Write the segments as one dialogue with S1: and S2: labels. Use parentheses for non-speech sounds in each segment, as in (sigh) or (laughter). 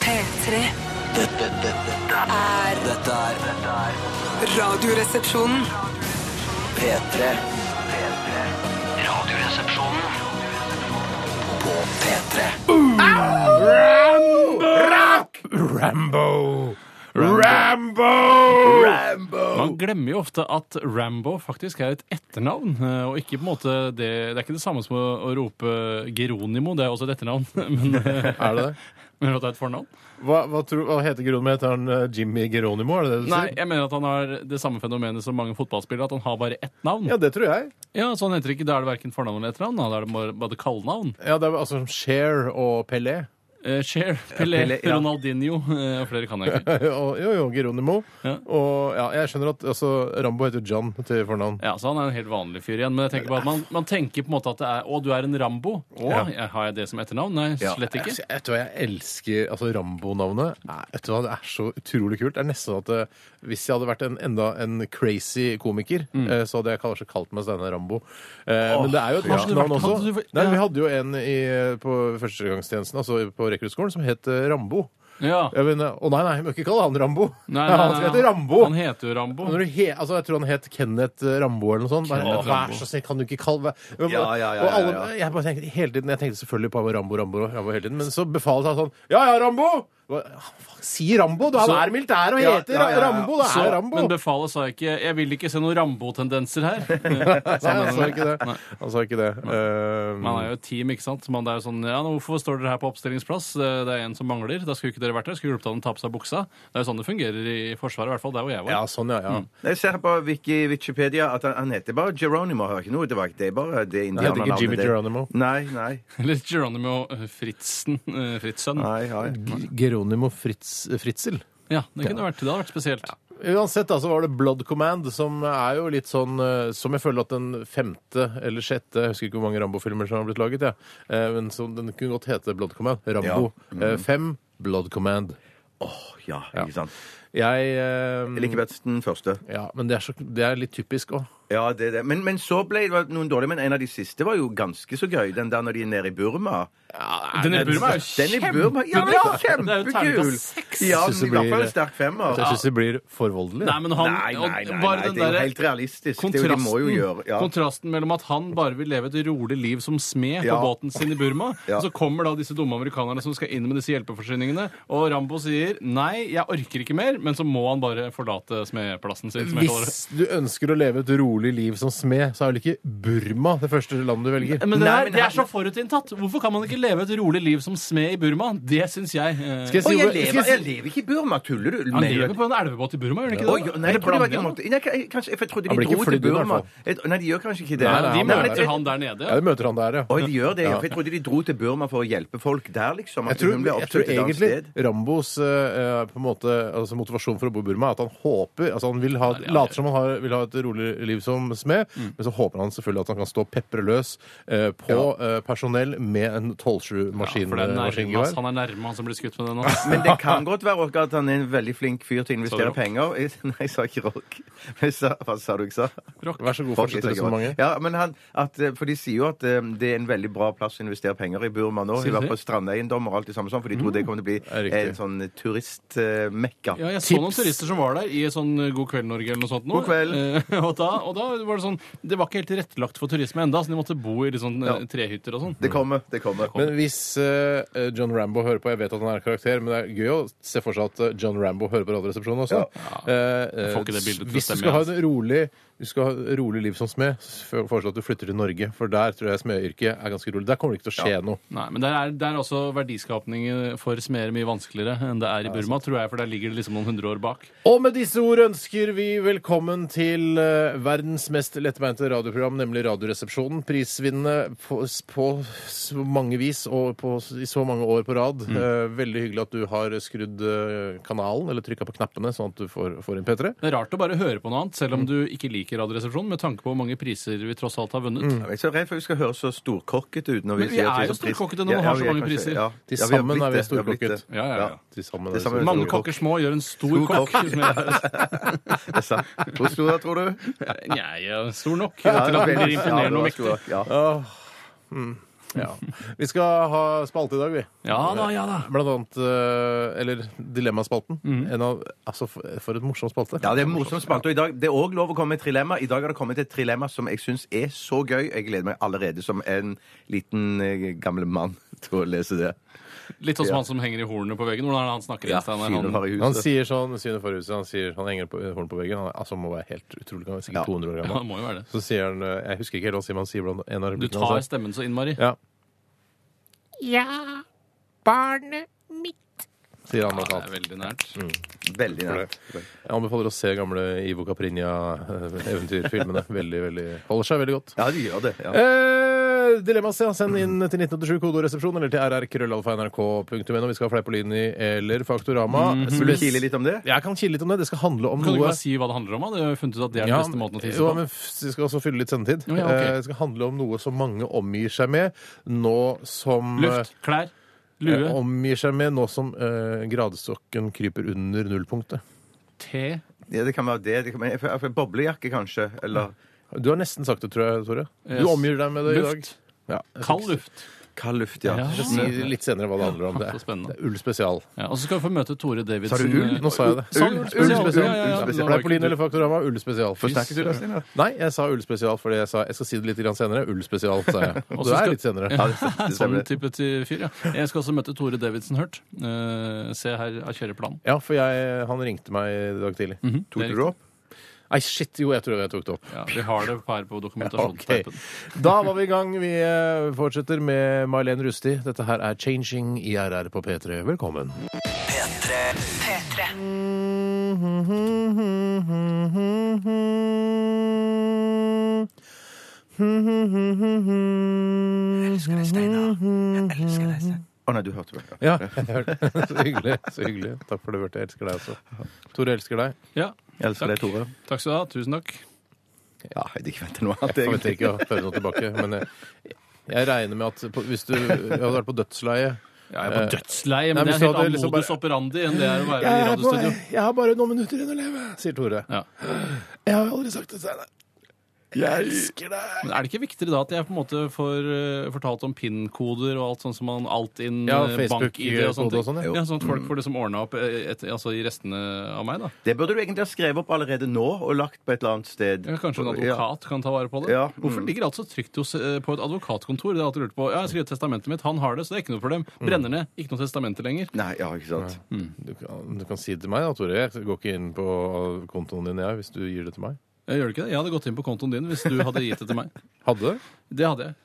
S1: P3
S2: Dette, dette, dette,
S1: er
S2: dette er dette er
S1: Radioresepsjonen.
S2: P3. P3. Radioresepsjonen på P3.
S3: Rambo! Rambo!
S4: Man glemmer jo ofte at Rambo faktisk er et etternavn. eh, Og ikke på en måte det, det er ikke det samme som å, å rope Geronimo. Det er også et etternavn. (laughs) Men, eh,
S3: Er det det?
S4: men at det er et fornavn?
S3: (laughs) Hva, hva, tror, hva heter Geronimo? Heter han eh, Jimmy Geronimo? Er det det du
S4: Nei,
S3: sier?
S4: jeg mener at han har det samme fenomenet som mange fotballspillere. At han har bare ett navn.
S3: Ja, det tror jeg.
S4: Ja, så han heter ikke, Da er det verken fornavn eller etternavn. Da er det bare- bare kallenavn.
S3: Ja, det er altså som Cher og Pelé.
S4: Eh, Cher, Pelé,
S3: Pelé, ja.
S4: Ronaldinho eh, og flere kan jeg ikke.
S3: (laughs) Og, jo, jo, Geronimo.
S4: Ja.
S3: Og ja, jeg skjønner at altså, Rambo heter John til fornavn.
S4: Ja, så Han er en helt vanlig fyr igjen. Men jeg tenker bare at man, man tenker på en måte at det er Å, du er en Rambo. Å,
S3: Ja.
S4: jeg- har jeg det som etternavn? Nei, slett ikke.
S3: Jeg, jeg, vet du hva, jeg elsker altså, Rambo-navnet. Nei, Vet du hva, Det er så utrolig kult. Det er nesten sånn at eh, Hvis jeg hadde vært en, enda en crazy komiker, eh, så hadde jeg kanskje kalt meg Steinar Rambo. Eh, men det er jo et norsk
S4: hadde du vært-
S3: navn også.
S4: hadde du vært-
S3: Nei,
S4: ja.
S3: vi hadde jo en i, på førstegangstjenesten, altså på rekruttskolen, som het eh, Rambo.
S4: Ja.
S3: Jeg mener, å nei, nei, vi må ikke kalle han Rambo.
S4: Nei, nei,
S3: (laughs) han
S4: nei,
S3: skal hete Rambo.
S4: Han heter jo Rambo.
S3: Når du he, altså, jeg tror han het Kenneth eh, Rambo eller noe sånt. Bare,
S4: Kenneth
S3: Vær
S4: Rambo.
S3: så snill, kan du ikke kalle meg Og
S2: Ja, ja, ja,
S3: alle,
S2: ja,
S3: Jeg bare tenkte hele tiden Jeg tenkte selvfølgelig på Rambo, Rambo, Rambo hele tiden, men så befalet han sånn Ja, ja, Rambo! Hva- ja, fuck, Si Rambo! Du, han
S4: Så-
S3: er militær og
S2: Ja,
S3: heter
S2: ja, ja, ja.
S3: Rambo! Det
S4: Så,
S3: er Rambo!
S4: men befalet sa ikke 'jeg vil ikke se noen Rambo-tendenser
S3: (laughs)
S4: her'. Sånn
S3: Nei, han sa ikke det.
S4: Nei.
S3: Han sa ikke det. Eh,
S4: Man er jo et team, ikke sant. Man det er jo sånn, ja, nå, 'Hvorfor står dere her på oppstillingsplass? Eh, Det er en som mangler.' Da skulle ikke dere vært der. Skulle hjulpet han å ta på seg buksa. Det er jo sånn det fungerer i Forsvaret, i hvert fall der hvor jeg var.
S3: ja, sånn, ja.
S4: Mm.
S3: ja.
S2: Jeg ser på Wiki, Wikipedia at han, han heter bare Geronimo. Har ikke noe tilbake. Det er bare det
S3: Det heter
S2: indianernavnet.
S3: ikke Jimmy
S2: det-
S3: Geronimo.
S2: Nei, nei.
S4: (laughs) Eller Geronimo eh, Fritzen. eh, Fritzen.
S2: nei, nei.
S3: G- Geronimo Fritz, Fritzel.
S4: Ja, det kunne vært, det hadde vært spesielt.
S3: Uansett da, så var det Blood Command, som er jo litt sånn eh, Som jeg føler at den femte eller sjette Jeg husker ikke hvor mange Rambo-filmer som har blitt laget, jeg. Eh, Men som den kunne godt hete Blood Command. Rambo
S2: Mm.
S3: eh, fem, Blood Command.
S2: Ja, ikke sant.
S3: Jeg eh,
S2: Jeg liker best den første.
S3: Ja, men det er, så, det er litt typisk òg.
S2: Ja, det er det. Men, men så ble det var noen dårlige. Men en av de siste var jo ganske så gøy. Den der når de er nede i Burma.
S4: Den i Burma er jo
S2: Den i Burma, ja, den er
S4: Det er jo
S2: kjempekul!
S4: terningkast seks.
S2: Ja,
S3: Synes det
S2: i hvert
S3: blir-
S2: fall en sterk femmer.
S3: Jeg syns det blir for voldelig.
S4: Nei, men han,
S2: Nei, nei, nei,
S4: og
S2: nei,
S4: bare den
S2: det er jo
S4: derre
S2: helt realistisk. Det er jo, de må jo
S4: Kontrasten,
S2: gjøre ja.
S4: kontrasten mellom at han bare vil leve et rolig liv som smed på
S2: Ja.
S4: båten sin i Burma,
S2: (laughs) Ja.
S4: og så kommer da disse dumme amerikanerne som skal inn med disse hjelpeforsyningene, og Rambo sier nei, jeg orker ikke mer, men så må han bare forlate smedplassen sin. Som jeg kaller det.
S3: Hvis du ønsker å leve et rolig liv som smed, så er vel ikke Burma det første landet du velger?
S4: Men det,
S2: Nei,
S4: er-
S2: men
S4: det
S2: han-
S4: er så forutinntatt. Hvorfor kan man ikke leve et rolig liv som smed i Burma? Det syns jeg. eh,
S3: Skal
S2: Å,
S3: si
S2: jeg
S3: hvor- skal
S2: lever,
S3: si-
S2: jeg lever ikke i Burma, tuller du?
S4: Han
S2: Mener du
S4: lever
S2: at-
S4: på en elvebåt i Burma, gjør han ikke
S2: Oi,
S4: det?
S2: nei, jeg
S4: Eller
S2: tror det var ikke
S4: Colombia?
S2: måte. Nei, jeg- kanskje, for jeg trodde
S3: Han
S2: de
S3: blir ikke
S2: dro til
S3: flydd inn, i hvert
S2: Burma.
S3: fall.
S2: Jeg- Nei, de gjør kanskje ikke det.
S3: Nei, nei,
S4: De
S3: han er-
S4: møter han der nede.
S3: Ja, du møter han der, ja.
S2: Oi, de gjør det, ja. For jeg trodde de dro til Burma for å hjelpe folk der, liksom.
S3: Jeg
S2: At
S3: tror,
S2: hun ble
S3: jeg tror
S2: oppsøkt et annet
S3: egentlig
S2: sted.
S3: Rambos eh, på en måte, altså motivasjon for å bo i Burma er at han håper altså Han vil ha,
S4: Nei, ja, det-
S3: later som han har, vil ha et rolig liv som smed, men så håper han selvfølgelig at han kan stå og pepre løs eh, på eh, personell med en
S4: Ja, for det er nærme, ass.
S3: tollsju-maskingevær.
S4: han er nærme han som blir skutt med den.
S2: (laughs)
S4: ass.
S2: Men det
S4: (laughs)
S2: kan godt være også at han er en veldig flink fyr til å investere
S4: Sa du rock?
S2: penger. (laughs) Jeg, nei, jeg sa ikke rock. Jeg sa, hva sa du ikke sa?
S4: Rock.
S3: Vær så god,
S2: Rock, jeg
S3: fortsett
S2: sa ikke rock.
S3: resonnementet.
S2: Ja, men han, at, eh, for de sier jo at eh, det er en veldig bra plass å investere penger i Burma nå.
S4: Sier
S2: I
S4: de
S2: hvert
S4: det? Mm.
S2: fall strandeiendommer og alt det samme sånn, for de tror det kommer til å
S3: er
S2: bli
S3: riktig.
S2: en sånn turistmekka.
S4: Ja, jeg så noen turister som var der i sånn God kveld Norge eller noe sånt. nå.
S2: God kveld.
S4: Eh, (laughs) og, da, og da var det sånn Det var ikke helt tilrettelagt for turisme enda, så de måtte bo i litt sånn eh,
S2: Ja.
S4: trehytter og sånn.
S2: Det kommer, det kommer.
S3: Men hvis eh, John Rambo hører på Jeg vet at han er karakter, men det er gøy å se for seg at eh, John Rambo hører på Radioresepsjonen også. Eh, eh,
S4: får ikke det bildet til å
S3: hvis du
S4: stemme,
S3: skal ha
S4: altså.
S3: en rolig du skal ha et rolig liv som smed, så foreslår jeg at du flytter til Norge. For der tror jeg smedyrket er ganske rolig. Der kommer det ikke til å skje noe.
S4: Nei, men der er, der er også verdiskapning eh, for smeder mye vanskeligere enn det er i Burma, tror jeg, for der ligger det liksom noen hundre år bak.
S3: Og med disse ord ønsker vi velkommen til eh, verdens mest lettbeinte radioprogram, nemlig Radioresepsjonen. Prisvinnende på, s- på så mange vis og på, s- i så mange år på rad.
S4: Mm.
S3: Eh, Veldig hyggelig at du har skrudd eh, kanalen, eller trykka på knappene, sånn at du får, får inn P3.
S4: Det er rart å bare høre på noe annet, selv om du ikke liker Radioresepsjonen, med tanke på hvor mange priser vi tross alt har vunnet.
S2: Jeg er så redd for vi skal høre så storkokket ut når vi
S4: Men vi
S2: sier
S4: er
S2: at
S4: jo
S2: så trist.
S4: storkokkete når man
S2: Ja,
S4: har
S2: ja,
S4: så
S2: vi er
S4: mange
S2: kanskje-
S4: priser.
S2: ja.
S3: Til
S2: Ja, vi har
S3: sammen
S2: blitt
S3: er vi
S2: det, har blitt
S3: storkokket.
S2: det.
S4: Ja, ja, ja.
S3: Til sammen
S2: Det
S3: er
S2: samme-
S3: det
S4: Mange
S2: Stor kokk.
S4: kokker små gjør en stor
S2: Stor
S4: kokk.
S2: kokk.
S4: som jeg-
S2: Det er sant. Hvor stor da, tror du?
S4: Jeg er stor nok til at det blir
S2: Ja, det
S4: imponerende og
S2: var
S4: mektig.
S2: stor. Ja.
S3: Åh. mm,
S4: (laughs)
S3: Ja. Vi skal ha spalte i dag, vi.
S4: Ja da, ja da.
S3: Blant annet eh, Eller Dilemmaspalten.
S4: Mm.
S3: En av, altså, for, for et morsom spalte.
S2: Ja, Det er morsomt spalt. Og i dag, det er òg lov å komme med et trilemma. I dag har det kommet et trilemma som jeg syns er så gøy. Jeg gleder meg allerede som en liten eh, gammel mann (laughs) til å lese det.
S4: Litt sånn som
S2: Ja.
S4: han som henger i hornene på veggen. Hvordan er det han snakker?
S2: Ja,
S4: Steiner?
S2: Synet
S4: han,
S2: var i
S3: Han
S2: huset.
S3: sier sånn Synet forhuset, han sier han henger på, hånden på veggen. Han er, altså, han må være helt utrolig gammel. Sikkert
S2: Ja.
S3: 200 år
S4: ja,
S3: gammel.
S4: han må jo være det.
S3: Så sier han eh, Jeg husker ikke helt hva han sier, men han sier blant en av
S4: Du
S3: replikkene
S4: tar
S3: hans.
S4: stemmen så innmari.
S3: Ja,
S1: Ja, barnet mitt.
S3: sier
S4: Ja,
S3: han blant
S4: det er
S3: annet.
S4: veldig nært.
S2: Mm. Veldig nært.
S3: Jeg anbefaler å se gamle Ivo Caprinia-eventyrfilmene.
S4: (laughs)
S3: Veldig, veldig Holder seg veldig godt.
S2: Ja, de gjør det.
S3: Mhm.
S2: Ja.
S3: Eh, Dilemmas, ja. Send inn til 1987 kodoresepsjon eller til rrkrøllalfa.nrk.no. Vi skal ha Fleipolini eller Faktorama.
S2: Vil du
S3: SMS.
S2: kile litt om det?
S3: Jeg kan kile litt om det. Det skal handle om
S4: Mhm. Kan du ikke
S3: noe
S4: bare si hva det handler om? da? Det har vi funnet ut at det er den
S3: Ja,
S4: beste måten å tisse
S3: jo,
S4: på.
S3: men f- Vi skal også fylle litt sendetid.
S4: Å, ja, ok.
S3: Eh, Det skal handle om noe som mange omgir seg med nå som
S4: Luft, klær,
S3: eh,
S4: lue,
S3: Omgir seg med nå som eh, gradestokken kryper under nullpunktet.
S4: te
S2: Ja, det kan være det. det kan være, for- for boblejakke, kanskje. Eller
S3: Du har nesten sagt det, tror jeg, Tore.
S4: Yes.
S3: Du omgir deg med det i dag.
S4: Luft.
S3: Ja, jeg skal
S4: Kald
S3: ikke
S4: luft.
S2: kald luft, ja.
S4: Ja.
S3: si litt senere hva det handler om. Det
S4: så spennende.
S3: er, det er ull spesial.
S4: Ja, og så skal vi få møte Tore Davidsen.
S2: Sa du ull?
S3: Nå sa jeg det.
S4: Sånn,
S2: Ull,
S4: spesial.
S2: ull spesial,
S4: Ja, ja, ja,
S2: ull
S4: nå
S2: spesial.
S4: var ikke
S3: Blei på linje
S4: du-
S3: eller Faktorama? Ull spesial. Fy
S2: Snakker du, da,
S3: søren.
S2: Steinar?
S3: Nei, jeg sa ull spesial fordi jeg sa jeg skal si det litt grann senere. Ull spesial, sa
S4: (laughs)
S3: jeg. Og du
S4: skal-
S3: er litt senere.
S2: Ja, det stemmer. Det
S4: Sånn
S2: stemmer.
S4: type til fyr, ja. Jeg skal også møte Tore Davidsen Hurt. Eh, se her av kjøreplanen.
S3: Ja, for jeg, han ringte meg i dag tidlig.
S2: Tok
S4: Mhm. Det er
S2: du det opp?
S3: Nei, shit, jo, jeg tror jeg tok det opp.
S4: Ja, vi har det her på
S3: (laughs) Ok.
S4: dokumentasjonsteipen.
S3: Da var vi i gang. Vi eh, fortsetter med Mailen Rusti. Dette her er Changing i RR på P3. Velkommen. P3.
S2: elsker deg, Steinar. Jeg elsker deg, Steinar. Å nei, du hørte meg. Ja.
S3: (laughs) Ja, (laughs) jeg hørte det. så hyggelig. så hyggelig. Takk for det, Bjarte. Jeg elsker deg også. Tore jeg elsker deg.
S4: Ja,
S2: Jeg elsker deg, Tore.
S4: takk skal du ha. Tusen takk.
S2: Ja, jeg hadde ikke ventet noe annet,
S3: Jeg vet
S2: egentlig.
S3: ikke å høre noe tilbake, men jeg, jeg regner med at på, hvis du hadde vært på dødsleiet
S4: Ja, jeg er på dødsleie, men
S3: Eh, Nei, men
S4: det er en helt
S3: så hadde jeg
S4: annen
S3: liksom
S4: modus
S3: bare-
S4: operandi enn det er å være i radiostudio.
S3: har bare noen minutter igjen å leve, sier Tore.
S4: Ja.
S3: Jeg har aldri sagt det, Steinar. Jeg elsker deg.
S4: Men er det ikke viktigere da at jeg på en måte får eh, fortalt om PIN-koder og alt sånn som man alt inn
S3: Ja,
S4: eh, bank-ID og sånne
S3: Facebook-kode og
S4: ting?
S3: sånn,
S4: Ja,
S3: ja.
S4: sånn at folk får liksom ordna opp eh, et, altså, i restene av meg, da.
S2: Det burde du egentlig ha skrevet opp allerede nå og lagt på et eller annet sted.
S4: Ja, kanskje en
S2: Ja.
S4: advokat kan ta vare på det?
S2: Ja,
S4: Hvorfor
S2: mm.
S4: ligger alt så trygt hos, eh, på et advokatkontor? Det har jeg alltid lurt på. Ja, jeg skrev testamentet mitt, han har det, så det er ikke noe problem.
S3: Mm.
S4: Brenner ned, ikke noe testamente lenger.
S2: Nei, ja, ikke sant.
S3: Du kan, du kan si det til meg, da, Tore. Jeg går ikke inn på kontoen din, jeg, hvis du gir det til meg.
S4: Jeg gjør det ikke det? Jeg hadde gått inn på kontoen din hvis du hadde gitt det til meg.
S3: Hadde du?
S4: Det hadde jeg.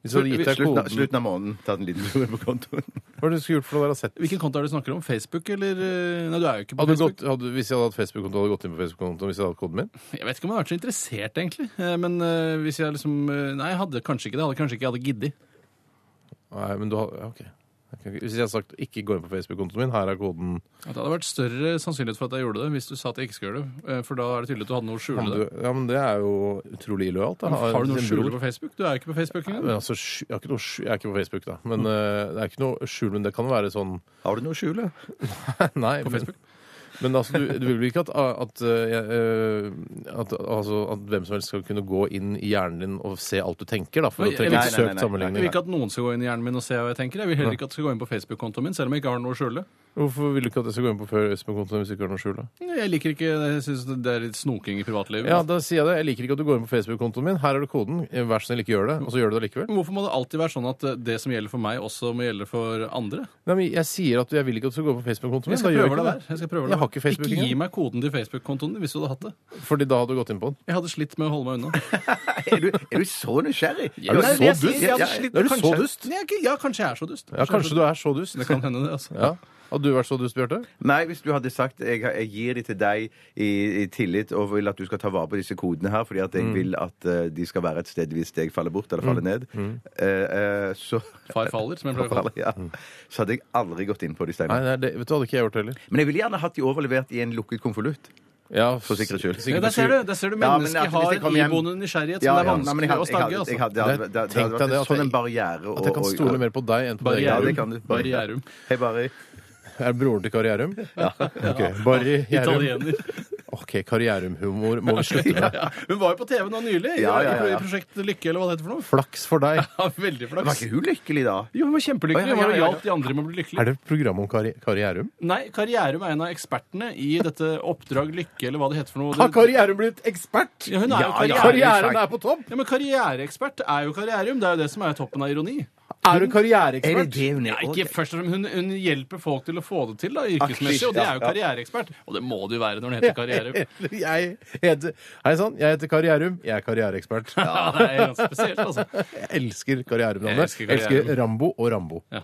S3: Hvis du hadde gitt deg
S2: Slutten, av,
S3: koden
S2: slutten av måneden. Tatt en liten tur på kontoen.
S3: Hva er det du skulle gjort for å være sett?
S4: Hvilken konto er det du snakker om? Facebook, eller eh, Nei, du er jo ikke på
S3: Hadde du
S4: Facebook.
S3: gått, hadde, hvis jeg hadde hatt Facebook-konto, hadde du gått inn på Facebook-kontoen hvis jeg hadde hatt koden min?
S4: Jeg vet ikke om jeg hadde vært så interessert, egentlig. Eh, Men eh, hvis jeg liksom eh, Nei, jeg hadde kanskje ikke det. Jeg Hadde kanskje ikke jeg hadde giddet.
S3: Nei, men du har ja, OK. Ok, ok. Hvis jeg hadde sagt 'ikke gå inn på Facebook-kontoen min', her er koden
S4: At Det hadde vært større sannsynlighet for at jeg gjorde det, hvis du sa at jeg ikke skulle gjøre det. Eh, For da er det tydelig at du hadde noe å
S3: ja,
S4: skjule
S3: men,
S4: der.
S3: du, ja, men det er jo utrolig illojalt. da.
S4: Har du noe å
S3: Din
S4: skjule
S3: bror-
S4: på Facebook? Du er jo ikke på Facebook engang.
S3: Men altså, skj- jeg, har ikke noe, skj- jeg er ikke på Facebook, da. Men
S4: Mm.
S3: eh, det er ikke noe skjul, men det kan være
S4: (laughs)
S3: sånn
S2: (laughs) Har du noe å skjule?
S3: Nei,
S4: På Facebook?
S3: Men, men altså, du, du vil vel ikke at, at, eh, jeg, eh, at, altså, at hvem som helst skal kunne gå inn i hjernen din og se alt du tenker, da, for
S4: Nei,
S3: å trekke
S4: nei,
S3: en
S2: nei, nei,
S3: søkt
S2: nei.
S4: Jeg vil
S3: sammenligning?
S4: ikke at noen skal gå inn i hjernen min og se hva jeg tenker. Jeg vil heller ikke at det skal gå inn på Facebook-kontoen min, selv om jeg ikke har noe å skjule.
S3: Hvorfor vil du ikke at jeg skal gå inn på Facebook-kontoen hvis du ikke har noe skjul? da?
S4: Jeg liker ikke Jeg syns det er litt snoking i privatlivet.
S3: Ja, da sier jeg det. Jeg liker ikke at du går inn på Facebook-kontoen min. Her er det koden. Eh, Vær så snill, ikke gjør det. Og så gjør du det allikevel.
S4: Men Hvorfor må det alltid være sånn at eh, det som gjelder for meg, også må gjelde for andre?
S3: Nei, men jeg sier at jeg vil ikke at du skal gå inn på Facebook-kontoen min.
S4: Jeg skal
S3: da gjør
S4: prøve det
S3: jeg ikke
S4: der. Jeg skal prøve
S3: Jeg
S4: det.
S3: har ikke Facebook
S4: ikke gi
S3: engang.
S4: meg koden til Facebook-kontoen din hvis du hadde hatt det.
S3: Fordi da hadde du gått inn på den.
S4: Jeg hadde slitt med å holde meg unna.
S2: Er du, er du så nysgjerrig?
S3: Er du
S2: Nei,
S3: så
S2: jeg-
S3: dust?
S2: jeg-
S4: Jeg hadde
S2: jeg-
S4: slitt-
S3: Er du så
S4: kanskje-
S3: dust?
S4: Nei, jeg er ikke- Ja, kanskje jeg er så dust.
S3: Ja, kanskje du er så dust.
S4: Det kan hende, det. altså.
S3: Ja. Hadde du vært så dust, Bjarte?
S2: Nei, hvis du hadde sagt jeg, jeg gir de til deg i, i tillit og vil at du skal ta vare på disse kodene her, fordi at jeg vil at eh, de skal være et sted hvis jeg faller bort eller faller ned, eh, eh, så,
S4: Far faller, som jeg
S2: (laughs)
S4: pleier å kalle det.
S2: ja, så hadde jeg aldri gått inn på de
S3: Nei,
S2: steinene.
S3: nei det vet du, hadde ikke jeg gjort det heller.
S2: Men jeg ville gjerne hatt de overlevert i en lukket konvolutt.
S3: Ja,
S2: For sikkerhets skyld.
S4: Ja,
S3: sikkert
S4: der ser du, der ser du
S2: Ja, men
S4: mennesket
S2: at hvis jeg
S4: har
S2: kommer hjem-
S4: iboende nysgjerrighet som
S2: Ja,
S4: det er
S2: ja. Nei, men
S4: vanskelig
S2: jeg hadde-
S4: å stagge.
S2: Jeg
S4: altså.
S2: hadde, jeg hadde, det, det,
S3: Tenk
S2: det
S3: deg
S2: hadde vært
S3: det
S2: en
S3: at
S2: sånn
S3: jeg-
S2: en barriere.
S3: At jeg kan stole mer på deg enn på deg.
S2: Ja,
S4: Barrierum.
S2: det kan du.
S4: Barrierum.
S2: Hei, Barry.
S3: Er broren til Kari Gjerrum? Ja. Barry Gjerrum.
S2: (laughs)
S4: Italiener.
S3: Å, OK, karrierehumor må vi slutte med.
S4: Hun var jo på TV nå nylig,
S2: Ja, ja,
S4: i-
S2: ja.
S4: i Prosjekt Lykke, eller hva det heter
S2: (laughs)
S4: for noe.
S3: Flaks for deg.
S4: Ja, veldig
S2: Var
S4: flaks.
S2: ikke hun lykkelig da?
S4: Jo, hun var kjempelykkelig.
S2: Å, ja,
S4: Hun var
S2: ja,
S4: jo
S2: ja,
S4: hjalp de andre med å bli lykkelige.
S3: Er det program om karri karrierum?
S4: Nei, Karrierum er en av ekspertene i dette Oppdrag lykke, eller hva det heter for noe.
S3: Har karrierum blitt ekspert?
S4: Ja, hun er jo
S2: Ja, ja.
S4: karriere...
S3: Karrieren er på topp!
S4: Ja, men karriereekspert er jo karrierum. Det er jo det som er toppen av ironi.
S3: Er du karriereekspert?
S2: det hun
S4: Ja, ikke først og fremst, hun, hun hjelper folk til å få det til da, yrkesmessig,
S2: shit,
S4: og det
S2: ja,
S4: er jo
S2: ja.
S4: karriereekspert. Og det må det jo være når den heter
S2: (laughs)
S4: karriere.
S3: (laughs) Jeg heter Hei sann, jeg heter Karrierum. Jeg er karriereekspert.
S4: Ja, det er ganske spesielt, altså.
S3: Jeg elsker
S4: Jeg
S3: karrieremnavnet.
S4: elsker
S3: Jeg elsker
S4: karrierenavnet.
S3: Rambo og Rambo.
S4: Ja.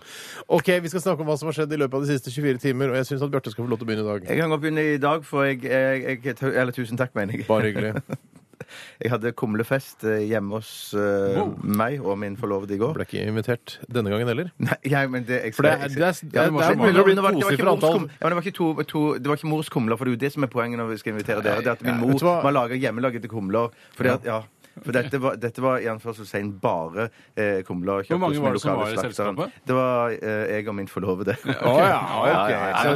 S3: Ok, Vi skal snakke om hva som har skjedd i løpet av de siste 24 timer, og jeg syns at Bjarte skal få lov til å begynne i dag.
S2: Jeg kan godt begynne i dag, for jeg, jeg, jeg Eller tusen takk, mener jeg.
S3: Bare hyggelig.
S2: Jeg hadde kumlefest eh, hjemme hos eh, meg og min forlovede i går.
S3: Ble ikke invitert denne gangen heller.
S2: (laughs) Nei, jeg, men det, jeg,
S3: For det er-
S2: jeg-
S3: det er-
S2: Ja,
S3: det
S2: men
S3: er-
S2: det var-
S3: begynner å bli
S2: det var- det var ikke
S3: tosifret
S2: mors
S3: antall.
S2: kum- ja, men det var ikke to- to- Det var ikke mors kumler, for det er jo det som er poenget når vi skal invitere dere. Det er at min
S3: Nei,
S2: mor
S3: vet du hva?
S2: må lage hjemmelagede kumler. Fordi at, ja, for dette var, dette var i anførselstegn bare eh, kumler. kjøpt
S4: Hvor mange
S2: hos den
S4: var det som
S2: lokale
S4: var i
S2: slakteren.
S4: selskapet?
S2: Det var eh, jeg og min forlovede.
S3: Å
S2: (laughs)
S3: ja, ok.
S2: Ja,
S4: det
S2: ja,
S4: var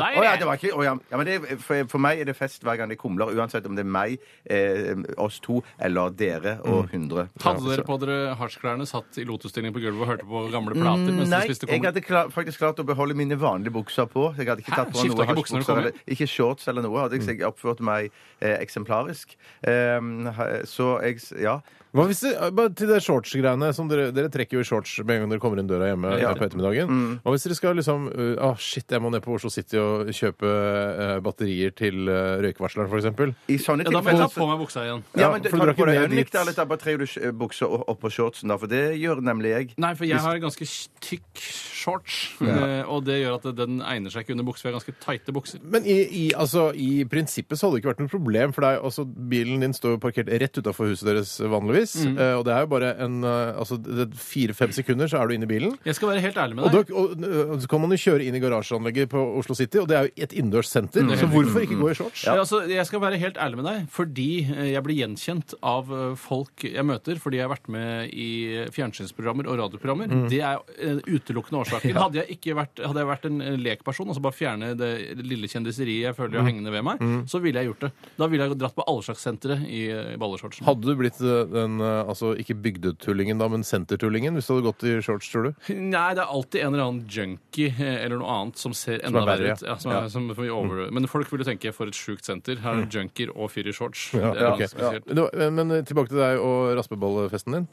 S4: deg,
S2: Å, ja,
S4: det.
S2: det var ikke, å, ja. Ja, men det, for, for meg er det fest hver gang det kumler, uansett om det er meg, eh, oss to eller dere og
S3: Mm.
S2: 100.
S4: Hadde
S2: Ja, så-
S4: dere på dere hasjklærne, satt i lotusstilling på gulvet og hørte på gamle plater mens
S2: Mm, Nei,
S4: dere spiste
S2: jeg
S4: kumler?
S2: hadde klar, faktisk klart å beholde mine vanlige bukser på. Jeg hadde ikke
S4: Hæ?
S2: tatt på
S4: Skiftet
S2: noe
S4: ikke buksene når du kom
S2: hasjbukser eller- Ikke shorts eller noe. Hadde jeg, så jeg oppførte meg eh, eksemplarisk. Ehm, ha- så jeg s- Ja.
S3: Hva hvis det, eh, bare til det shorts-greiene som dere, dere trekker jo i shorts med en gang dere kommer inn døra hjemme
S2: Ja. Mm.
S3: eh, på ettermiddagen. Hva hvis dere skal liksom uh, ah, Shit, jeg må ned på Oslo City og kjøpe eh, batterier til uh, røykvarsleren, f.eks.
S2: I sånne
S4: Ja, da må jeg ta
S2: tilfeller
S4: på meg buksa igjen.
S2: ja,
S3: Ja,
S2: men du,
S3: for
S2: Tar
S3: du drar
S2: du på deg
S3: ikke ned
S2: øyenlykt,
S3: dit.
S2: eller tar- bare trer du sh- buksa o- oppå shortsen? da? For det gjør nemlig jeg.
S4: Nei, for jeg har ganske tykk shorts, eh, og det gjør at den egner seg ikke under bukser. Vi har ganske tighte bukser.
S3: Men i, i, altså, i prinsippet så hadde det ikke vært noe problem for deg. Altså, bilen din står jo parkert rett utafor huset deres vanligvis.
S4: Mm.
S3: eh, Og det er jo bare en eh, altså, det- det- fire-fem sekunder, så er du inne i bilen.
S4: Jeg skal være helt ærlig med
S3: Og,
S4: deg.
S3: da, og, og så kan man jo kjøre inn i garasjeanlegget på Oslo City, og det er jo et innendørssenter. Så hvorfor ikke gå i shorts?
S4: Mm. Ja. Altså, jeg skal være helt ærlig med deg, fordi eh, jeg blir gjenkjent av eh, folk jeg møter fordi jeg har vært med i fjernsynsprogrammer og radioprogrammer.
S3: Mm.
S4: Det er eh, utelukkende
S3: (laughs)
S4: årsaken. Hadde jeg ikke vært, hadde jeg vært en eh, lekperson, altså bare fjerne det lille kjendiseriet jeg
S3: Mm.
S4: føler jeg har hengende ved meg, så ville jeg gjort det. Da ville jeg dratt på Allslagssenteret i, eh, i balleshortsen.
S3: Hadde du blitt eh, den eh, altså ikke bygdetullingen, da, men sentertullingen hvis du hadde gått i shorts, tror du?
S4: Nei, det er alltid en eller annen junkie eh, eller noe annet som ser enda
S3: er verre,
S4: verre ut.
S3: ja. Mm.
S4: Ja, som er, som vi over... Men folk vil jo tenke for et sjukt senter. Her er det junkier og fyr i shorts. det er
S3: ok.
S4: ganske spesielt.
S3: Det var- eh, Men eh, tilbake til deg og raspeballfesten din.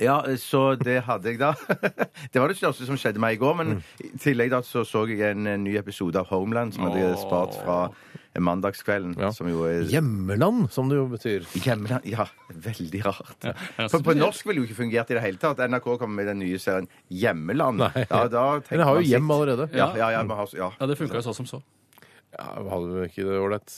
S2: Ja, så det hadde jeg da. (laughs) Mm. Det var det største som skjedde meg i går. Men i tillegg da så så jeg en eh, ny episode av Homeland som hadde
S4: Åh.
S2: spart fra mandagskvelden.
S3: Ja.
S2: Som jo er
S3: Hjemmeland, som det jo betyr.
S2: Hjemland Ja, veldig rart.
S4: ja, så
S2: på, på
S4: det-
S2: norsk ville det jo ikke fungert i det hele tatt. NRK kommer med den nye serien Hjemmeland.
S3: Nei.
S2: Ja, da tenker
S3: Men det har
S2: man
S3: jo hjem
S2: sitt.
S3: allerede.
S2: Ja, ja, ja, man har, ja.
S4: Ja, det funka jo så som så.
S3: Ja, hadde du ikke det ålreit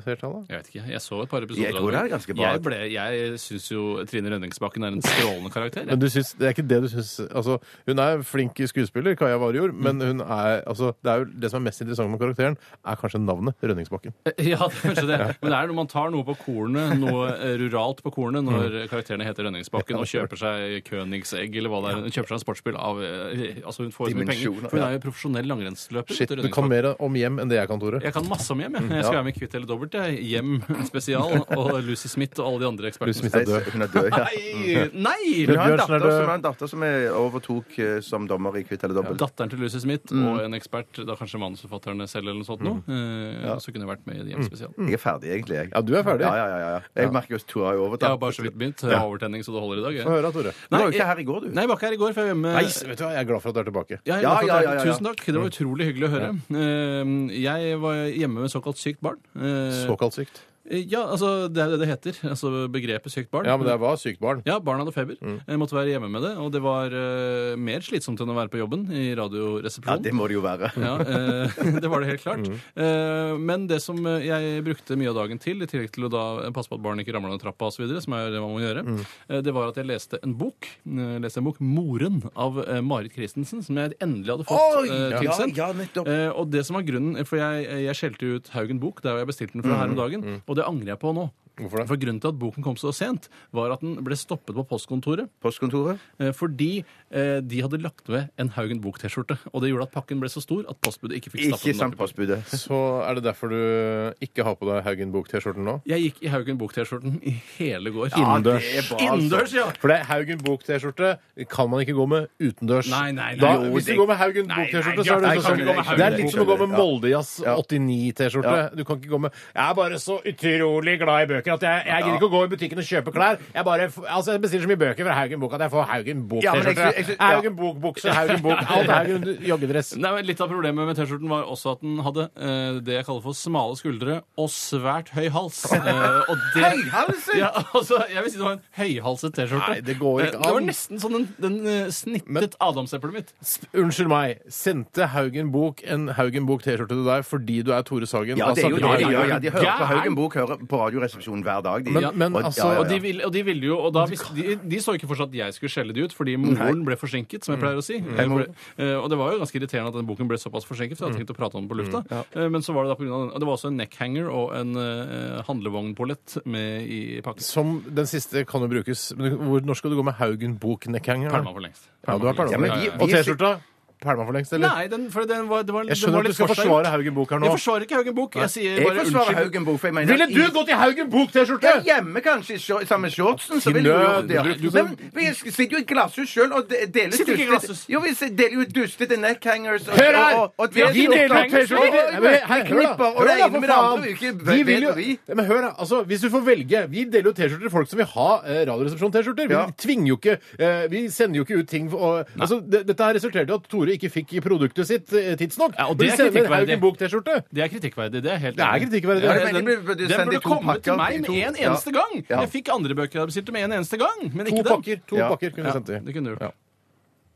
S3: flertall, da?
S4: Jeg vet ikke, jeg så et par episoder.
S2: Jeg
S4: av
S2: tror det er ganske bra.
S4: Jeg, ble- jeg syns jo Trine Rønningsbakken er en strålende karakter.
S3: Men
S4: Jeg. (laughs)
S3: du syns, det er ikke det du syns altså, Hun er flink skuespiller, Kaja Warjord, men hun er, altså, det, er jo, det som er mest interessant med karakteren, er kanskje navnet Rønningsbakken.
S4: Ja, det er kanskje det. Men det er når man tar noe på kornet, noe eh, ruralt på kornet, når
S2: Mm.
S4: karakterene heter Rønningsbakken og kjøper seg Königsegg eller hva det er. Hun kjøper seg en sportsbil av eh, Altså, hun får så mye penger.
S2: Dimensjoner,
S4: For hun
S2: ja.
S4: er jo profesjonell langrennsløper.
S3: Shit,
S4: til
S3: du kan
S4: Rønningsbakken.
S3: mer om hjem enn det jeg kan, Tore.
S4: Jeg kan masse om hjem. Jeg,
S2: Mm,
S4: jeg skal være med i Kvitt eller dobbelt. Jeg. Hjem (laughs) spesial og Lucy Smith og alle de andre
S3: Louis
S4: ekspertene.
S3: Smith er død.
S2: Nei, Hun er
S3: (laughs)
S2: død,
S4: Nei!
S2: ja. Hun
S4: Nei!
S2: har en
S3: Bjørnsen er
S2: datter,
S3: død.
S2: som, en datter som jeg overtok eh, som dommer i Kvitt eller dobbelt.
S4: Datteren til Lucy Smith
S2: Mm.
S4: og en ekspert, da kanskje manusforfatterne selv eller noe sånt noe. eh, Så kunne jeg vært med i
S2: Mm.
S4: Hjem spesial.
S2: Jeg er ferdig, egentlig. Jeg.
S3: Ja, du er ferdig.
S2: Ja, ja, ja, ja. Jeg merker jo at Tora har jo
S4: Jeg
S2: overtatt.
S4: har bare så vidt begynt. Jeg har overtenning, så det holder i dag.
S3: Få
S4: Jeg.
S3: høre, Tore.
S2: Du var
S4: Nei, eh,
S2: jo ikke her i går, du.
S4: Nei, jeg var ikke her i går, for jeg var hjemme
S3: Nei, vet du hva, jeg er glad for at du er tilbake.
S4: Ja, jeg er
S2: Ja,
S4: glad for
S2: ja,
S4: at
S2: ja,
S4: jeg-
S2: ja, Mm. ja.
S4: Tusen takk. Det var utrolig hyggelig å høre. Eh, Jeg var hjemme med såkalt sykt barn. Eh,
S3: Såkalt sykt.
S4: Ja, altså, det er det det heter. Altså begrepet sykt barn.
S3: Ja, men det var sykt barn.
S4: Ja, barn hadde feber.
S2: Mm.
S4: Jeg måtte være hjemme med det. Og det var eh, mer slitsomt enn å være på jobben i
S2: Ja,
S4: Radioresepsjonen.
S2: det må det jo være.
S4: Ja, eh, (laughs) det var det helt klart.
S2: Mm.
S4: Eh, men det som eh, jeg brukte mye av dagen til, i tillegg til å da passe på at barn ikke ramler ned trappa osv., som er jo det man må gjøre,
S2: Mm.
S4: eh, det var at jeg leste en bok, eh, leste en bok 'Moren' av eh, Marit Christensen, som jeg endelig hadde fått eh,
S2: ja,
S4: tilsendt.
S2: ja, nettopp.
S4: Eh,
S2: Mm-hmm. Mm.
S4: og det som var grunnen, For jeg, jeg skjelte ut Haugen Bok, der jeg bestilte den fra her om dagen, og det angrer jeg på nå.
S3: Hvorfor det?
S4: For Grunnen til at boken kom så sent, var at den ble stoppet på postkontoret
S2: Postkontoret?
S4: eh, fordi eh, de hadde lagt ved en Haugen Bok-T-skjorte. Og det gjorde at pakken ble så stor at postbudet ikke fikk stappet
S2: Ikke
S4: den opp.
S2: sant,
S4: i pakken.
S2: postbudet.
S3: Så er det derfor du ikke har på deg Haugen Bok-T-skjorten nå?
S4: Jeg gikk i Haugen Bok-T-skjorten i hele går.
S3: Innendørs.
S2: det er bra, altså.
S4: Innendørs, ja!
S3: For det er Haugen Bok-T-skjorte kan man ikke gå med utendørs.
S4: Nei, nei, nei.
S3: da,
S4: Jo,
S3: hvis du
S4: det-
S3: går med Haugen
S4: Nei,
S3: Bok-T-skjorte,
S4: nei,
S3: så er
S4: jeg kan
S3: det sånn
S4: ikke gå med
S3: Det
S4: Haugen
S3: er litt som å gå med
S2: Bok-T-skjorte.
S3: Moldejazz 89-T-skjorte. Du kan ikke gå med Jeg er bare så utrolig glad i bøker at jeg, jeg gidder ikke å gå i butikken og kjøpe klær. Jeg bare, f- altså jeg bestiller så mye bøker fra Haugen Bok at jeg får Haugen
S2: Ja, men jeg
S3: Bok-T-skjorte.
S2: sy- jeg sy- ja.
S3: Haugen Bok-bukse, Haugen Bok Alt er Haugen joggedress.
S4: Nei, men Litt av problemet med T-skjorten var også at den hadde eh, det jeg kaller for smale skuldre og svært høy
S3: (laughs)
S4: hals. Eh, og det,
S2: Høyhalset?
S4: Ja, altså, jeg vil si det var en høyhalset T-skjorte.
S3: Nei, det går ikke
S4: Eh, Det var
S3: an.
S4: nesten sånn den, den eh,
S3: Men-
S4: snittet adamseplet mitt.
S3: Unnskyld meg. Sendte Haugen Bok en Haugen Bok-T-skjorte til deg fordi du er Tore Sagen?
S2: Ja,
S3: Da
S2: det er jo
S3: snakker
S2: det
S3: vi-
S2: de gjør. Ja, de hører på
S4: Gæren.
S2: Haugen Bok, hører på Radioresepsjonen hver dag. De.
S3: Men-
S2: Ja.
S3: men
S2: Og-
S3: altså-
S2: ja, ja, ja.
S4: Og de, vil, og de ville jo og da, vis- de, de så ikke for seg at jeg skulle skjelle de ut, fordi moren ble forsinket,
S3: Mm.
S4: som jeg pleier å si. Eh, for det- eh, og det var jo ganske irriterende at den boken ble såpass forsinket,
S3: Mm.
S4: for jeg hadde tenkt å prate om den på lufta. Eh, Men så var det da på grunn av den. og Det var også en neckhanger og en eh, handlevognpollett med i pakken.
S3: Som den siste kan jo brukes. Men hvor når skal du gå med Haugen Bok-neckhanger? da?
S4: Pælma for lengst.
S3: Ja, du har pælma
S2: Ja,
S3: for
S2: men
S3: lengst.
S2: vi-
S3: Og
S2: vi-
S3: T-skjorta? Pælma for lengst, eller?
S4: Nei, den, for den var, det var
S3: jeg
S4: den var
S3: skjønner at
S4: litt
S3: du skal
S4: forseggjort.
S3: forsvare Haugen Bok her nå.
S4: Jeg forsvarer ikke Haugen Bok. Jeg sier
S2: Jeg
S4: bare
S2: forsvarer
S4: unnskyld.
S2: Haugen Bok, for jeg mener
S3: Ville
S2: at
S3: du
S2: ingen-
S3: gått i Haugen Bok-T-skjorte?!
S2: ja, hjemme, kanskje, i skjor- sammen med shortsen.
S3: Til
S2: Så vil du gjøre
S3: nød.
S2: det.
S3: Du- du-
S2: Men vi sitter jo i glasshus sjøl og de- deler
S4: Sitter ikke i
S2: dustete-
S4: glasshus.
S2: Jo, vi s- deler jo dustete neckhangers og,
S3: Hør her!
S2: og, og, og
S3: Vi har- vi deler
S2: og-
S3: ut T-skjorter til-
S2: og-
S3: Nei, men
S2: og-
S3: hei, hør da.
S2: knipper, og
S3: Hør
S2: det
S3: da,
S2: ene
S3: for
S2: med det
S3: faen.
S2: andre vil jo ikke
S3: Vi vil jo-
S2: bedre vi.
S3: Nei, Men hør, da. Altså, hvis du får velge Vi deler jo T-skjorter til folk som vil ha eh, Radioresepsjon-T-skjorter. Vi
S2: Ja.
S3: tvinger jo ikke eh, Vi sender jo ikke ut ting for- og, altså, det, Dette her resulterte i at Tore ikke fikk produktet sitt eh, tidsnok.
S4: Ja, og
S3: Vi
S4: det er
S3: sender en
S4: kritikkverdig.
S3: Haugen Bok-T-skjorte.
S4: Det er kritikkverdig. Det er helt
S3: Det er
S4: enig.
S3: kritikkverdig.
S2: Ja,
S3: det.
S2: men
S4: Den,
S2: det ble-
S4: den
S2: det sendte i
S4: burde
S2: to
S4: kommet
S2: pakker,
S4: til meg
S2: i
S4: med
S2: to-
S4: en
S2: ja.
S4: eneste gang!
S2: Ja.
S4: Jeg fikk andre bøker jeg bestilte med en eneste gang, men
S3: To
S4: ikke den.
S3: pakker, to
S2: Ja.
S3: pakker kunne
S4: Ja,
S3: du sendt i.
S4: det kunne du gjort.
S3: Ja.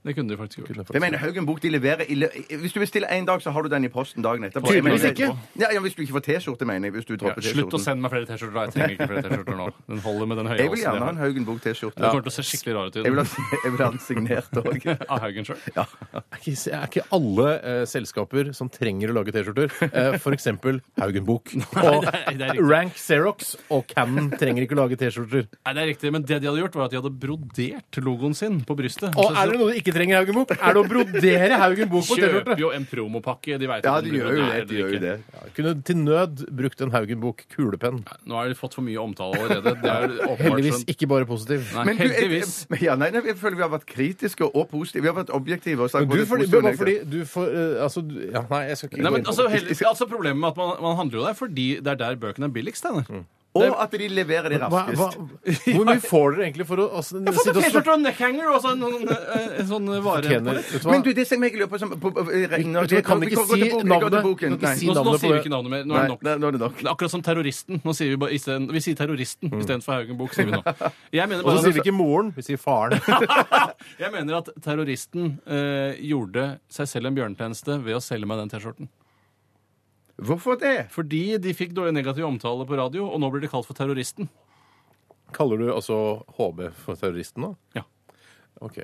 S4: Det kunne du faktisk gjort.
S3: Kunne
S2: Jeg mener, Haugen Bok de leverer i lø- Hvis du bestiller én dag, så har du den i posten dagen etterpå. Jeg
S3: Tydeligvis
S2: mener-
S3: ikke.
S2: Ja, ja, hvis du ikke får T-skjorte, mener jeg. Hvis du
S4: Ja,
S2: dropper
S4: slutt å
S2: T-skjorten.
S4: sende meg flere T-skjorter. da. Jeg trenger ikke flere T-skjorter nå. Den holder med den høye
S2: Jeg vil gjerne ha en
S4: halsen.
S2: Haugen Bok-T-skjorte.
S4: Det kommer til å se skikkelig rar ut. i
S2: Jeg vil
S4: den.
S2: ha, jeg vil ha den signert òg.
S3: (laughs)
S4: Av Haugen sjøl.
S3: er ikke, er ikke alle eh, selskaper som trenger å lage T-skjorter, eh, f.eks. Haugen Bok. Og
S4: det er- det er riktig.
S3: Rank Xerox og Canon trenger ikke å lage T-skjorter.
S4: Nei, det er riktig, men det de hadde gjort, var at de hadde brodert logoen sin på brystet. Altså,
S3: Og er det noe du ikke trenger Haugen Bok, er det å brodere Haugen Bok på
S4: Kjøper
S3: T-skjorte.
S4: jo en promopakke. De vet
S2: Ja,
S4: at den
S2: de
S4: blir
S2: gjør jo det.
S4: brodert
S2: De
S4: eller
S2: gjør jo
S4: ikke.
S2: det.
S3: Kunne til nød brukt en Haugen Bok kulepenn.
S4: Nå har de fått for mye omtale allerede. Det
S2: (laughs)
S4: er jo åpenbart
S3: Heldigvis
S4: skjønt.
S3: ikke bare positiv.
S4: Nei,
S2: Men du, jeg, jeg, (laughs)
S4: heldigvis.
S2: men ja, nei, nei, jeg føler vi har vært kritiske og positive. Vi har vært objektive. Og sagt
S3: Men
S2: både
S3: du, fordi,
S2: positive og
S3: bare fordi
S2: negative.
S3: du får eh, Altså, du, ja, nei, jeg skal ikke
S4: Nei, men
S3: gå inn på
S4: altså,
S3: det.
S4: heller, altså Problemet med at man, man handler jo der fordi det er der bøkene er billigst. Steinar.
S2: Mm. Og at de leverer de
S3: hva, hva,
S2: raskest.
S3: (laughs) Hvor mye får dere egentlig for å altså,
S4: Jeg har fått
S3: sitte
S4: en
S3: og
S4: T-skjorte og en neckhanger og så en, en, en, en sånn vare.
S3: tjene Vet du hva?
S2: Men du, det som jeg lurer på som, på, på, vi regner-
S3: Vet du hva, kan
S2: vi
S3: ikke
S2: går- går til
S3: si
S2: boken, vi går til
S3: navnet.
S2: boken.
S3: Kan ikke
S2: Nei.
S3: si
S4: Nå, nå
S3: navnet på
S4: sier vi
S3: det.
S4: ikke navnet mer. Nå er
S2: Nei,
S4: det nok.
S2: nei, nå er det nok.
S4: Det er akkurat som terroristen. Nå sier vi, bare, i stedet- vi sier terroristen istedenfor Haugen Bok. Sier vi
S2: (laughs)
S4: nå. Jeg mener,
S3: Og så sier vi
S4: bare,
S3: ikke moren, vi sier faren.
S4: jeg mener at terroristen eh, gjorde seg selv en bjørnetjeneste ved å selge meg den T-skjorten.
S2: Hvorfor det?
S4: Fordi de fikk dårlig negativ omtale på radio, og nå blir de kalt for terroristen.
S3: Kaller du altså HB for terroristen, da?
S4: Ja.
S3: Ok.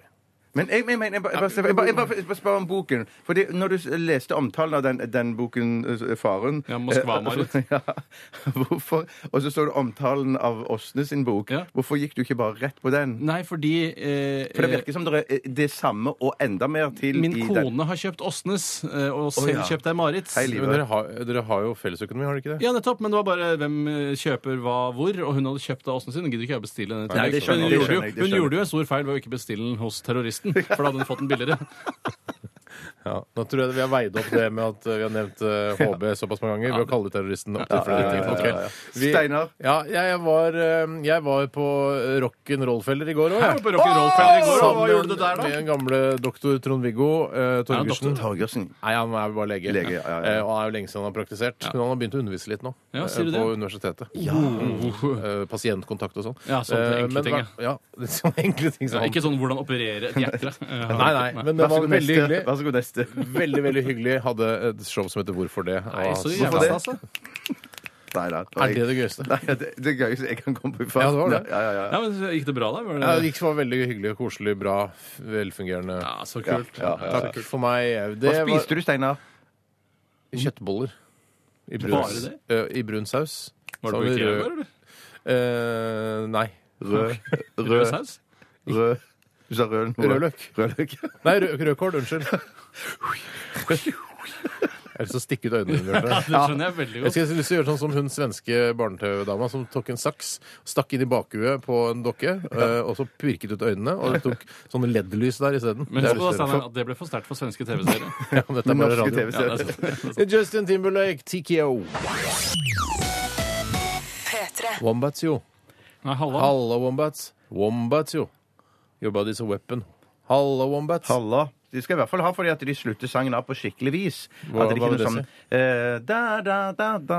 S2: Men jeg, jeg, mener- jeg, bare- jeg, bare- jeg, bare- jeg, bare- jeg bare spør om boken. Fordi når du leste omtalen av den, den boken eh, Faren
S4: Ja, Moskva-Marit.
S2: eh, (laughs) ja, hvorfor? Og så står det omtalen av Åsne sin bok.
S4: Ja.
S2: Hvorfor gikk du ikke bare rett på den?
S4: Nei, fordi eh,
S2: For det virker som det er det samme og enda mer til
S4: Min
S2: i den.
S4: kone har kjøpt Åsnes, eh, og selv
S2: ja.
S4: kjøpt ei Maritz.
S2: Hei, Liv.
S3: Men dere har, dere har jo fellesøkonomi, har dere ikke det?
S4: Ja, nettopp, men det var bare hvem eh, kjøper hva hvor, og hun hadde kjøpt av Åsen sin. Hun gidder ikke jeg bestille den.
S2: Nei, det skjønner
S4: hun, gjorde
S2: jeg, det
S4: jo,
S2: skjønner jeg, det
S4: hun
S2: skjønner
S4: gjorde jo en stor feil ved å ikke bestille den hos terroristen, for da hadde hun fått den billigere.
S3: Ja. Nå tror jeg vi har veid opp det med at eh, vi har nevnt
S4: (laughs)
S3: eh, HB såpass mange ganger ved å kalle terroristen opp til flere ting. Ok. Vi-
S2: Steinar?
S3: Ja, jeg var, eh, jeg var på rock'n'roll-feller i går òg.
S4: Jeg var på rock'n'roll-feller i går, og hva gjorde du der da?
S3: Med den gamle doktor Trond-Viggo eh, Torgersen.
S4: doktor.
S2: Torgersen.
S3: Nei, han er bare lege.
S2: Lege, ja, ja, ja.
S3: Eh, Og det er jo lenge siden han har praktisert. Men han har begynt å undervise litt nå.
S4: Ja,
S3: eh,
S4: sier du det?
S3: På universitetet. Eh, Pasientkontakt og sånn.
S4: Ja, sånne
S3: Eh,
S4: enkle
S3: men
S4: ting,
S3: hva- Ja, (laughs) det er sånne enkle ting som
S4: Ja, ikke sånn hvordan operere et hjerte. Eh,
S3: Nei, nei, men
S2: Vær
S3: det
S2: så
S3: var veldig
S2: god, neste.
S3: hyggelig.
S2: Vær så god, neste.
S3: Veldig, veldig hyggelig. Hadde et show som heter Hvorfor det.
S4: Nei,
S3: Og-
S4: så
S3: Ja.
S4: jævla
S2: det?
S4: stas, da.
S2: Nei, nei,
S3: Er det det gøyeste?
S2: Nei, det, det er gøyeste jeg kan komme på i
S3: Ja,
S2: farten.
S3: det var det.
S2: Ja, ja, ja.
S4: Ja, men så Gikk det bra, da? Var
S3: Ja,
S4: det...
S3: det gikk- var veldig hyggelig, koselig, bra, velfungerende.
S4: Ja, så kult.
S2: Ja, ja, ja.
S3: Takk for meg.
S2: Hva
S3: Det var
S2: spiste du, Steinar?
S3: kjøttboller. I brun,
S4: Bare det?
S3: eh, I brun saus.
S4: Var
S3: Så
S4: det på
S3: rød-
S4: Ikea, eller?
S3: Eh, nei.
S2: Rød,
S3: (laughs)
S4: Rød
S2: rød,
S4: saus?
S2: rød Du sa rød nå.
S3: Rødløk.
S2: Rødløk.
S3: Nei, rød, rødkål. Unnskyld. Jeg
S4: (laughs)
S3: har lyst til å stikke ut øynene dine. Bjarte.
S4: Det skjønner jeg veldig
S3: Jeg
S4: godt.
S3: skal jeg har lyst til å gjøre sånn som hun svenske barne-TV-dama som tok en saks, stakk inn i bakhuet på en dokke, eh, og så pirket ut øynene, og tok sånne LED-lys der isteden.
S4: Men
S3: Det er
S4: husk på da,
S3: litt større.
S4: Steinar, at det ble for sterkt for svenske TV-seere.
S3: Ja, men dette er bare
S2: Norske
S3: radio.
S4: Ja, det
S2: TV-serier.
S4: er sant. Det er sant.
S3: Justin Timberlake, TKO.
S5: P3.
S3: Wombats, jo.
S4: Nei, Halla.
S3: Halla, Wombats. Wombats, jo. Your body's a weapon. Halla, Wombats.
S2: Halla. De skal i hvert fall ha fordi at de slutter sangen av på skikkelig vis.
S3: Hva-
S2: at det
S3: hva
S2: ikke
S3: vil
S2: noe
S3: det
S2: sånn eh, da, da, da, da,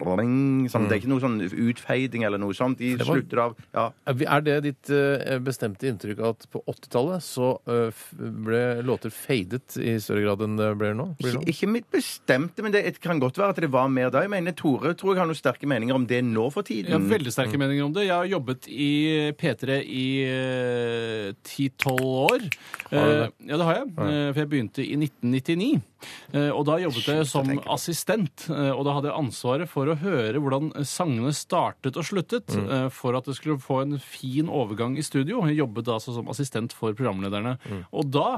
S2: bling,
S3: Mm.
S2: sånn. Det er ikke noe sånn utfeiding eller noe sånt. De
S3: var-
S2: slutter av ja,
S3: Er det ditt eh, bestemte inntrykk at på 80-tallet så eh, f- ble låter fadet i større grad enn det sånn? ble nå? Blir
S2: Ikke,
S3: nå?
S2: ikke mitt bestemte, men det et- kan godt være at det var mer da. Jeg mener, Tore tror jeg har noen sterke meninger om det nå for tiden.
S4: Jeg har veldig sterke meninger om det. Jeg har jobbet i P3 i eh, 10-12 år.
S3: du det?
S4: Eh, Ja, det har jeg. Eh, For jeg begynte i 1999. Eh, Og da jobbet jeg som assistent. eh, Og da hadde jeg ansvaret for å høre hvordan sangene startet og sluttet, eh, for at det skulle få en fin overgang i studio. Jeg jobbet da altså som assistent for programlederne. Og da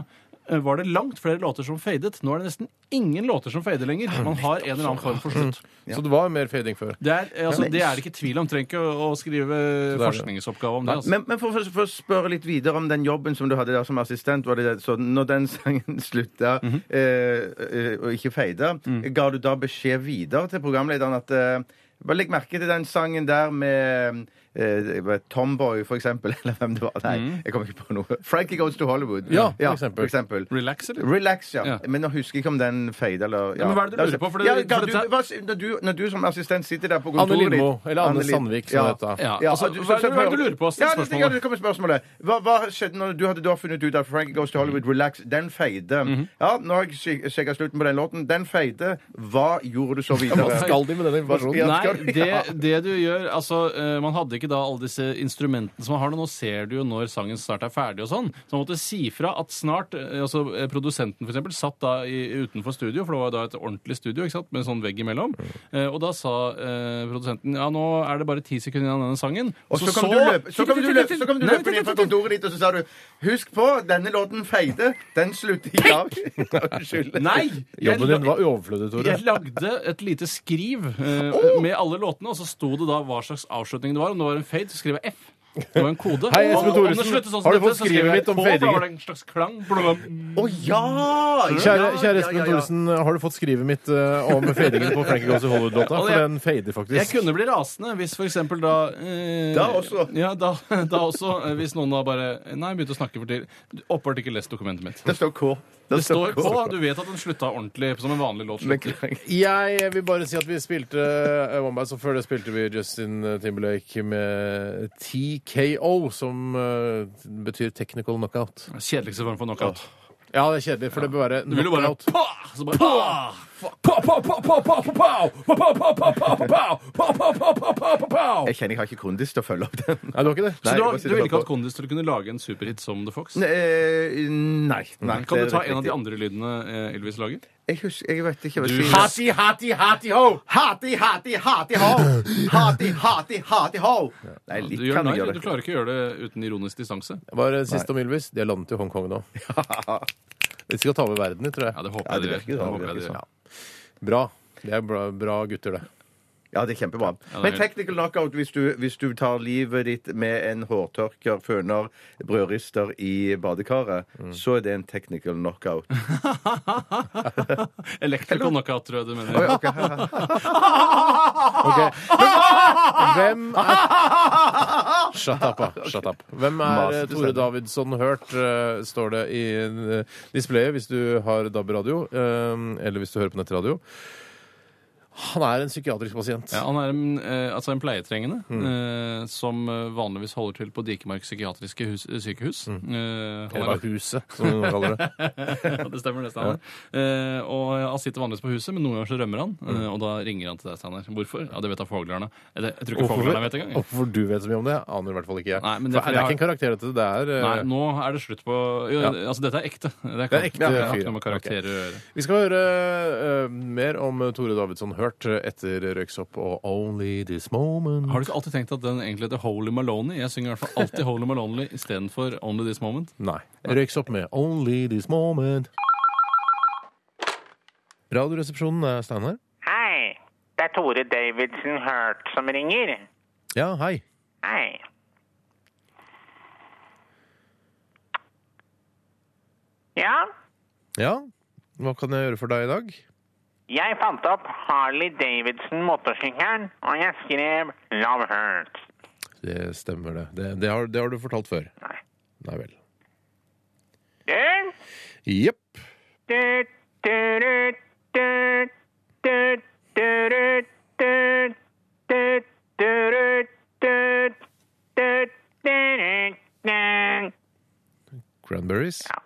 S4: eh, var det langt flere låter som fadet. Nå er det nesten ingen låter som fader lenger. Man har en eller annen form for slutt.
S3: Så det var mer fading før?
S4: Det er, altså,
S2: Ja.
S4: det er det ikke tvil om. Trenger ikke å, å skrive
S3: det.
S4: forskningsoppgave om det. Altså.
S2: Men, men for, for, for å spørre litt videre om den jobben som du hadde der som assistent, var det det, så når den (laughs) sangen slutta
S3: Mhm.
S2: eh, eh, og ikke feida,
S3: Mm.
S2: ga du da beskjed videre til programlederen at eh, bare legg merke til den sangen der med eh, hva er det, Tomboy, for eksempel. (laughs) Eller hvem det var. Nei, jeg kommer ikke på noe. Frankie Goes to Hollywood.
S3: Mm. Ja, for eksempel.
S4: Relax, eller?
S2: Relax, ja.
S4: Ja.
S2: Men nå husker jeg ikke om den feida eller ja.
S4: men hva er det du lurer på? For det-
S2: ja,
S4: for
S2: ga du,
S4: dette-
S2: hva, når, du, når du som assistent sitter der på
S3: Anne
S2: kontoret ditt
S3: Lindmo, eller Anne
S2: Lind-
S3: Sandvik, som det heter.
S4: Ja,
S2: ja,
S4: altså,
S2: du-
S4: hva, er det- hva er det du lurer på? Still
S2: Ja, det, ja,
S4: spørsmålet.
S2: det kommer spørsmålet. Hva, hva skjedde når du hadde da funnet ut at Frank Goes to
S4: Mm.
S2: Hollywood Relax, den feide?
S4: Mhm.
S2: Ja, nå har jeg sjekka slutten på den låten. Den feide. Hva gjorde du så videre?
S3: Hva skal de med den
S2: Ja.
S3: informasjonen?
S4: Nei,
S2: skal du-
S4: det, det du gjør Altså, eh, man hadde ikke da alle disse instrumentene som man har nå. Nå ser du jo når sangen snart er ferdig og sånn. Så man måtte si fra at snart eh, Altså, eh, produsenten for eksempel satt da i, utenfor studio, for det var jo da et ordentlig studio, ikke sant, med en sånn vegg imellom.
S2: Mm.
S4: Eh, og da sa eh, produsenten ja, nå er det bare ti sekunder igjen av denne sangen.
S2: Og så kom du løpe- så kom du løpe- så kom du
S4: Nei,
S2: løpende inn fra kontoret ditt, og så sa du Husk på, denne låten feide. Den slutter i dag.
S4: (laughs)
S2: Unnskyld.
S4: Nei! jeg
S3: Jobben din var overflødig, Tore.
S4: Jeg lagde et lite skriv eh,
S3: Oh!
S4: med alle låtene, og så sto det da hva slags avslutning det var. Om det var en fade, så skrev jeg F. Det var en kode.
S3: Hei,
S4: Om- om
S3: Espen
S4: det
S3: Thoresen.
S4: sluttet sånn som
S3: Har du
S4: dette,
S3: fått
S4: så skrev
S3: skrivet
S4: jeg
S3: litt om
S4: K, for da
S3: fadingen?
S4: var det en slags klang. Blum.
S2: Å ja!
S3: Kjære,
S2: Ja,
S3: kjære
S2: ja,
S3: Espen
S2: ja, ja.
S3: Thoresen, har du fått skrivet mitt eh, om fadingen på Frankie Goes to Hollywood-låta? For
S4: Ja, jeg-
S3: den
S4: Jeg
S3: fader faktisk.
S4: kunne bli rasende hvis for eksempel da eh,
S2: Da også.
S4: Ja, da, (laughs) da også. eh, Hvis noen da bare Nei, begynte å snakke for tidlig. Åpenbart ikke lest dokumentet mitt.
S2: Det står K.
S4: Det står K. Du vet at den slutta ordentlig, som en vanlig låt. slutter.
S3: Jeg vil bare si at vi spilte eh, Wombats, og før det spilte vi Justin Timberlake med TKO, som eh, betyr technical knockout.
S4: Kjedeligste form for knockout.
S3: Ja, det er kjedelig, for det bør være
S4: Du vil jo bare
S3: knockout.
S4: pa! Så bare pa!
S2: Jeg kjenner jeg har ikke kondis til å følge opp den.
S3: Nei, det var ikke det.
S4: Så du,
S2: jeg
S4: har-
S2: bare
S4: du
S2: sitter
S4: ville ikke
S2: bare
S4: hatt kondis til å kunne lage en superhit som The Fox?
S2: på- Eh, Nei. nei
S4: Kan
S2: det
S4: du
S2: er
S4: ta
S2: helt
S4: en av de
S2: riktig.
S4: andre lydene eh, Elvis lager?
S2: Jeg husker, jeg vet ikke hva jeg
S4: Du-
S2: sier.
S3: Hati, hati, hati, ho!
S2: Hati, hati, hati, ho! Hati, hati, hati, ho! Nei,
S4: Du,
S2: litt
S4: gjør
S2: kan
S4: nei,
S2: jeg gjøre
S4: du klarer ikke å gjøre det uten ironisk distanse.
S3: Det var det siste om Ylvis. De har landet i Hongkong nå.
S2: (laughs)
S3: De skal ta over verden, tror
S4: Ja,
S3: jeg.
S4: det håper
S2: Ja,
S4: jeg
S2: det
S4: de gjør.
S2: virker
S4: Det
S2: sånn,
S4: håper jeg
S2: det
S4: de
S2: virker
S4: gjør.
S2: sånn.
S3: Bra. Det er bra, bra gutter, det.
S2: Ja, det er kjempebra.
S4: er
S2: Men
S4: helt-
S2: technical knockout, hvis du, hvis du tar livet ditt med en hårtørker, føner, brødrister i badekaret, så er det en technical knockout.
S4: Electrical knockout, tror jeg du mener.
S2: Oi, ok, her, her.
S3: Ok. Hvem er
S4: (laughs)
S3: Shut up, da. Shut up. Hvem er eh,
S2: Masete
S3: Tore
S2: stemmer.
S3: Davidsson hørt, eh, står det i eh, displayet hvis du har DAB-radio, eh, eller hvis du hører på nettradio. Han er en psykiatrisk pasient.
S4: Ja, han er en, eh, altså en pleietrengende eh, som eh, vanligvis holder til på Dikemark psykiatriske hus, eh, sykehus. Eh, han
S3: Eller
S4: er,
S3: huset, som noen kaller
S4: (laughs)
S3: det.
S4: ja, det stemmer, det. Steinar. Eh, og han sitter vanligvis på huset, men noen ganger så rømmer han.
S3: Mm.
S4: eh, og da ringer han til deg, Steinar. Hvorfor? Ja, det vet da fuglerne. Jeg, jeg tror ikke fuglerne vet engang. jeg.
S3: Hvorfor du vet så mye om det, aner i hvert fall ikke jeg.
S4: Nei, men
S3: det,
S4: det er fordi
S3: er, det er
S4: jeg
S3: ikke en karakter, dette. Det er eh,
S4: Nei, nå er det slutt på jo,
S3: Ja.
S4: Altså, dette er ekte. Det er,
S3: Det er ekte
S4: Det har ikke
S3: fyr,
S4: noe med
S3: ja.
S4: karakterer å gjøre.
S3: Vi skal høre eh, mer om Tore Davidsson Hørt vært etter Røyksopp og Only This Moment.
S4: Har du ikke alltid tenkt at den egentlig heter Holy Maloney? Jeg synger i hvert fall alltid Holy Maloney istedenfor Only This Moment.
S3: Nei. Røyksopp med Only This Moment. Radioresepsjonen er Steinar.
S5: Hei, det er Tore Davidsen Hurt som ringer.
S3: Ja, hei.
S5: Hei. Ja,
S3: Ja, hva kan jeg gjøre for deg i dag?
S5: jeg fant opp Harley Davidson motorsykkelen, og jeg skrev Love Hurt.
S3: Det stemmer, det. Det, det, har, det har du fortalt før.
S5: Nei.
S3: Nei vel.
S5: Du,
S3: Jepp.
S5: du, du, du, du, du, du, du, du, du, du, du, du, du, du, du.
S3: Cranberries.
S5: Ja.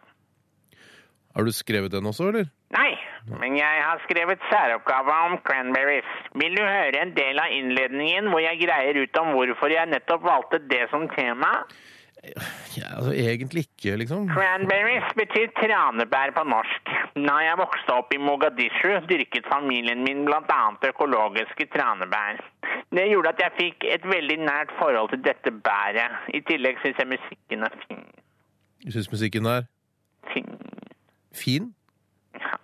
S3: Har du skrevet den også, eller?
S5: Nei, men jeg har skrevet særoppgave om cranberries. Vil du høre en del av innledningen hvor jeg greier ut om hvorfor jeg nettopp valgte det som tema?
S3: Ja, altså, egentlig ikke, liksom.
S5: Cranberries betyr tranebær på norsk. Da jeg vokste opp i Mogadishu, dyrket familien min bl.a. økologiske tranebær. Det gjorde at jeg fikk et veldig nært forhold til dette bæret. I tillegg syns jeg musikken er fin.
S3: Jeg syns musikken er
S5: fin.
S3: fin.
S5: Ja,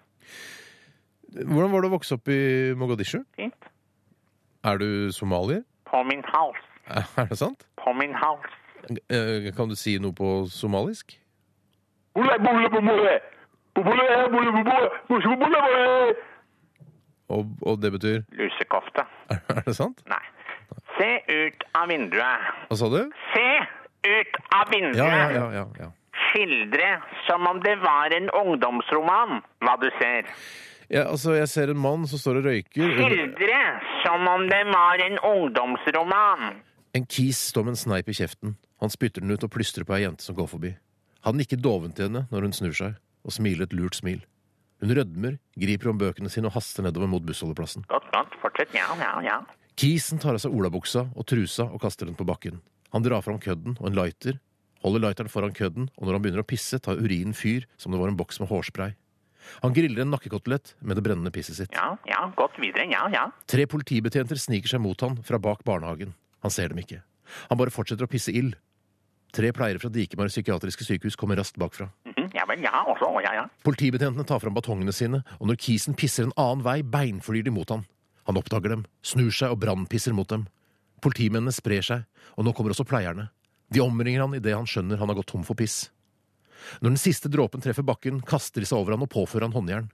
S3: Hvordan var det å vokse opp i Mogadishu?
S5: fint.
S3: Er du somalier?
S5: På min hals.
S3: (laughs) Er det sant?
S5: På min hals.
S3: Eh, Kan du si noe på somalisk? Og, og det betyr (laughs)
S5: Lusekofte.
S3: Er det sant?
S5: Nei. Se ut av vinduet.
S3: Hva sa du?
S5: Se ut av vinduet!
S3: Ja, ja, ja. ja, ja.
S5: Skildre som om det var en ungdomsroman, hva du ser.
S3: ja altså, jeg ser en mann som står og røyker.
S5: Skildre som om det var en ungdomsroman.
S3: En kis står med en sneip i kjeften. Han spytter den ut og plystrer på ei jente som går forbi. Han nikker dovent til henne når hun snur seg, og smiler et lurt smil. Hun rødmer, griper om bøkene sine og haster nedover mot bussholdeplassen.
S5: Godt, godt. Fortsett. Ja, ja, ja.
S3: Kisen tar av seg olabuksa og trusa og kaster den på bakken. Han drar fram kødden og en lighter, holder lighteren foran kødden, og når han begynner å pisse, tar urinen fyr som det var en boks med hårspray. Han griller en nakkekotelett med det brennende pisset sitt.
S5: Ja, ja. Godt videre. Ja, ja.
S3: Tre politibetjenter sniker seg mot han fra bak barnehagen. Han ser dem ikke. Han bare fortsetter å pisse ild. Tre pleiere fra Dikemar psykiatriske sykehus kommer raskt bakfra.
S5: Mhm, Ja vel, ja. Også, å, ja, ja.
S3: Politibetjentene tar fram batongene sine, og når kisen pisser en annen vei, beinflyr de mot han. Han oppdager dem, snur seg og brannpisser mot dem. Politimennene sprer seg, og nå kommer også pleierne. De omringer han idet han skjønner han har gått tom for piss. Når den siste dråpen treffer bakken, kaster de seg over han og påfører han håndjern.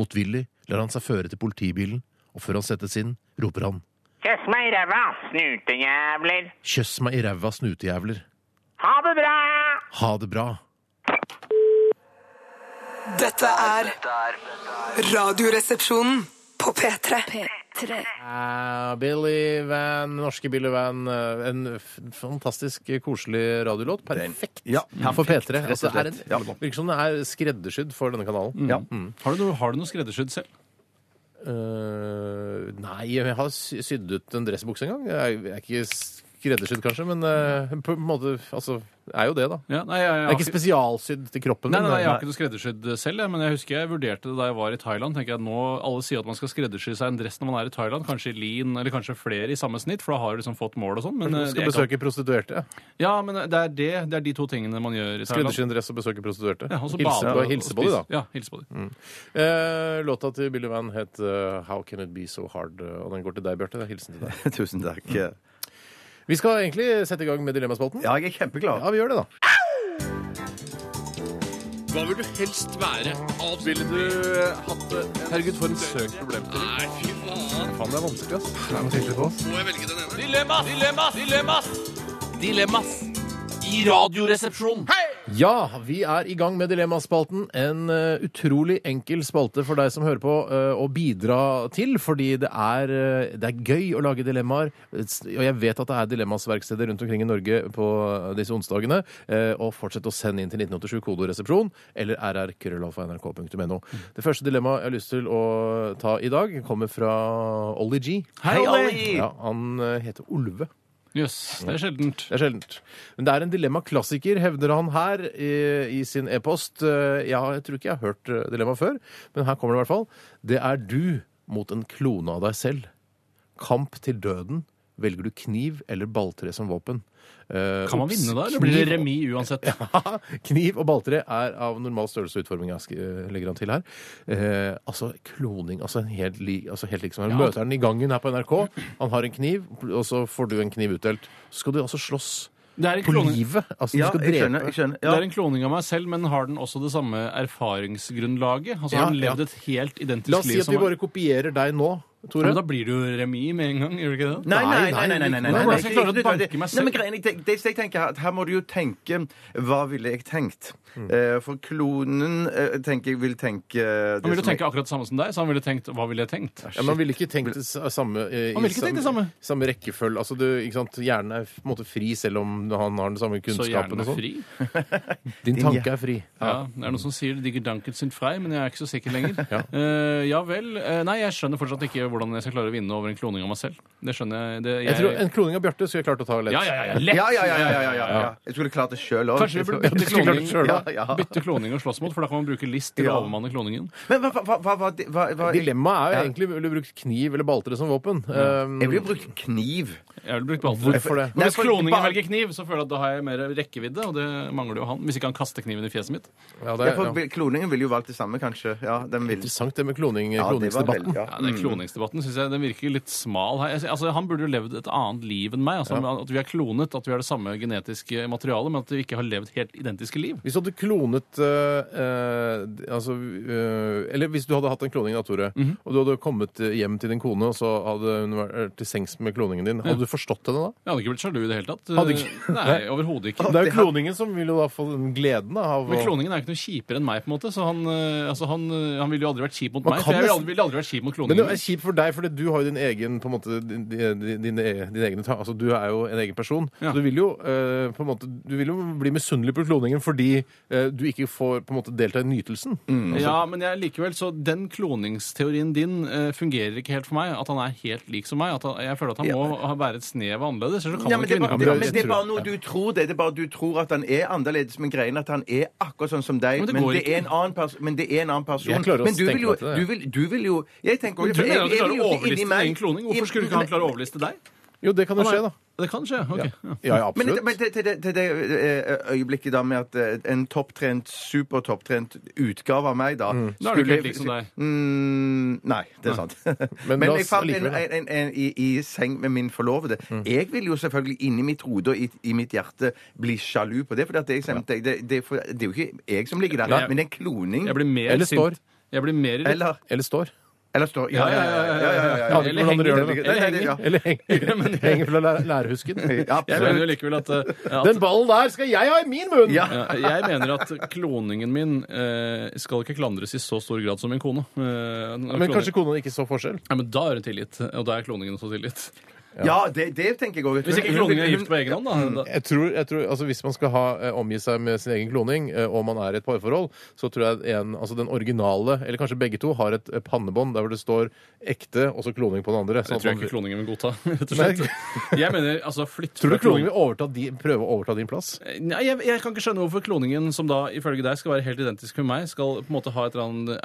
S3: Motvillig lar han seg føre til politibilen, og før han settes inn, roper han
S5: Kjøss meg i ræva, snutejævler.
S3: Kjøss meg i ræva, snutejævler.
S5: Ha det bra!
S3: Ha det bra.
S6: Dette er Radioresepsjonen på P3.
S3: Ah, Billy Van, norske Billy Van. eh, En f- fantastisk eh, koselig radiolåt. Perfekt
S2: Ja,
S3: for P3.
S2: rett og
S3: Altså, det er en,
S2: slett. Ja.
S3: Virker som det er skreddersydd for denne
S4: Mm.
S3: kanalen.
S2: Ja.
S4: Har du noe, har du noe skreddersydd selv?
S3: Eh, nei, jeg har sy- sydd ut en dressbukse en gang. Jeg er, jeg er ikke skreddersydd, kanskje, men eh, på en måte Altså, det er jo det, da.
S4: Ja, nei, jeg, jeg,
S3: Det
S4: har
S3: er ikke
S4: ikke-
S3: spesialsydd til kroppen.
S4: Nei, nei,
S3: men,
S4: nei, jeg har
S3: eh,
S4: ikke noe skreddersydd selv, jeg, men jeg husker jeg vurderte det da jeg var i Thailand. tenker jeg at nå, Alle sier at man skal skreddersy seg en dress når man er i Thailand, kanskje i lin, eller kanskje flere i samme snitt, for da har du liksom fått mål og sånn. Men,
S3: du
S4: eh,
S3: skal
S4: jeg kan-
S3: besøke prostituerte.
S4: ja, men eh, det er, det, det er de to tingene man gjør i Thailand.
S3: Skreddersy en dress og besøke prostituerte.
S4: Ja, og så
S3: hilse,
S4: bade og
S3: hilse på de, da. Mm.
S4: spise. Ja, hilse på de.
S3: Eh, låta til Billy Van het eh, How Can It Be So Hard, eh, og den går til deg, Bjarte. Det er hilsen til deg.
S2: (laughs) (laughs) Tusen takk. Ja,
S3: Vi skal egentlig sette i gang med Dilemmaspalten.
S2: jeg er kjempeglad.
S3: Ja, vi gjør det, da. Ja, vi er i gang med Dilemmaspalten. En eh, utrolig enkel spalte for deg som hører på, eh, å bidra til. Fordi det er, eh, det er gøy å lage dilemmaer. S- Og jeg vet at det er dilemmasverksteder rundt omkring i Norge på eh, disse onsdagene. Eh, og fortsett å sende inn til 1987 kodoresepsjon eller rrkrøllalfa.nrk.no. Det første dilemmaet jeg har lyst til å ta i dag, kommer fra Ollie G.
S4: Hei, Ollie!
S3: Ja, han eh, heter Olve.
S4: Jøss, det er sjeldent.
S3: Det er sjeldent. Men det er en dilemma-klassiker, hevder han her i, i sin e-post. Eh, Ja, jeg tror ikke jeg har hørt eh, dilemma før, men her kommer det i hvert fall. Det er du mot en klone av deg selv. Kamp til døden. Velger du kniv eller balltre som våpen? Eh,
S4: Kan man
S3: obs,
S4: vinne da, eller blir det
S3: (laughs)
S4: remis
S3: kniv-
S4: uansett?
S3: Kniv og balltre er av normal størrelse og utforming, jeg sk- eh, legger han til her. Eh, altså kloning altså en helt, li, altså helt liksom, Han møter han i gangen her på NRK. Han har en kniv, og så får du en kniv utdelt. Så skal du altså slåss
S4: Det sånn- er en
S3: på
S4: kloning.
S3: livet. Altså,
S2: Ja,
S3: du skal
S2: jeg
S3: drepe.
S2: skjønner. Jeg skjønner.
S4: Det
S2: Ja.
S4: er en kloning av meg selv, men har den også det samme erfaringsgrunnlaget? Altså
S3: Ja,
S4: Har den
S3: ja.
S4: levd et helt identisk
S3: La oss si
S4: liv
S3: at vi
S4: som
S3: bare kopierer deg nå,
S4: Ja,
S3: Tore.
S4: men Da blir det jo remis med en gang, gjør det ikke det?
S2: Nei, nei, nei. nei, nei, nei, nei, nei,
S4: Hvordan skal
S2: nei,
S4: jeg
S2: ikke-
S4: klare å
S2: ikke-
S4: banke
S2: ikke-
S4: meg
S2: Nei, men
S4: selv?
S2: greien, det, det jeg tenker er at Her må du jo tenke Hva ville jeg tenkt? Eh, for klonen eh, tenker jeg vil tenke eh, det
S4: Han ville
S2: som jeg-
S4: tenke akkurat det samme som deg, så han ville tenkt hva ville jeg tenkt?
S3: Ja, men han ville ikke tenkt det sa- samme eh, i
S4: Han ville ikke tenkt det
S3: sam-
S4: samme.
S3: samme rekkefølge. Altså, du, ikke sant? Hjernen er på en måte fri selv om han har den samme
S4: Så hjernen
S3: kunnskapen. og
S4: er
S3: sånn.
S4: fri.
S3: Din tanke er fri.
S4: Ja, det er noen som sier 'digger danken sin frei', men jeg er ikke så sikker lenger.
S2: (laughs)
S4: ja. ja vel. Eh, nei, jeg skjønner fortsatt ikke hvordan jeg skal klare å vinne over en kloning av meg selv. Det skjønner jeg. Det, jeg,
S3: Jeg tror En kloning av Bjarte skulle jeg klart å ta lett.
S4: ja, ja, ja, ja, lett!
S2: Ja, ja, ja, ja, ja, ja, ja. Jeg skulle klart det sjøl òg.
S4: Kanskje vi
S2: (laughs)
S4: burde
S3: du
S4: bytte
S3: skulle klart
S4: kloning,
S3: det selv, da.
S2: Ja, ja.
S4: bytte kloning og slåss mot, for da kan man bruke list til
S2: Ja.
S4: å overmanne kloningen.
S2: Men hva, hva, hva, hva, hva, hva jeg,
S3: Dilemmaet er jo egentlig ville du brukt kniv eller balltre som våpen. Um,
S2: jeg ville jo brukt kniv.
S4: Jeg ville brukt balltre.
S3: Hvorfor det?
S4: Men hvis
S2: Nei, for-
S4: kloningen
S2: bare-
S4: velger kniv, så føler jeg at da har jeg mer rekkevidde, og det mangler jo han. Hvis ikke han kaster kniven i fjeset mitt.
S3: Ja, det
S2: Ja,
S3: er
S2: for
S3: ja.
S2: Kloningen ville jo valgt det samme, kanskje. Ja, den ville
S3: interessant det med kloning,
S2: ja, det var
S3: kloningsdebatten.
S2: veldig- ja.
S4: Ja, den Kloningsdebatten synes jeg den virker litt smal her. Jeg- Altså, Han burde jo levd et annet liv enn meg. Altså, At vi er klonet, at vi har det samme genetiske materialet, men at vi ikke har levd helt identiske liv.
S3: Hvis du hadde klonet eh, eh, d- altså, eh, Eller hvis du hadde hatt en kloning, da, Tore, og du hadde kommet eh, hjem til din kone, og så hadde hun vært til sengs med kloningen din, hadde du forstått henne da?
S4: Jeg hadde ikke blitt sjalu i det hele tatt. Eh,
S3: Hadde ikke-
S4: Nei, overhodet ikke.
S3: Det er jo kloningen som vil jo da få den gleden da, av
S4: Men
S3: å-
S4: kloningen er ikke noe kjipere enn meg, på en måte. Så han, eh, altså, han, eh, han ville jo aldri vært kjip mot
S3: Man
S4: meg.
S3: kan
S4: For jeg ville
S3: nesten-
S4: aldri, ville aldri vært kjip mot kloningen.
S3: Men det er kjipt for deg, for du har jo din egen på en måte, din, din, din, din egen, ta- altså Du er jo en egen person.
S4: Ja.
S3: Så du vil, jo, eh, på en måte, du vil jo bli misunnelig på kloningen fordi eh, du ikke får på en måte, delta i nytelsen.
S4: Ja, men jeg, likevel, så den kloningsteorien din eh, fungerer ikke helt for meg. At han er helt lik som meg. At han, jeg føler at han
S2: Ja,
S4: må ha- være et snev av annerledes. Ellers så kan
S2: Ja,
S4: han ikke
S2: men det, er
S4: vinne
S2: bare,
S3: det er-
S2: men
S4: kampen.
S2: det er bare noe du tror det. Det er bare du tror at han er annerledes, men greien er at han er akkurat sånn som deg.
S4: Men det
S2: Men
S4: går
S2: det
S4: ikke.
S2: er en annen, pers men det er en annen person.
S3: Jeg klarer å
S2: men du
S3: tenke
S2: vil jo,
S3: meg til det,
S2: du
S3: ja.
S2: vil, du vil jo Jeg tenker
S4: Du mener at du klarer å overliste din egen kloning? Hvorfor skulle ikke han klare å overliste deg?
S3: Jo, det kan jo skje, da.
S4: Det kan skje. ok. Ja.
S3: Ja, ja
S2: Men,
S3: absolutt.
S2: men til, til, det, til det eh, øyeblikket da med at eh, en topptrent, supertopptrent utgave av meg da
S3: Mm.
S4: Da er du ikke helt lik som deg.
S2: Mm, nei, det er sant. (laughs)
S3: Men
S2: Men,
S3: la
S2: jeg
S3: oss
S2: fant en,
S3: allikevel, Mm. da.
S2: en, en, en i, i seng med min forlovede. Jeg vil jo selvfølgelig inni mitt hode og i, i mitt hjerte bli sjalu på det, for det, jeg sendte, det, det, er for, det er jo ikke jeg som ligger der,
S4: Nei.
S2: men en kloning.
S4: Jeg blir mer
S3: Eller
S4: sint.
S3: står.
S4: Jeg blir mer irritert.
S2: Eller,
S3: Eller står.
S2: eller står Ja, ja, ja. ja, ja, ja, ja.
S3: Jeg aner
S4: Eller
S3: ikke hvordan dere
S4: henger.
S3: gjør det. da.
S2: Nei, nei, det- ja.
S3: Eller (laughs) henger, henger fra lær- (laughs) lærhusken.
S2: Ja,
S4: Jeg
S2: absolutt.
S4: mener jo likevel at, eh, at
S3: Den ballen der skal jeg ha i min munn!
S2: Ja.
S4: Ja, Jeg mener at kloningen min eh, skal ikke klandres i så stor grad som min kone. Eh,
S3: Men
S4: kloning-
S3: kanskje kona ikke så forskjell?
S4: ja, men da er det tillit, og da er kloningen også tillit.
S2: ja det, det tenker jeg òg.
S4: Hvis ikke kloningen er gift på egen hånd, da. da
S3: Mm. Jeg tror, jeg tror, altså Hvis man skal ha, eh, omgi seg med sin egen kloning, eh, og man er i et parforhold, så tror jeg en, altså den originale, eller kanskje begge to, har et eh, pannebånd der hvor det står ekte og så kloning på den andre.
S4: det
S3: sånn
S4: tror
S3: at
S4: jeg
S3: man-
S4: ikke kloningen vil godta. rett og slett. Jeg mener, altså, flytt
S3: Tror
S4: fra
S3: du
S4: kloning-
S3: kloningen vil overta di, prøve å overta din plass?
S4: Nei, jeg, jeg kan ikke skjønne hvorfor kloningen, som da ifølge deg skal være helt identisk med meg, skal på en måte ha et eller annet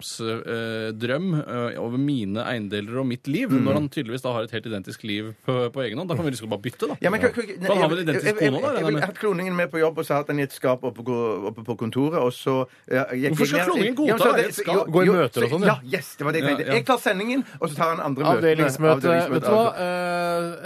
S4: eierskapsdrøm eh, over mine eiendeler og mitt liv,
S2: Mm.
S4: når han tydeligvis da har et helt identisk liv på, på egen hånd. Da kan vi liksom bare bytte, da.
S2: Ja, men, kan- kan-
S4: Da har vi en identisk
S2: jeg- jeg-
S4: kone, da,
S2: Jeg
S4: regner jeg
S2: ville
S4: med.
S2: hatt kloningen med på jobb og så hatt den i et skap oppe, på- oppe på kontoret, og så ja, jeg-
S4: Hvorfor skal
S2: jeg-
S4: kloningen godta
S2: men så-
S4: å være i et skap?
S2: jo,
S3: Gå i
S2: jo,
S3: møter og
S2: så-
S3: sånn, ja.
S2: Ja, yes, det var det jeg tenkte.
S4: Ja, ja.
S2: Jeg tar sendingen, og så tar han andre møtene.
S3: Avdelingsmøte. liksom Vet du hva?
S2: altså.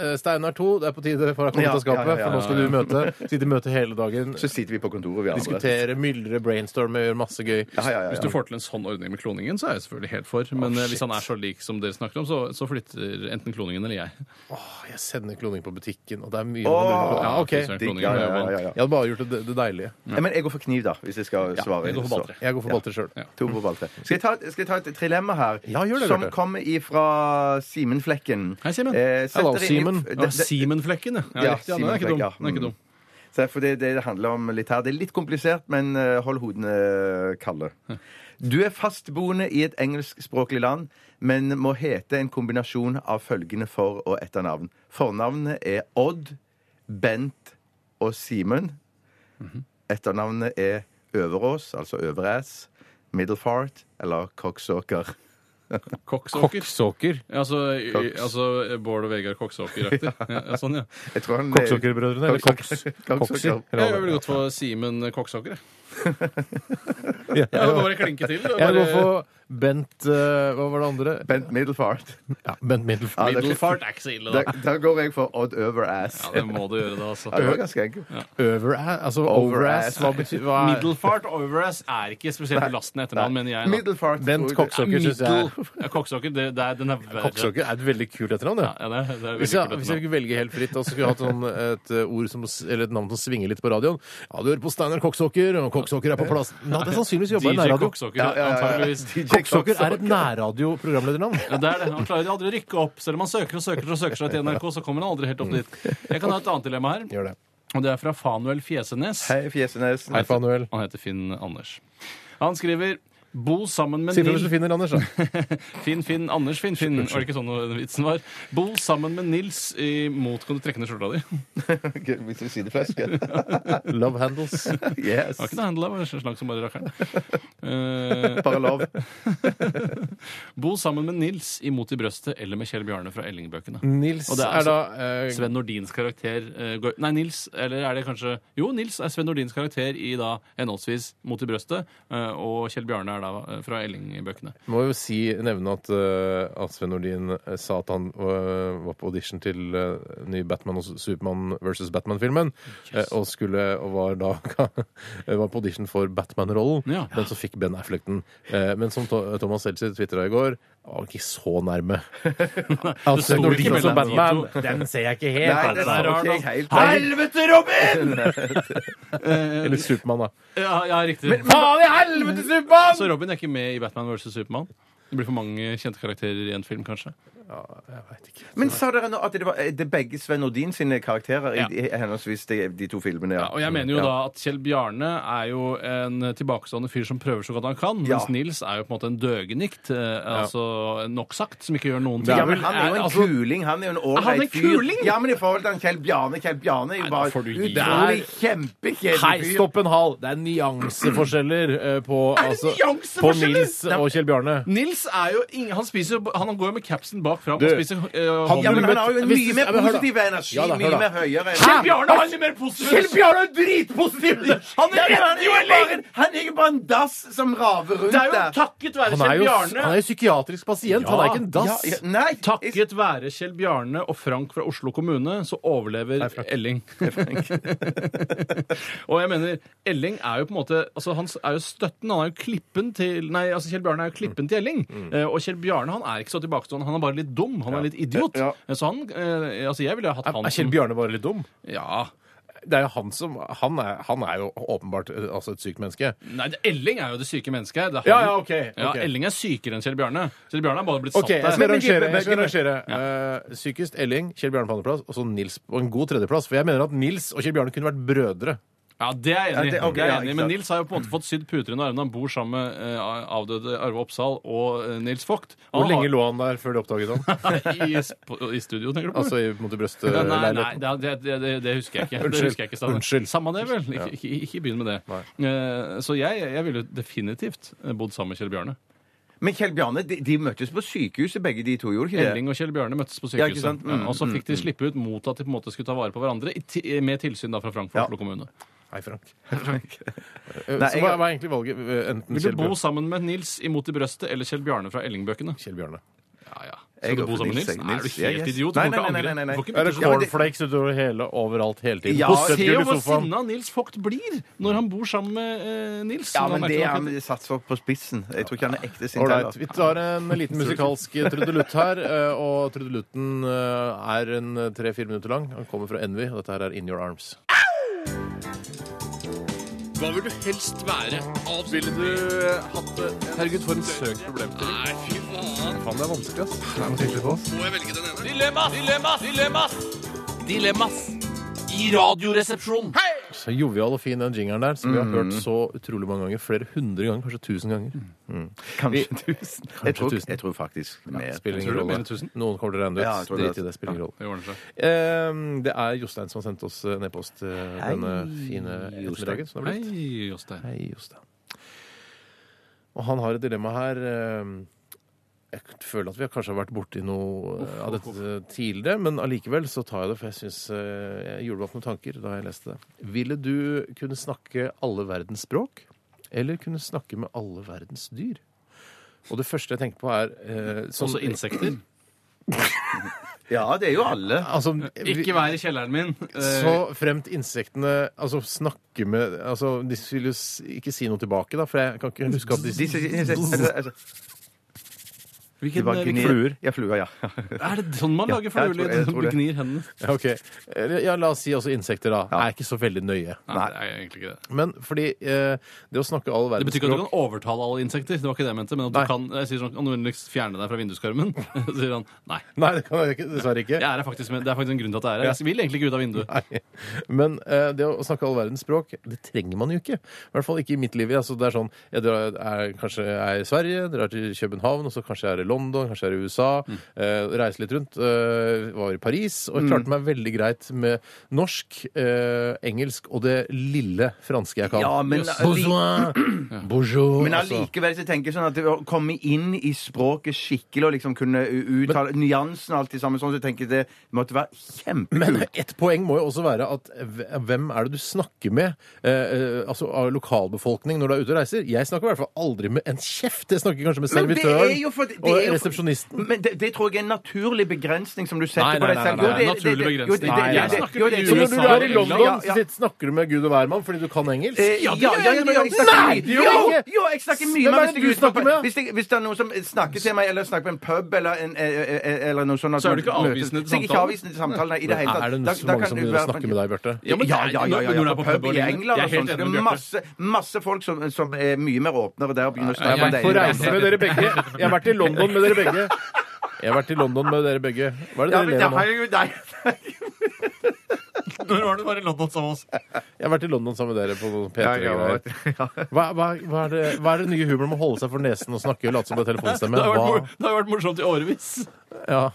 S3: Eh, Steinar 2, det er på tide for deg å komme
S2: Ja,
S3: ut av skapet,
S2: ja, ja, ja,
S3: for nå skal du møte, sitte i møte hele dagen,
S2: Så sitter vi på kontoret, vi andre.
S3: diskutere, myldre, brainstorme, gjøre masse gøy.
S2: Ja, ja, ja,
S4: Hvis
S2: ja.
S4: du får til en sånn ordning med kloningen, så er jeg selvfølgelig helt for. Men eh, hvis han er så lik som dere snakker om, så, så flytter enten kloningen eller jeg.
S3: Åh, Jeg sender kloning på butikken, og det er mye
S2: Åh,
S3: man lurer på. Ja,
S4: Så er
S3: ok.
S2: Digg,
S4: kloningen
S2: ja, ja,
S4: med
S2: ja,
S4: vann.
S2: ja, ja.
S3: Jeg hadde bare gjort det, det deilige.
S2: Ja, Men jeg går for kniv, da, hvis jeg skal svare.
S4: jeg går for
S2: så.
S4: balltre.
S3: Jeg går for balltre sjøl.
S4: Ja.
S2: To på balltre. Skal jeg ta, et- skal jeg ta et trilemma her?
S3: Ja, gjør det,
S2: som
S3: Bjarte.
S2: kommer ifra Simen Flekken.
S4: Hei, Simen.
S2: Eh, setter
S3: Hello,
S2: inn i-
S3: Simen.
S2: det-
S4: Ja,
S2: det-
S4: Simenflekken, ja. ja,
S2: Ja,
S4: riktig, ja den er ikke
S2: Simenflekk,
S4: dum.
S2: ja. Mm.
S4: Den er ikke dum.
S2: Så det er for det, det det handler om litt her. Det er litt komplisert, men eh, hold hodene eh, kalde. Du er fastboende i et engelskspråklig land, men må hete en kombinasjon av følgende for- og etternavn. Fornavnet er Odd, Bent og Simen. Etternavnet er Øverås, altså Øveræs, Middlefart eller Cocksucker.
S4: Kokksåker.
S3: Kokksåker.
S4: Altså, i- altså Bård og Vegard
S3: (laughs)
S4: Koksåker-aktig. Ja. sånn, ja.
S2: Jeg tror han eh,
S3: Kokksåkerbrødrene. Eller Koks.
S2: Kokksåker. Kokksåker.
S4: Jeg er veldig godt for Simen Kokksåker. jeg.
S3: (laughs) Ja,
S4: Ja, det var bare klinke til. det var
S3: Jeg
S4: bare-
S3: går for Bent eh, Hva var det andre?
S2: Bent Middlefart.
S3: Ja, Bent Middelfart.
S2: det er
S4: Middle
S2: fint.
S4: fart er ikke så ille,
S2: Da,
S4: da.
S2: da går jeg for Odd Overass.
S4: Ja, det må du gjøre, da.
S2: Ja, det var
S4: altså.
S2: ganske enkelt.
S3: Overass? Altså
S2: Overass.
S3: overass? Hva betyr hva er-
S4: Middelfart overass er ikke spesielt belastende etternavn, mener jeg. da.
S2: Middlefart.
S3: Bent
S2: tror jeg-
S3: Kokksåker. Kokksåker synes jeg er-
S4: Middel- Ja, Kokksåker, det, det er, den er verre.
S3: Kokksåker er et veldig kult etternavn,
S4: Ja, det
S3: det.
S4: er, det er veldig
S3: Hvis jeg,
S4: kult
S3: hvis jeg
S4: etternavn.
S3: kunne velge helt fritt og så skulle jeg hatt sånn, et eh, ord som, eller et navn som svinger litt på radioen Ja, du hører på Steinar Kokksåker, og Kokksåker er på plass. Nå hadde jeg sannsynligvis jobba i
S4: (laughs) DJ
S3: nærradio.
S4: Kokksåker,
S2: Ja, ja, ja, ja.
S4: antageligvis.
S3: (laughs)
S2: DJ
S3: Kokksåker er et
S2: Kokksåker.
S3: nærradio-programledernavn.
S4: Ja, det er det. Han klarer aldri å rykke opp. Selv om han søker og søker og søker seg
S3: (laughs)
S4: til NRK, så kommer han aldri helt opp dit. Jeg kan ha et annet dilemma her,
S3: Gjør det.
S4: og det er fra Fanuel Fjesenes.
S2: Hei, Fjesenes.
S3: Hei, (laughs) Fanuel.
S4: Han heter Finn Anders. Han skriver Bo sammen med
S3: Si ifra hvis du
S4: Nils
S3: finner
S4: (laughs)
S3: Anders, da.
S4: Finn, Finn, Anders, Finn, Finn. Var det ikke sånn den vitsen var? Bo sammen med Nils i Mot kan du trekke ned skjorta di. Det
S2: Hvis du sier det først.
S3: Love handles.
S2: (laughs) Yes.
S4: var ikke noe handla, var slank som bare rakkeren. Eh,
S2: Bare lov.
S4: bo sammen med Nils i Mot i brøstet eller med Kjell Bjarne fra Ellingbøkene.
S3: Nils
S4: Og
S3: er,
S4: det er altså
S3: da eh,
S4: Sven Nordins karakter eh, går, Nei, Nils, eller er det kanskje Jo, Nils er Sven Nordins karakter i da henholdsvis Mot i brøstet, eh, og Kjell Bjarne er da eh, fra Elling-bøkene.
S3: Må jo si, nevne at, eh, at Sven Nordin eh, sa at han eh, var på audition til eh, ny Batman og Superman versus Batman-filmen. eh, og skulle, og var da (laughs) eh, var på audition for Batman-rollen,
S4: Ja.
S3: men så fikk Ben Affleck den. Eh, men som To- Thomas Seltzer tvitra i går, var ikke så (laughs) nærme. At
S4: sto
S3: Sven
S4: ikke
S3: Nordin
S4: mellom
S3: som
S4: de
S3: Batman,
S4: to.
S3: den ser jeg ikke
S2: Nei, det
S3: altså.
S2: er
S4: rar
S2: ikke
S4: nå.
S2: helt
S4: Helvete, Robin!
S3: Eller Supermann, da.
S4: Ja, ja riktig.
S3: Faen i helvete, Supermann!
S4: Så Altså, Robin er ikke med i Batman vs. Supermann? Det blir for mange kjente karakterer i en film, kanskje?
S3: Jeg vet ikke.
S2: Men sa dere nå at det var eh, det er begge Sven Nordin sine karakterer
S4: Ja.
S2: i, i henholdsvis de, de to filmene?
S4: Ja, og jeg mener jo da at Kjell Bjarne er jo en tilbakestående fyr som prøver så godt han kan,
S2: Ja.
S4: mens Nils er jo på en måte en døgenikt, eh, altså nok sagt, som ikke gjør noen ting.
S2: Ja, men Han er jo en
S4: altså,
S2: kuling. Han er jo en
S4: han en
S2: ålreit fyr.
S4: kuling?
S2: Ja, men i forhold til han Kjell Bjarne Kjell Bjarne er jo
S4: Nei, da
S2: bare
S4: får du gi deg.
S2: utrolig
S3: Hei,
S2: kjempekjedelig fyr.
S3: stopp en hal! Det er nyanseforskjeller eh, på,
S4: det
S3: altså, på
S4: nyanseforskjeller?
S3: Nils og Kjell Bjarne.
S4: Nils er jo ingen, han, spiser, jo- han går jo med capsen bak fram
S3: Du,
S4: og spiser uh,
S3: han-
S2: Ja, men han har jo en
S3: Hvis du-
S2: mye
S3: ja,
S2: mer
S3: men hør da.
S2: positiv energi.
S3: Ja, da, hør
S2: mye
S3: da.
S2: mer høyere.
S4: Kjell Bjarne har mye mer positivt!
S2: Bjarne er dritpositiv! Han
S4: Ja,
S2: er,
S4: men han er jo
S2: jo bare, en- han er jo bare en dass som raver rundt
S4: Det er jo
S2: der.
S4: takket være
S3: Han er
S4: Kjell
S3: jo,
S4: Bjarne.
S3: han er jo psykiatrisk pasient, han er ikke en
S2: Ja,
S3: dass.
S2: ja, nei, jeg-
S4: Takket være Kjell Bjarne og Frank fra Oslo kommune, så overlever
S3: (laughs)
S4: Elling. (laughs) og jeg mener, Elling er jo på en måte altså Han er jo støtten, han er jo klippen til Nei, altså Kjell Bjarne er jo klippen
S3: Mm.
S4: til Elling. Eh, Og Kjell Bjarne han er ikke så tilbakestående, han er bare litt dum. Han er litt idiot.
S2: Ja.
S4: Eh, Så han eh, Altså, jeg ville ha hatt
S3: Er
S4: han
S3: er Kjell
S4: som-
S3: Bjarne bare litt dum?
S4: Ja.
S3: Det er jo han som Han er, han er jo åpenbart eh, altså et sykt menneske.
S4: Nei, det- Elling er jo det syke mennesket her. Det er
S3: Ja,
S4: han-
S3: ja, ok,
S4: Ja,
S3: ok.
S4: Elling er sykere enn Kjell Bjarne. Kjell Bjarne er bare blitt
S3: OK, jeg
S4: satt
S3: skal
S4: der.
S3: rangere. Jeg skal rangere. Eh, psykisk Elling, Kjell Bjarne på andreplass, og så Nils på en god tredjeplass. For jeg mener at Nils og Kjell Bjarne kunne vært brødre.
S4: Ja, det er jeg
S2: Ja,
S4: enig i.
S2: det- ok,
S4: Det er jeg
S2: ja,
S4: enig i.
S2: ikke
S4: Men
S2: sant.
S4: Nils har jo på en måte fått sydd puter under armene. Han bor sammen med eh, avdøde Arve Oppsal og eh, Nils Vogt.
S3: Hvor lenge lå han der før de oppdaget (laughs)
S4: (laughs)
S3: han?
S4: I, s- på- I studio, tenker du på?
S3: Altså i mot i
S4: Ja, nei,
S2: eh,
S4: nei,
S3: brøstleiligheten.
S4: det, det, det, det husker jeg ikke.
S3: Unnskyld.
S4: Det husker jeg ikke Steinar.
S3: Unnskyld.
S4: Samme det, vel. Ikke, ikke, ikke begynn med det. Eh, så jeg, jeg ville jo definitivt eh, bodd sammen med Kjell Bjarne.
S2: Men Kjell Bjarne, de, de møttes på sykehuset, begge de to, gjorde ikke det?
S4: Elling og Kjell Bjarne møttes på
S2: Ja, ikke
S4: sykehuset.
S2: sant? Mm,
S4: Ja, og så fikk de slippe ut mot at de på en måte skulle ta vare på hverandre, i ti- med tilsyn da fra Frank for
S2: Ja.
S4: Oslo kommune.
S3: Hei, Frank. Eh,
S2: Nei,
S3: Så
S2: jeg-
S3: hva hva er egentlig valget? Eh, Enten
S4: Vil
S3: Kjell
S4: du bo
S3: Bjarne
S4: sammen med Nils i Mot i brøstet eller Kjell Bjarne fra Ellingbøkene?
S3: Kjell Bjarne.
S4: Ja, ja. Skal
S2: Jeg
S4: du
S2: går
S4: bo
S2: for
S4: sammen med
S2: Nils,
S4: Nils?
S2: jeg.
S4: Nei, er du
S2: Nils,
S4: helt
S2: jeg-
S4: idiot?
S2: Nei,
S4: Du må ikke
S2: nei,
S4: angre.
S2: nei, nei, nei,
S4: Du får ikke
S3: Er det
S4: bytte-
S2: Ja, men det-
S3: cornflakes utover hele overalt hele tiden?
S2: Ja,
S3: Potetgull
S4: Se
S3: i
S4: jo hvor
S3: sofaen.
S4: sinna Nils Vogt blir når han bor sammen med eh, Nils.
S2: Ja,
S4: som
S2: men
S4: han
S2: det
S4: merker
S2: er
S4: nok-
S2: han satser på spissen. Jeg tror ikke han er ekte sint
S3: Ålreit. Vi
S2: heller.
S3: tar en liten musikalsk trudelutt her. eh, Og trudelutten eh, er en tre-fire minutter lang. Han kommer fra Envy, og dette her er In Your Arms.
S4: Hva vil du helst være? Ville du eh, hatt det? Herregud, for en søk problemstilling. Nei, fy faen. Faen, det er vanskelig, ass. Det er noe på oss. Må jeg velge den ene? Dilemmas! Dilemmas! Dilemmas! Dilemmas! I radioresepsjonen!
S3: Så jovial og fin den jingeren der, som vi har
S4: Mm.
S3: hørt så utrolig mange ganger. Flere hundre ganger, kanskje tusen ganger.
S2: Kanskje tusen. Jeg tror, jeg tror faktisk
S3: Det
S2: mer.
S3: spiller ingen
S4: tror det er
S3: rolle.
S4: mer enn tusen.
S3: Noen kommer til å regne det
S2: Ja, jeg
S3: ut.
S2: tror det.
S3: Drit i det, spiller ingen rolle.
S4: Det ordner seg.
S3: Eh, Det er Jostein som har sendt oss en e-post eh, denne fine ettermiddagen. som det har blitt.
S4: Hei, Jostein.
S3: Hei, Jostein. Og han har et dilemma her. eh, Jeg føler at vi kanskje har vært borti noe eh, av dette tidligere, men allikevel så tar jeg det, for jeg syns jeg gjorde meg opp noen tanker da jeg leste det. Ville du kunne snakke alle verdens språk, eller kunne snakke med alle verdens dyr? Og det første jeg tenker på, er eh, sånn-
S4: Også insekter.
S2: Ja, det er jo alle.
S3: Altså,
S2: Eh,
S4: Ikke vær i kjelleren min. Eh,
S3: Så fremt insektene altså, snakker med altså, De vil jo s- ikke si noe tilbake, da, for jeg kan ikke huske at de
S2: Disse, disse, altså, altså,
S4: hvilken,
S2: det var
S4: hvilken-
S2: gnir.
S3: fluer.
S2: Ja, fluer, ja.
S4: Er det sånn man lager
S2: jeg tror-
S4: fluelyd?
S2: jeg tror det.
S4: Gnir hendene.
S3: Ja, ok. Eller, ja, la oss si altså insekter, da. Jeg er ikke så veldig nøye.
S4: Nei, det er egentlig ikke det.
S3: Men fordi eh, det å snakke all
S4: Det
S3: verdens
S4: betyr ikke at du
S3: språk
S4: kan overtale alle insekter. Det var ikke det jeg mente. Men at
S3: Nei.
S4: du kan jeg sier sånn, kan du vennligst fjerne deg fra vinduskarmen? (laughs) Så sier han nei.
S3: Nei, det kan jeg ikke, dessverre ikke.
S4: Jeg er her faktisk med. Det er faktisk en grunn til at jeg er her. Jeg vil egentlig ikke ut av vinduet.
S3: Nei. Men eh, det å snakke all verdens språk, det trenger man jo ikke. I hvert fall ikke i mitt liv. Altså, det er sånn, jeg drar, er, kanskje jeg er i Sverige, drar til København, og så kanskje jeg er i London, kanskje jeg er i USA.
S4: Mm.
S3: eh, reiser litt rundt. eh, var i Paris, og
S2: Mm.
S3: jeg klarte meg veldig greit med norsk, eh, engelsk og det lille franske jeg kan.
S2: Ja, men-
S3: Bonsoir! Bonjour!
S2: Men
S3: altså.
S2: allikevel så tenker jeg sånn at det å komme inn i språket skikkelig og liksom kunne u- uttale nyansen og alt det sammen sånn, så tenker jeg det måtte være
S3: Men
S2: kjempekult.
S3: et poeng må jo også være at hve- hvem er det du snakker med eh, eh, altså av lokalbefolkning når du er ute og reiser? Jeg snakker i hvert fall aldri med en kjeft. Jeg snakker kanskje med
S2: Men det er
S3: servitøren
S2: jo for- det
S3: og
S2: er jo for-
S3: resepsjonisten.
S2: Men det, det tror jeg er en naturlig begrensning som du setter
S3: Nei, nei,
S2: på deg
S3: nei,
S2: selv.
S3: nei,
S2: Jo,
S3: nei,
S2: det-
S4: nei, naturlig
S2: det- det- jo,
S4: begrensning.
S2: det- det-
S3: Nei,
S2: jo,
S3: jeg
S2: det-
S4: snakker
S2: jo,
S4: med
S2: det-
S3: Så når du
S4: USA
S3: er i
S4: og
S3: London,
S2: Ja, ja.
S3: så sitter- snakker du med gud og hvermann fordi du kan engelsk?
S2: Eh, Ja,
S4: det gjør
S2: ja, ja,
S4: jeg
S2: ja, jeg
S4: innimellom.
S2: snakker
S3: Nei,
S2: mye.
S3: det gjør jeg
S2: Jo,
S3: ikke.
S2: jo, jeg snakker mye
S3: Hvem er
S2: men hvis
S3: det du
S2: jeg er ute på-
S3: snakker med?
S2: Hvis, jeg, hvis det er noen som snakker til meg, eller snakker på en pub, eller, en, eh, eh, eller noe sånt at
S4: Så er du
S2: man
S4: ikke
S2: møtes-
S4: avvisende til
S2: Så jeg er ikke
S4: samtalen?
S2: avvisende til samtalen nei, i det hele tatt.
S3: Er det
S2: Da-
S3: så
S2: da
S3: mange
S2: kan
S3: som
S2: du
S3: begynner å
S2: være-
S3: snakke med deg, Bjørte?
S4: Ja, men det
S2: ja,
S4: er-
S2: ja, ja, ja,
S4: når du
S2: ja.
S4: er
S2: På
S4: på
S2: pub
S4: pub og
S2: i
S4: lignende.
S2: England
S4: Jeg er
S2: og sånt.
S4: helt enig med Bjarte.
S2: Masse, masse folk som, som er mye mer åpne og der og begynner
S3: Jeg
S2: å snakke
S3: har
S2: med
S3: vært på
S2: deg.
S3: reise med dere begge. Jeg har vært i London med dere begge. Jeg har vært i London med dere begge. Hva er det
S2: Ja,
S3: dere
S2: men
S3: ler
S2: det
S3: av nå?
S2: har jeg jo deg.
S4: Når var det du var i London sammen med oss?
S3: Jeg har vært i London sammen med dere på noen
S2: Ja, ja, (laughs) ja.
S3: P3-greier. Hva, hva, hva, er det, hva er det nye humoren med å holde seg for nesen og snakke og late som det er
S4: Det
S2: (laughs)
S3: telefonstemme?
S4: har, vært,
S3: Hva?
S4: mor- det har vært morsomt i årevis.
S3: Ja.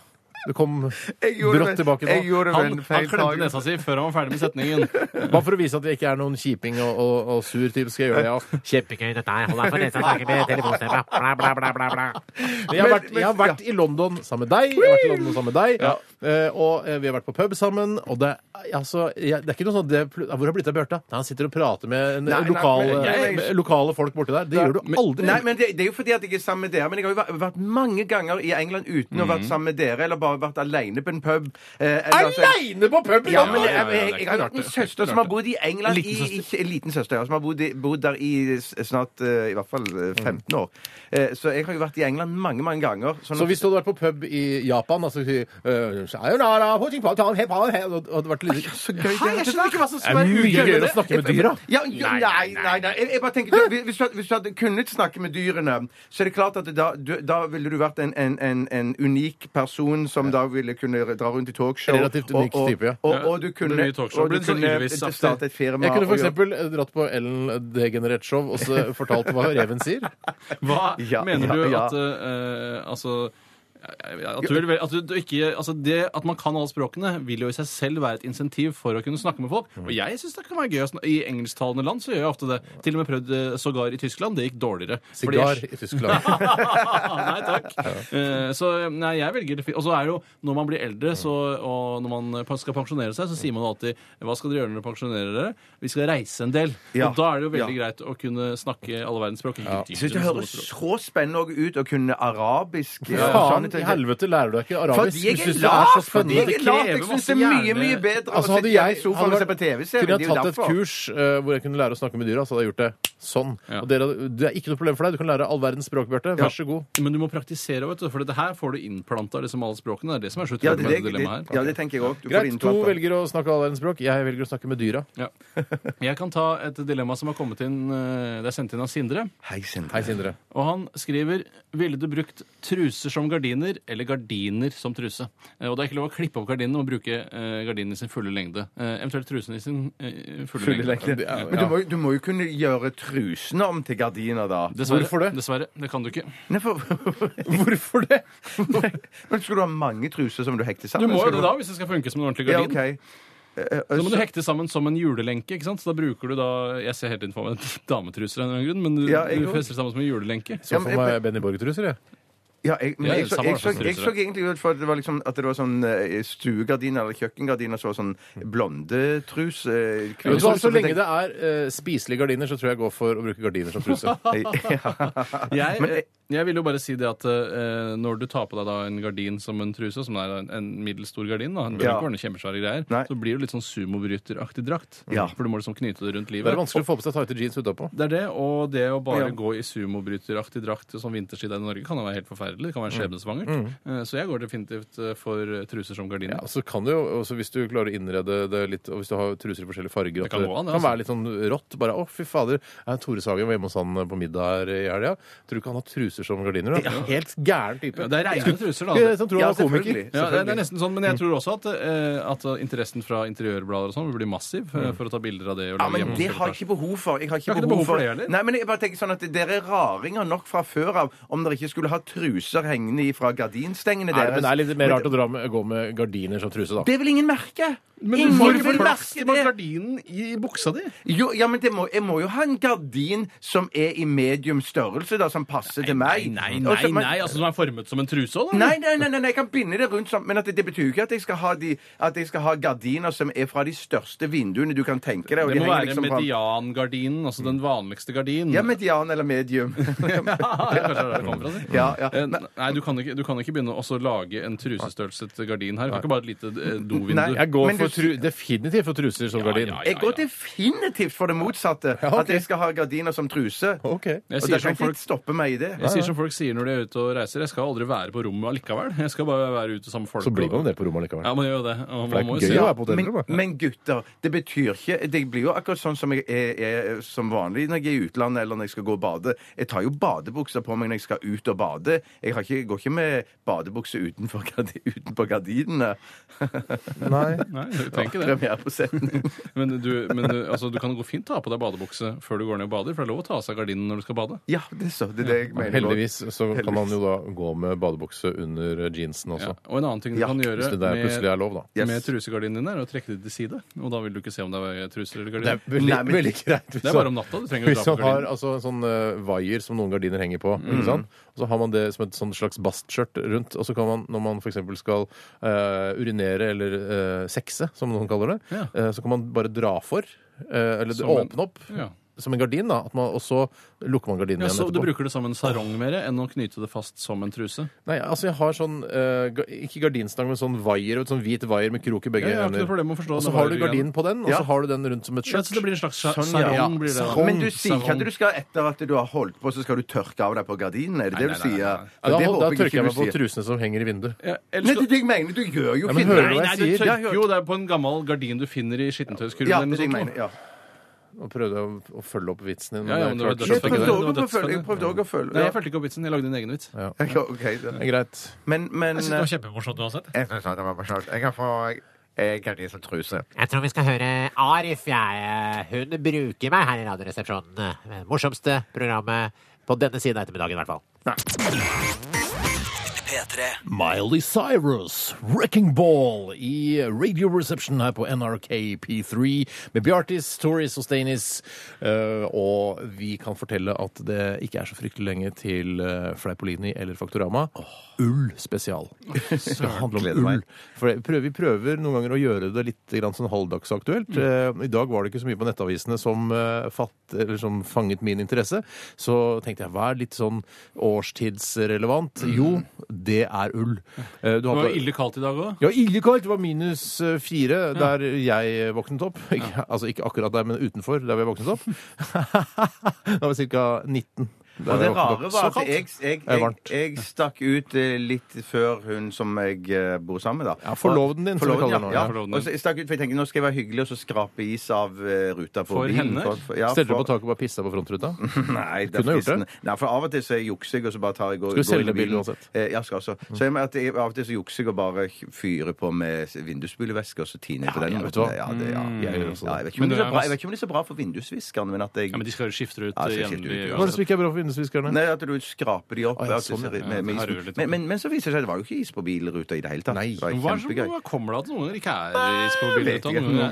S3: Du kom
S2: Jeg gjorde
S3: brått
S2: vel-
S3: tilbake
S2: Jeg
S3: nå.
S2: gjorde vel
S4: Han,
S2: en
S4: han
S2: feil
S4: klemte
S2: tag.
S4: nesa si før han var ferdig med setningen.
S3: Bare for å vise at jeg ikke er noen kjiping og, og, og sur type, skal jeg gjøre det.
S2: (laughs)
S3: Ja.
S7: Kjempegøy dette her. Hold deg for nesa, snakke med telefonstemme. Bla, bla, bla, bla, bla.
S3: Men Jeg har vært, jeg har vært i London sammen med deg, jeg har vært i London sammen med deg, eh, og eh, vi har vært på pub sammen, og det, er- altså, jeg, det er ikke noe sånn det, pl- Hvor har det blitt av Bjarte? Nei, Han sitter og prater med en,
S2: Nei, nei,
S3: lokale,
S2: men jeg-
S3: med lokale folk borti der. Det gjør du aldri.
S2: Nei, men det, det er jo fordi at jeg er sammen med dere. Men jeg har jo vært- vært mange ganger i England uten å ha
S4: Mhm.
S2: vært sammen med dere, eller bare vært aleine på en pub. Eh, eller så-
S3: Aleine på puben!
S2: Ja, men jeg,
S4: ja, ja,
S2: jeg,
S4: det er
S2: jeg, har
S4: klart
S2: en
S4: det.
S2: søster som har bodd i England
S4: Liten
S2: i-
S4: søster.
S2: i- i- Liten søster, ja. Som har bodd, i, bodd der i s- snart eh, i hvert fall eh,
S4: Mm.
S2: 15 år. Eh, Så jeg har jo vært i England mange, mange ganger. sånn
S3: Så
S2: at-
S3: hvis du hadde vært på pub i Japan altså, si, eh, sayonara, pochingpong, hei, hei, hei, og og det hadde vært litt
S2: Så gøy det er.
S4: ikke hva som
S3: Det er mye gøyere å snakke med dyra.
S2: Ja, ja, nei, nei, nei. Jeg, jeg bare tenker, du, hvis, du, hadde- hvis du hadde kunnet snakke med dyrene, så er det klart at da, du, da ville du vært en, en, en, en unik person som da ville kunne dra rundt i talkshow.
S3: Relativt unik
S2: og, og,
S3: type, ja.
S2: Og, og, du kunne,
S4: mye talkshow.
S2: og du
S4: Blir det sånn
S2: kunne
S4: Ylvis-aktig?
S2: starte et firma.
S3: Jeg kunne
S2: og
S3: for
S2: gjøre-
S3: eksempel dratt på Ellen Degenerert-show og (laughs) så fortalt hva reven sier.
S4: Hva
S2: (laughs) Ja,
S4: mener
S2: ja,
S4: du
S2: ja.
S4: at eh, Altså at, du, vil- at, du, du ikke, altså det at man kan alle språkene, vil jo i seg selv være et insentiv for å kunne snakke med folk. Og jeg syns det kan være gøy. å sn- I engelsktalende land så gjør jeg ofte det. Til og med prøvd eh, sågar i Tyskland. Det gikk dårligere. Fordi jeg-
S3: Sigar i Tyskland.
S4: nei
S2: (laughs)
S4: takk. Eh, så nei, jeg velger det fi- Og så er det jo, når man blir eldre så, og når man eh, pa- skal pensjonere seg, så sier man jo alltid Hva skal dere gjøre når dere pensjonerer dere? Vi skal reise en del.
S2: Ja.
S4: Og da er det jo veldig
S2: Ja.
S4: greit å kunne snakke alle verdens språk. ikke
S2: Jeg
S4: dypt
S2: syns det
S4: eller
S2: høres
S4: store språk.
S2: så spennende også ut å kunne arabisk. eh, og
S3: Faen
S2: sånne ting.
S3: i helvete, lærer du deg ikke arabisk?
S2: Fordi jeg
S3: Du
S2: er
S3: synes det er
S2: lat!
S3: så
S2: Fordi jeg
S3: spennende.
S2: er lat! Jeg
S4: krever
S2: syns
S4: masse
S2: det er mye, mye
S4: hjerne.
S2: bedre
S3: Altså,
S2: å
S3: hadde
S2: sitte
S3: jeg,
S2: i sofaen og se
S3: hadde
S2: på TV.
S3: vært- kunne jeg tatt et kurs eh, hvor jeg kunne lære å snakke med dyra, så hadde jeg gjort det sånn.
S4: Ja.
S3: Og dere, det er ikke noe problem for deg. Du kan lære all verdens språk, Bjarte. Vær så god.
S4: Men du må praktisere, vet du, for dette her får du innplanta liksom alle språkene. Det er det som er så
S2: Ja,
S4: utrolig
S2: det,
S4: med
S2: det,
S4: dette dilemmaet her.
S2: ja, det tenker jeg òg.
S3: Greit. To velger å snakke all verdens språk. Jeg velger å snakke med dyra.
S4: Ja. Jeg kan ta et dilemma som har kommet inn eh, Det er sendt inn av Sindre.
S2: Hei, Sindre.
S3: Hei, Sindre.
S4: Og han skriver Ville du brukt truser som gardiner eller gardiner som truse? Eh, Og det er ikke lov å klippe opp gardinene og bruke eh, gardinen i sin fulle lengde. Eh, eventuelt trusen i sin eh, fulle, lengde.
S2: Men du må, jo- du må jo kunne gjøre trusene om til gardiner, da.
S4: Dessverre,
S3: Hvorfor det?
S4: Dessverre. Det kan du ikke.
S2: Nei, for, (laughs)
S3: Hvorfor det?
S2: men skal du ha mange truser som du hekter
S4: Du
S2: sammen?
S4: må
S2: Skal
S4: jo det da, hvis det skal funke som en ordentlig
S2: Ja,
S4: gardin.
S2: OK. Eh, eh,
S4: Så må du
S2: så-
S4: hekte sammen som en julelenke. ikke sant? Så da bruker du da Jeg ser helt inn (laughs) for meg dametruser, av en eller annen grunn, men du,
S2: Ja, jeg
S4: du
S2: òg.
S4: fester sammen sånn som en julelenke.
S3: Så for meg Benny Borg-truser, jeg.
S2: Ja, jeg, men
S4: Ja,
S2: jeg, så,
S4: samme
S2: jeg,
S4: hva
S2: så,
S4: som
S2: jeg
S4: struser.
S2: så egentlig ut for at det var, liksom, at det var sånn eh, stuegardiner eller kjøkkengardiner som var sånn blondetrus. Eh,
S3: Vet du hva,
S2: kvinnetrus,
S3: så
S2: og
S3: lenge
S2: jeg
S3: det er eh, spiselige gardiner, så tror jeg jeg går for å bruke gardiner som
S4: (laughs)
S3: truse.
S2: (laughs) tenkte- Ja.
S4: Jeg,
S2: Men, eh,
S4: jeg vil jo bare si det at eh, når du tar på deg da en gardin som en truse, som er en, en middels stor gardin, da, det bør
S2: Ja.
S4: ikke være noen kjempesvære greier,
S2: Nei.
S4: så blir det litt sånn sumobryteraktig drakt.
S2: Ja.
S4: For du må liksom knyte det rundt
S3: Det
S4: livet.
S3: er vanskelig å få på seg tighte jeans utapå.
S4: Det er det, og det å bare
S2: Ja.
S4: gå i sumobryteraktig drakt som vinterski der i Norge kan jo være helt forferdelig. Det kan være
S2: Mm.
S4: skjebnesvangert. Eh, Så jeg går definitivt eh, for eh, truser som
S3: Ja,
S4: gardiner.
S3: og så kan det jo, også Hvis du klarer å innrede det litt, og hvis du har truser i forskjellige farger
S4: Det
S3: at
S4: kan gå an, det,
S3: kan
S4: altså.
S3: være litt sånn rått. Bare 'Å, fy fader, jeg, Tore Sagen var hjemme hos han eh, på middag her i helga'. Tror du ikke han har truser som gardiner? Da? Helt gæren type.
S4: Ja, det er reine truser, da.
S3: Skulle- jeg som tror han
S2: Ja,
S3: var komiker.
S2: selvfølgelig. Mm.
S4: Ja, det det er nesten sånn, men jeg tror også at, eh, at interessen fra interiørblader og sånn vil bli massiv eh, for å ta bilder av det. Og
S2: Mm. Ja,
S4: lage
S2: men det har
S4: hjemmereportasje.
S2: jeg ikke behov for. Jeg har ikke,
S4: Har ikke du
S2: behov,
S4: behov for
S2: for
S4: det heller?
S2: Nei, men jeg bare tenker sånn at Dere er raringer nok fra før av om dere ikke skulle ha truser hengende fra gardinstengene
S3: Nei,
S2: deres.
S3: men det er litt mer rart å dra med, gå med gardiner som truse, da.
S2: Det vil ingen merke!
S4: Men du
S2: ingen
S4: får ikke
S2: vil
S4: plass
S2: merke
S4: med
S2: det!
S4: gardinen i buksa di!
S2: Jo, ja, men det må, jeg må jo ha en gardin som er i medium størrelse, da, som passer til meg. Og så- men-
S4: altså Som er formet som en truse òg,
S2: Nei, nei, nei, nei, nei, jeg kan binde det rundt sånn, men at det, det betyr jo ikke at jeg, skal ha de, at jeg skal ha gardiner som er fra de største vinduene du kan tenke deg. og
S4: Det
S2: de
S4: må
S2: henger
S4: være
S2: liksom fra-
S4: mediangardinen, altså den vanligste gardinen.
S2: Ja, median eller medium.
S4: (laughs) Ja, det
S2: (laughs)
S4: er kanskje der det kommer fra, si.
S2: Ja, ja.
S4: Eh,
S2: Men-
S4: Nei, du kan, ikke, du kan ikke begynne å også lage en trusestørrelse til gardin her. Du kan ikke bare et lite eh, dovindu.
S2: Nei,
S3: Jeg går
S2: Men
S3: for
S2: du-
S3: tru, definitivt for truser som gardin.
S4: ja, ja.
S2: Jeg går definitivt for det motsatte.
S3: ok.
S2: At jeg skal ha gardiner som truse. Og
S3: Ok.
S4: Jeg
S2: da
S4: sier, sånn
S2: kan
S4: som
S2: ikke
S4: folk,
S2: folk... stoppe meg i det.
S4: jeg sier som folk sier når de er ute og reiser, jeg skal aldri være på rommet allikevel. Jeg skal bare være ute sammen med folk.
S3: Så blir man
S4: og-
S3: jo det på rommet likevel.
S4: Ja, man gjør jo det. Og
S3: For
S4: man må
S3: det
S4: jo
S3: er
S4: si
S3: gøy å
S4: ja.
S3: være på hotellrommet.
S2: Men, men gutter, det betyr ikke Det blir jo akkurat sånn som jeg er, er som vanlig når jeg er i utlandet eller når jeg skal gå og bade. Jeg tar jo badebukser på meg når jeg skal ut og bade. Jeg har ikke, går ikke med badebukse utenfor, gardi- utenpå gardinene.
S3: Nei.
S4: Nei, du trenger ikke det.
S2: Premiere på setning.
S4: Men, du, men du, altså, du kan godt fint ta på deg badebukse før du går ned og bader, for det er lov å ta av seg gardinen når du skal bade.
S2: (laughs) Ja, det er så, det er det jeg mener.
S3: Heldigvis så kan man
S2: Heldigvis.
S3: jo da gå med badebukse under jeansen også.
S4: Ja. Og en annen ting du
S2: Ja,
S4: kan
S3: Hvis
S4: gjøre
S3: det der plutselig er
S4: med,
S3: lov, da.
S2: Yes.
S4: med trusegardinen din, er å trekke det til side. Og da vil du ikke se om det er truser eller
S3: Det er
S4: gardiner.
S3: veldig,
S2: Nei, men-
S3: veldig greit. Hvis
S4: Det er bare om natta, du trenger å
S3: Hvis
S4: dra på
S3: man har
S4: gardinen. Mm.
S3: altså, en sånn eh, vaier som noen gardiner henger på, ikke sant? og så har man det som et sånn slags bastskjørt rundt, og så kan man, når man f.eks. skal eh, urinere eller eh, sexe, som noen kaller det,
S4: Ja.
S3: eh, så kan man bare dra for, eh, eller
S4: Som en-
S3: åpne opp,
S4: Ja.
S3: som en gardin, da, at man, og så lukker man gardinen
S4: Ja,
S3: igjen
S4: så Du
S3: etterpå.
S4: bruker det som en sarong mer enn å knyte det fast som en truse?
S3: Nei, altså jeg har sånn, eh, ga- ikke gardinstang, men sånn vaier, sånn hvit vaier med krok i begge
S4: Ja, jeg har ikke noe problem
S3: ender.
S4: med å forstå
S3: Og så
S4: den
S3: har du
S4: vaiergreien.
S3: gardinen på den, og
S2: Ja.
S3: så har du den rundt som et
S4: Ja,
S3: skjørt.
S4: så det blir en slags sa-
S2: Sånn, ja.
S4: sarong. Blir det, da.
S3: Sarong.
S2: Men du sier ikke at
S4: Sarong.
S2: du skal etter at du har holdt på, så skal du tørke av deg på gardinene? Er det det
S4: nei, nei,
S2: du sier?
S4: nei.
S3: Ja,
S2: For
S3: da,
S2: det
S3: da
S2: håper jeg
S3: tørker
S2: ikke
S3: jeg
S2: du
S3: meg på
S2: sier.
S3: trusene som henger i vinduet.
S4: Ja, eller
S2: Nei,
S4: skal-
S2: det er det jeg mener. Du gjør jo
S3: Ja, men hører du hva
S4: Nei,
S3: jeg
S4: du
S3: sier?
S2: Ja,
S4: tørker
S2: hørt.
S4: jo det er på en gammel gardin du finner i skittentøyskurven.
S2: Ja,
S4: eller noe
S2: det er det jeg
S4: sånt.
S2: mener. Ja.
S3: Nå prøvde jeg å- å følge opp vitsen din.
S4: Ja, ja, men det var
S3: klart-
S4: dødsfett.
S2: Jeg
S4: skjønte ikke
S2: prøvde
S4: det.
S2: også
S4: Det var
S2: å følge. Jeg
S4: dødsfett,
S2: prøvde også å følge.
S4: Nei,
S2: Ja.
S4: jeg fulgte ikke opp vitsen. Jeg lagde en egen vits.
S2: Ja, ok, det-
S3: Det er greit.
S2: Men, men
S8: Jeg synes det var kjempemorsomt uansett.
S2: Eh.
S8: Jeg synes det var morsomt. Jeg kan få eh, gardin som truse.
S7: Jeg tror vi skal høre Arif, jeg. Hun bruker meg her i Radioresepsjonen. Morsomste programmet på denne siden av ettermiddagen, i hvert fall.
S3: Miley Cyrus, 'Wrecking Ball', i Radio Reception her på NRK P3 med Bjartis, Toris og Stainis. Eh, og vi kan fortelle at det ikke er så fryktelig lenge til eh, Fleipolini eller Faktorama. Ull spesial. Det handler om ull. For det- prøver, vi prøver noen ganger å gjøre det litt grann sånn halvdagsaktuelt. Eh, I dag var det ikke så mye på nettavisene som, eh, fatt, eller som fanget min interesse. Så tenkte jeg hva er litt sånn årstidsrelevant?
S2: Mm.
S3: Jo, det er ull. Eh, Du
S4: Det
S3: har
S4: var
S3: på-
S4: ille kaldt i dag òg.
S3: ja, illekaldt. Det var minus eh, fire der jeg våknet opp. Ikke, altså ikke akkurat der, men utenfor der vi
S2: (laughs)
S3: våknet opp. det var ca. 19. der
S2: Og det
S3: jeg våknet opp.
S2: rare var
S3: Så
S2: at
S3: kaldt.
S2: jeg, jeg,
S3: Det er
S2: jeg,
S3: varmt.
S2: jeg stakk ut eh, litt før hun som jeg eh, bor sammen med, da.
S3: Ja, forloveden din, som vi
S2: Forloveden,
S3: kaller det nå,
S2: ja.
S3: ja.
S2: ja. Og så jeg stakk ut, for jeg tenkte nå skal jeg være hyggelig og så skrape is av eh, ruta på
S4: For
S2: bilen.
S4: henne?
S2: ja,
S3: Stelte du på
S2: for-
S3: taket og bare pissa på frontruta?
S2: (laughs) Nei, det
S3: Kunne
S2: er
S3: gjort det.
S2: fristende. Nei, for av og til så jukser jeg, og så bare tar jeg
S3: Skal du
S2: og går inn i
S3: selge bilen uansett?
S2: Eh, ja, skal også. Så jeg, mener at jeg, av og til så jukser jeg og bare fyrer på med vindusbulevæske, og så tiner jeg på
S3: Ja,
S2: den.
S3: ja, vet du
S2: måten.
S3: hva? Mm,
S2: Ja, det, ja.
S3: jeg gjør også det.
S2: Ja, jeg, vet ikke om
S4: Men
S2: det
S4: det
S2: er så
S4: er masse-
S2: bra, jeg vet ikke om det er så bra for vindusviskeren, men at jeg
S4: Ja, men de skal jo skifte ut eh,
S2: Ja, så skifter
S4: jevnlig.
S2: vi ut.
S3: Hva er det
S4: uansett.
S3: som ikke er bra for hundesviskerne?
S2: Nei, at du skraper de
S3: Å,
S2: opp.
S3: ja,
S2: at det
S3: sånn,
S2: ser-
S3: ja.
S2: med, med
S4: Ja, det
S2: is på-
S4: rører litt
S2: men, men, men så viser det seg at det var jo ikke is på bilruta i det hele tatt.
S3: sånn. Nei.
S2: Det var
S4: Hva er det
S2: kjempegøy.
S4: som kommer det at noen ganger ikke er i
S2: Vet ikke, noen
S4: spobildet?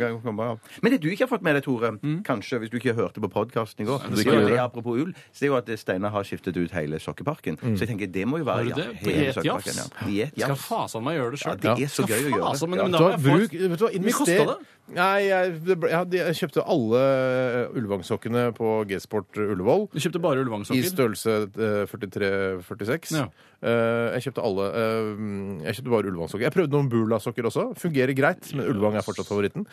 S2: gang kommer jeg av. Men det du ikke har fått med deg, Tore, kanskje hvis du ikke hørte på podkasten i går,
S4: Mm. det
S2: det
S4: skal jeg
S2: er
S4: gjøre.
S2: apropos ull, så det er jo at Steinar har skiftet ut hele sokkeparken. Så jeg tenker det må jo være
S4: Mm. Har du det?
S2: hele
S4: Diet jafs?
S2: sokkeparken. Ja. Diet
S4: Skal
S2: jafs.
S4: fasan meg gjøre det sjøl.
S2: Ja, det er så gøy å gjøre.
S4: Men,
S2: Ja.
S4: men
S3: Du
S4: da må
S3: har
S4: jeg
S3: bruk,
S4: få-
S3: vet du hva, invester...
S4: kostet det?
S3: Nei, jeg, det ble, jeg, hadde- jeg kjøpte alle Ullevang-sokkene på G-Sport Ullevål.
S4: Du kjøpte bare
S3: I
S4: ullevangsokker?
S3: størrelse eh, 43-46.
S4: Ja.
S3: jeg kjøpte alle. eh, jeg kjøpte bare ullevangsokker. Jeg prøvde noen Bula-sokker også. Fungerer greit, men ullevang er fortsatt favoritten.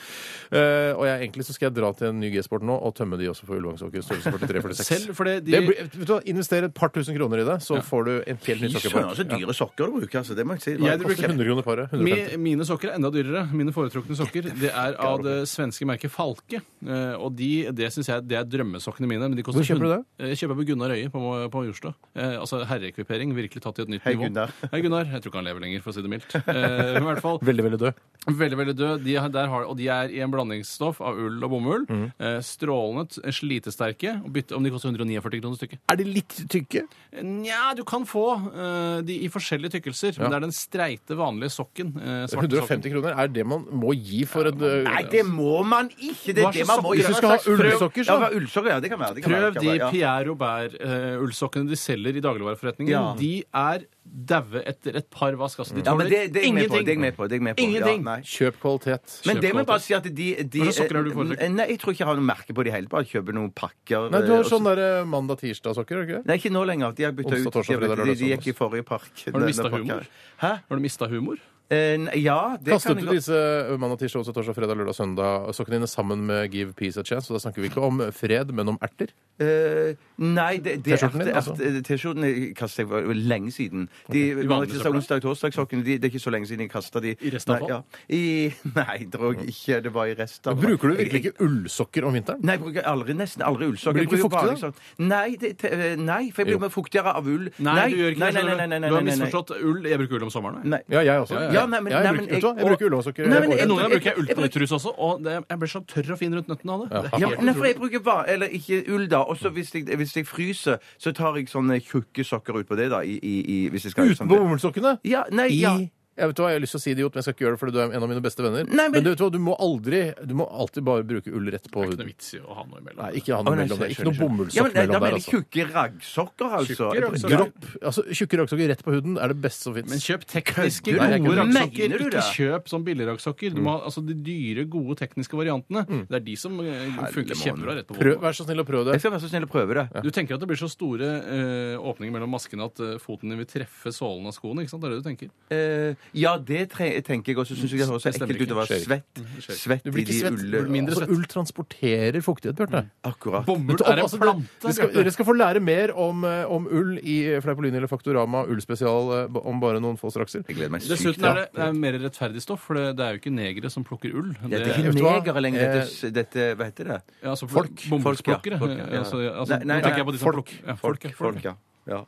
S3: Eh, og jeg, egentlig så skal jeg dra til en ny G-sport nå og tømme de også for ullevangsokker i størrelse 43-46.
S4: Selv fordi de-
S3: Det blir- vet du hva, Invester et par tusen kroner i det, så får du en helt ny
S2: Fy søren, så
S3: sokkepark.
S2: dyre sokker du bruker, altså. Det må jeg si.
S4: Jeg
S2: Det
S3: Det koster
S2: var-
S3: 100 kroner paret. 150.
S4: Mi- Mine sokker er enda dyrere. Mine foretrukne sokker det er av det svenske merket Falke. Eh, Og de, det synes jeg det er drømmesokkene mine. Men de koster
S3: Hvor kjøper du
S4: hund- Eh, Jeg kjøper på Gunnar Øie på, på Jordstad. Eh, Altså herreekvipering. Virkelig tatt til et nytt
S2: Hei,
S4: nivå.
S2: Gunnar.
S4: Hei, Gunnar. Jeg tror ikke han lever lenger, for å si det mildt. Eh, Men i hvert fall,
S3: Veldig, veldig død.
S4: Veldig, veldig død. De, er- der har, og de er i en blandingsstoff av ull og bomull.
S2: Mm.
S4: Eh, strålende, t- slitesterke. Og bytte om de koster 149 kroner stykket.
S3: Er de litt tykke?
S4: Nja, du kan få eh, de i forskjellige tykkelser. Men det er den streite, vanlige sokken. Eh, svarte
S3: 150
S4: sokken.
S3: kroner er det man må gi for et eh,
S2: Nei, det må man ikke! Det
S4: Hva
S2: er det
S4: slags
S2: man må
S4: sokker?
S3: Hvis
S2: gjøre.
S3: du skal ha
S2: Hva slags prøv-
S3: ullsokker, så.
S2: Ja, hva- ullsokker, ja, det kan være. Det kan være,
S4: Prøv
S2: det kan
S4: de
S2: være, ja.
S4: Pierre Robert-ullsokkene de selger i dagligvareforretningen.
S2: Ja.
S4: De er daue etter et par vask. Altså, de
S2: Ja, men det, det er jeg med på. Det er jeg
S4: ingenting.
S2: med på. Det er jeg med på.
S4: Ingenting.
S2: Ja, nei.
S3: Kjøp kvalitet.
S2: Men det må jeg bare
S4: Kjøpkvalitet.
S2: si at de, de
S4: Hva slags sokker har du foretrukket?
S2: Eh, Nei, Jeg tror ikke jeg har noe merke på de hele tatt. Kjøper noen pakker
S3: Nei, du
S2: eh,
S3: har
S2: og så-
S3: sånn derre mandag-tirsdag-sokker, har du ikke det?
S2: Nei, ikke nå lenger. De har bytta
S3: Onsdag,
S2: ut.
S3: torsdag,
S2: de,
S3: fredag,
S2: de,
S3: lørdag,
S2: de gikk
S3: søndag.
S2: i forrige park.
S4: Har du mistet
S2: Denne pakka.
S4: humor?
S2: Hæ?
S4: Har du mista humor?
S2: Eh, nei, ja, det
S3: Kastet
S2: kan
S3: du
S2: jeg godt.
S3: disse eh, mandag, tirsdag, onsdag, torsdag, fredag, lørdag, søndag sokkene dine sammen med Give Peace a Chance? Og da snakker vi ikke om fred, men om erter.
S2: Eh, nei, det, det
S3: T-skjorten din,
S2: er-
S3: altså?
S2: er- T-skjorten jeg kastet jeg for lenge siden. De,
S4: vanlige
S2: mandag, tirsdag,
S4: sokker?
S2: onsdag, torsdag-sokkene de, Det er ikke så lenge siden jeg kasta de.
S4: I restavfall?
S2: Nei, ja. I, (laughs) nei, drog ikke. Det var i restavfall.
S3: Bruker du virkelig ikke ullsokker om vinteren?
S2: Nei, jeg bruker aldri, nesten aldri ullsokker.
S3: Blir du ikke
S2: Jeg
S3: fuktig,
S2: bruker bare sånn- Nei, det, te- eh, nei, for jeg blir
S3: Jo.
S2: mer fuktigere av ull.
S4: Nei, du gjør ikke
S2: nei,
S4: det.
S2: nei,
S4: skjønner
S2: nei, nei, nei,
S4: du har
S2: nei, nei, nei.
S4: misforstått ull. Jeg bruker ullomsommeren. jeg.
S2: Nei.
S3: Ja, jeg også.
S4: Ja, ja,
S3: Ja,
S2: ja, nei, men-
S3: jeg
S2: nei,
S3: bruker,
S2: men jeg-
S3: vet du hva? jeg bruker ullåsokker.
S2: Nei, men
S3: Jeg går
S2: jeg-
S3: inn.
S4: Noen ganger bruker jeg
S2: jeg-
S4: ull på nytterhus også, og det, jeg blir så tørr og fin rundt nøttene av det. det. er
S2: Ja,
S4: helt
S2: men nei, for
S4: utrolig.
S2: jeg bruker va- eller ikke ull, da. Og så hvis, jeg- hvis jeg fryser, så tar jeg sånne tjukke sokker ut på det, da. I, i, i, hvis jeg skal
S3: Utenpå bomullssokkene?
S2: Ja, nei, sånn- ja.
S3: I jeg vet hva, jeg har lyst til å si idiot, men jeg skal ikke gjøre det fordi du er en av mine beste venner.
S2: Nei, men-
S3: men... du vet hva, du må aldri Du må alltid bare bruke ull rett på
S4: Det er ikke noe
S3: huden.
S4: vits i å ha noe imellom.
S3: Nei, ikke ha
S2: Å,
S3: noe
S2: nei,
S3: mellom
S2: skjønner,
S3: der. Ikke noe
S2: skjønner. ja,
S3: bomullssokk
S2: men, nei, Da
S3: mellom
S2: mener
S3: der,
S2: jeg
S3: altså.
S2: tjukke raggsokker, altså.
S4: Tjukke raggsokker.
S3: Gropp, altså Tjukke raggsokker rett på huden er det beste som
S4: Men
S3: fins.
S4: kjøp tekniske,
S2: Kødder
S3: du?
S4: gode
S2: Mener
S4: raggsokker.
S2: du det? Mm.
S4: Ikke kjøp sånn billigraggsokker. Du må ha altså, de dyre, gode tekniske variantene. Det er de som eh, funker
S2: måned.
S4: kjempebra rett på våpen.
S3: Vær så snill å prøve
S2: Jeg
S3: det.
S2: skal være så snill å prøve det.
S4: Du tenker at det blir så store eh, åpninger mellom maskene at eh, foten din vil treffe sålen av skoene. ikke sant? Det er det du tenker.
S2: Eh, ja, det tre tenker jeg også. Syns jeg det høres så
S4: Det stemmer
S2: ekkelt ut å
S4: ikke.
S2: være
S3: Skjer
S2: svett.
S4: skjer ikke.
S2: Svett
S3: Du
S2: i
S3: blir ikke
S2: de
S3: svett. du blir
S2: ulle...
S3: mindre svett. Ull transporterer fuktighet, Bjarte.
S2: Akkurat.
S4: Bomull
S3: Vet du,
S4: er en
S3: altså, dere- dere
S4: plante.
S3: skal,
S4: Bjarte.
S3: dere skal få lære mer om, eh, om ull i Fleipolini eller Faktorama ullspesial eh, ba- om bare noen få strakser.
S2: Jeg gleder meg sykt.
S4: Dessuten er det det er mer rettferdig stoff, for det, det er jo ikke negere som plukker ull.
S2: Ja, det er
S3: Vet
S2: ikke
S3: du hva?
S2: negere lenger, dette, dette Hva heter det?
S4: ja, altså,
S2: Folk.
S4: Bomullsplukkere.
S2: Folk, ja. Folk, ja.
S4: Altså, altså,
S2: Nei, nei,
S4: nå tenker jeg på
S2: nei,
S4: de som
S2: folk.
S4: plukker- ja,
S2: Folk,
S4: ja,
S2: folk, ja. ja.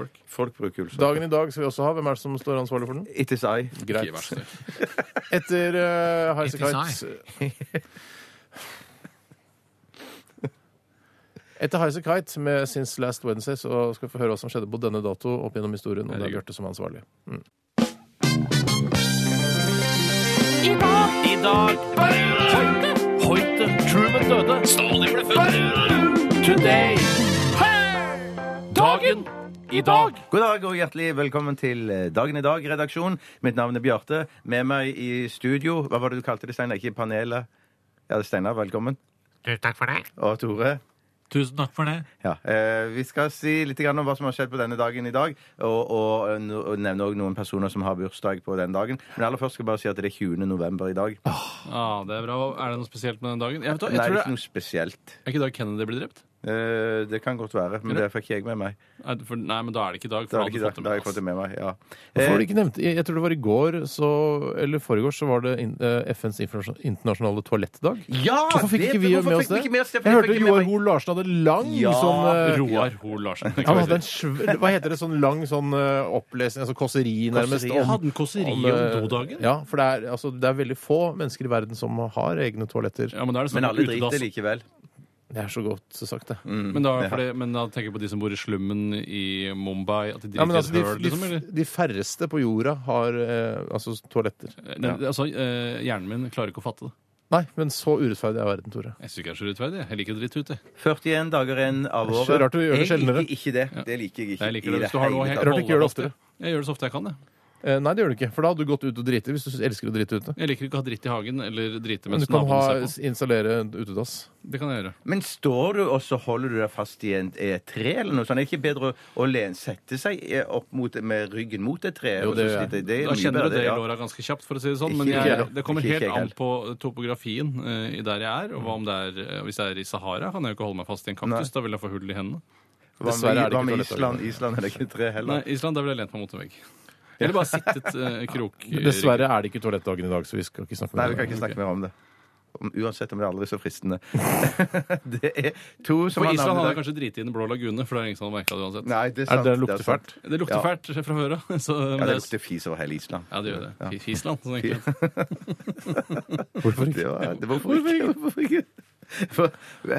S4: Folk.
S2: Folk bruker ullsokker.
S3: Dagen i dag skal vi også ha. Hvem er det som står ansvarlig for den?
S2: It is I.
S4: Ikke verst, det.
S3: Etter uh,
S7: Etter
S3: Highasakite Etter Highasakite med Since Last Wednesday så skal vi få høre hva som skjedde på denne dato opp gjennom historien, og det er Bjarte som er ansvarlig.
S4: I dag Hoite Hoite Truman døde Stalin ble født Today Dagen I dag
S2: God dag og hjertelig velkommen til eh, Dagen i dag-redaksjon. Mitt navn er Bjarte. Med meg i studio Hva var det du kalte det, Steinar? Ikke panelet? Ja, det er Steinar, velkommen.
S7: Tusen takk for det.
S2: Og Tore.
S9: Tusen takk for det.
S2: Ja, eh, Vi skal si litt grann om hva som har skjedd på denne dagen i dag, og, og, eh, no- og nevne også noen personer som har bursdag på den dagen. Men aller først skal jeg bare si at det er 20. november i dag.
S4: ah, Det er bra Er det noe spesielt med den dagen? Jeg vet hva,
S2: det
S4: jeg
S2: er
S4: tror det
S2: ikke noe spesielt.
S4: Er ikke i dag Kennedy ble drept?
S2: Eh, det kan godt være, men det fikk ikke jeg med meg.
S4: Nei, for, nei, men da er det ikke i dag for
S2: Da har jeg
S4: hadde
S2: ikke
S4: fått
S2: sagt- da har jeg
S4: det
S2: fått det
S4: med,
S2: med meg. ja.
S3: Hvorfor har du ikke nevnt Jeg jeg tror det var i går så, eller forgårs så var det in, eh, FNs internasjon- internasjonale toalettdag.
S2: Eh, Ja!
S3: Hvorfor fikk
S2: det-
S3: ikke vi
S2: hvorfor
S3: med
S2: fikk
S3: oss
S2: vi
S3: det?
S2: ikke med oss det? For
S3: Jeg
S2: jeg
S3: hørte
S2: fikk ikke
S3: Joar
S2: med meg-
S3: Hoel Larsen hadde lang
S2: Ja.
S3: sånn
S4: ass.
S3: eh,
S4: Roar Ho Larsen
S3: han hadde en sv Hva heter det? Sånn lang sånn eh, opplesning, altså kåseri nærmest.
S2: Kåseri.
S4: Hadde en kåseri om
S3: eh,
S4: dodagen?
S3: Ja, for det er, altså, det er veldig få mennesker i verden som har egne toaletter.
S4: Ja, men da er det
S2: Men
S4: sånn
S2: alle driter
S4: utedass
S2: likevel. Mm.
S3: Det er så godt sagt, det.
S4: Men da, for det, men da tenker jeg på de som bor i slummen i Mumbai. At de
S3: Ja,
S4: driter
S3: men altså,
S4: i
S3: de,
S4: et høl, liksom?
S3: de,
S4: Eller?
S3: de færreste på jorda har eh, altså toaletter.
S4: Nei, altså, eh, hjernen min klarer ikke å fatte det.
S3: Nei, men så urettferdig er verden, Tore.
S4: Jeg syns ikke jeg er så rettferdig. jeg. Jeg liker dritt ut, jeg.
S2: 41 dager igjen av
S3: Det er
S2: året.
S3: så rart du gjør det
S2: jeg
S3: sjeldnere.
S2: liker ikke det. Det liker jeg ikke.
S4: Jeg liker
S2: i
S4: det hvis du har noe
S2: hele
S4: helt
S2: tatt.
S3: Rart du ikke gjør det oftere.
S4: Jeg gjør det så ofte jeg kan, jeg.
S3: Eh, nei, det gjør du ikke, for da hadde du gått ut og driti hvis du elsker å drite ute.
S4: Jeg liker ikke å ha dritt i hagen eller drite
S3: Men du
S4: mens
S3: kan ha,
S4: naboen ser på.
S3: installere en utedass.
S4: Det kan jeg gjøre.
S2: Men står du, og så holder du deg fast i en, et tre eller noe sånt? Er det ikke bedre å, å len, sette seg eh, opp mot, med ryggen mot et tre?
S3: Jo,
S2: og
S3: det
S2: så
S3: gjør jeg.
S2: sitte- det er
S4: Da
S2: mye
S4: kjenner
S2: bedre,
S4: du det i
S2: ja.
S4: låra ganske kjapt, for å si det sånn.
S2: Ikke
S4: Men
S2: jeg
S4: jeg,
S2: heller.
S4: det kommer
S2: Ikke
S4: helt
S2: jeg
S4: an på topografien eh, i der jeg er. Og hva om det er, eh, hvis jeg er i Sahara, kan jeg jo ikke holde meg fast i en kaktus. Da vil jeg få hull i hendene.
S2: Hva
S3: Dessverre er
S2: med,
S3: det
S2: hva
S3: ikke toalett,
S2: med Island? Island er det ikke tre
S4: Nei,
S2: heller.
S4: Island, der ville jeg lent meg mot en vegg. Eller bare sittet
S2: (laughs)
S4: eh, krok.
S3: Dessverre er det ikke toalettdagen i dag, så vi skal ikke snakke
S2: Nei,
S3: mer
S2: vi
S3: om
S2: kan
S3: det.
S2: ikke snakke mer om det. Om, uansett om det er aldri så fristende. (laughs) det er to som
S4: På
S2: har
S4: Island
S2: navn i
S4: hadde
S2: dag.
S4: jeg kanskje driti i Den blå lagune, for det er ingen som hadde merka det uansett.
S2: Nei, det er
S3: Er
S2: sant.
S3: det det
S2: er
S3: lukter
S2: sant.
S3: fælt?
S4: Det lukter
S2: Ja.
S4: fælt eh, fra før av. (laughs) så- men
S2: Ja, det
S4: er-
S2: lukter fis over hele Island.
S4: Ja, det gjør det. Fi- Fisland, sånn
S2: Fi-
S4: egentlig.
S3: Hvorfor ikke?
S2: Det var, det var hvorfor ikke? Hvorfor ikke? For,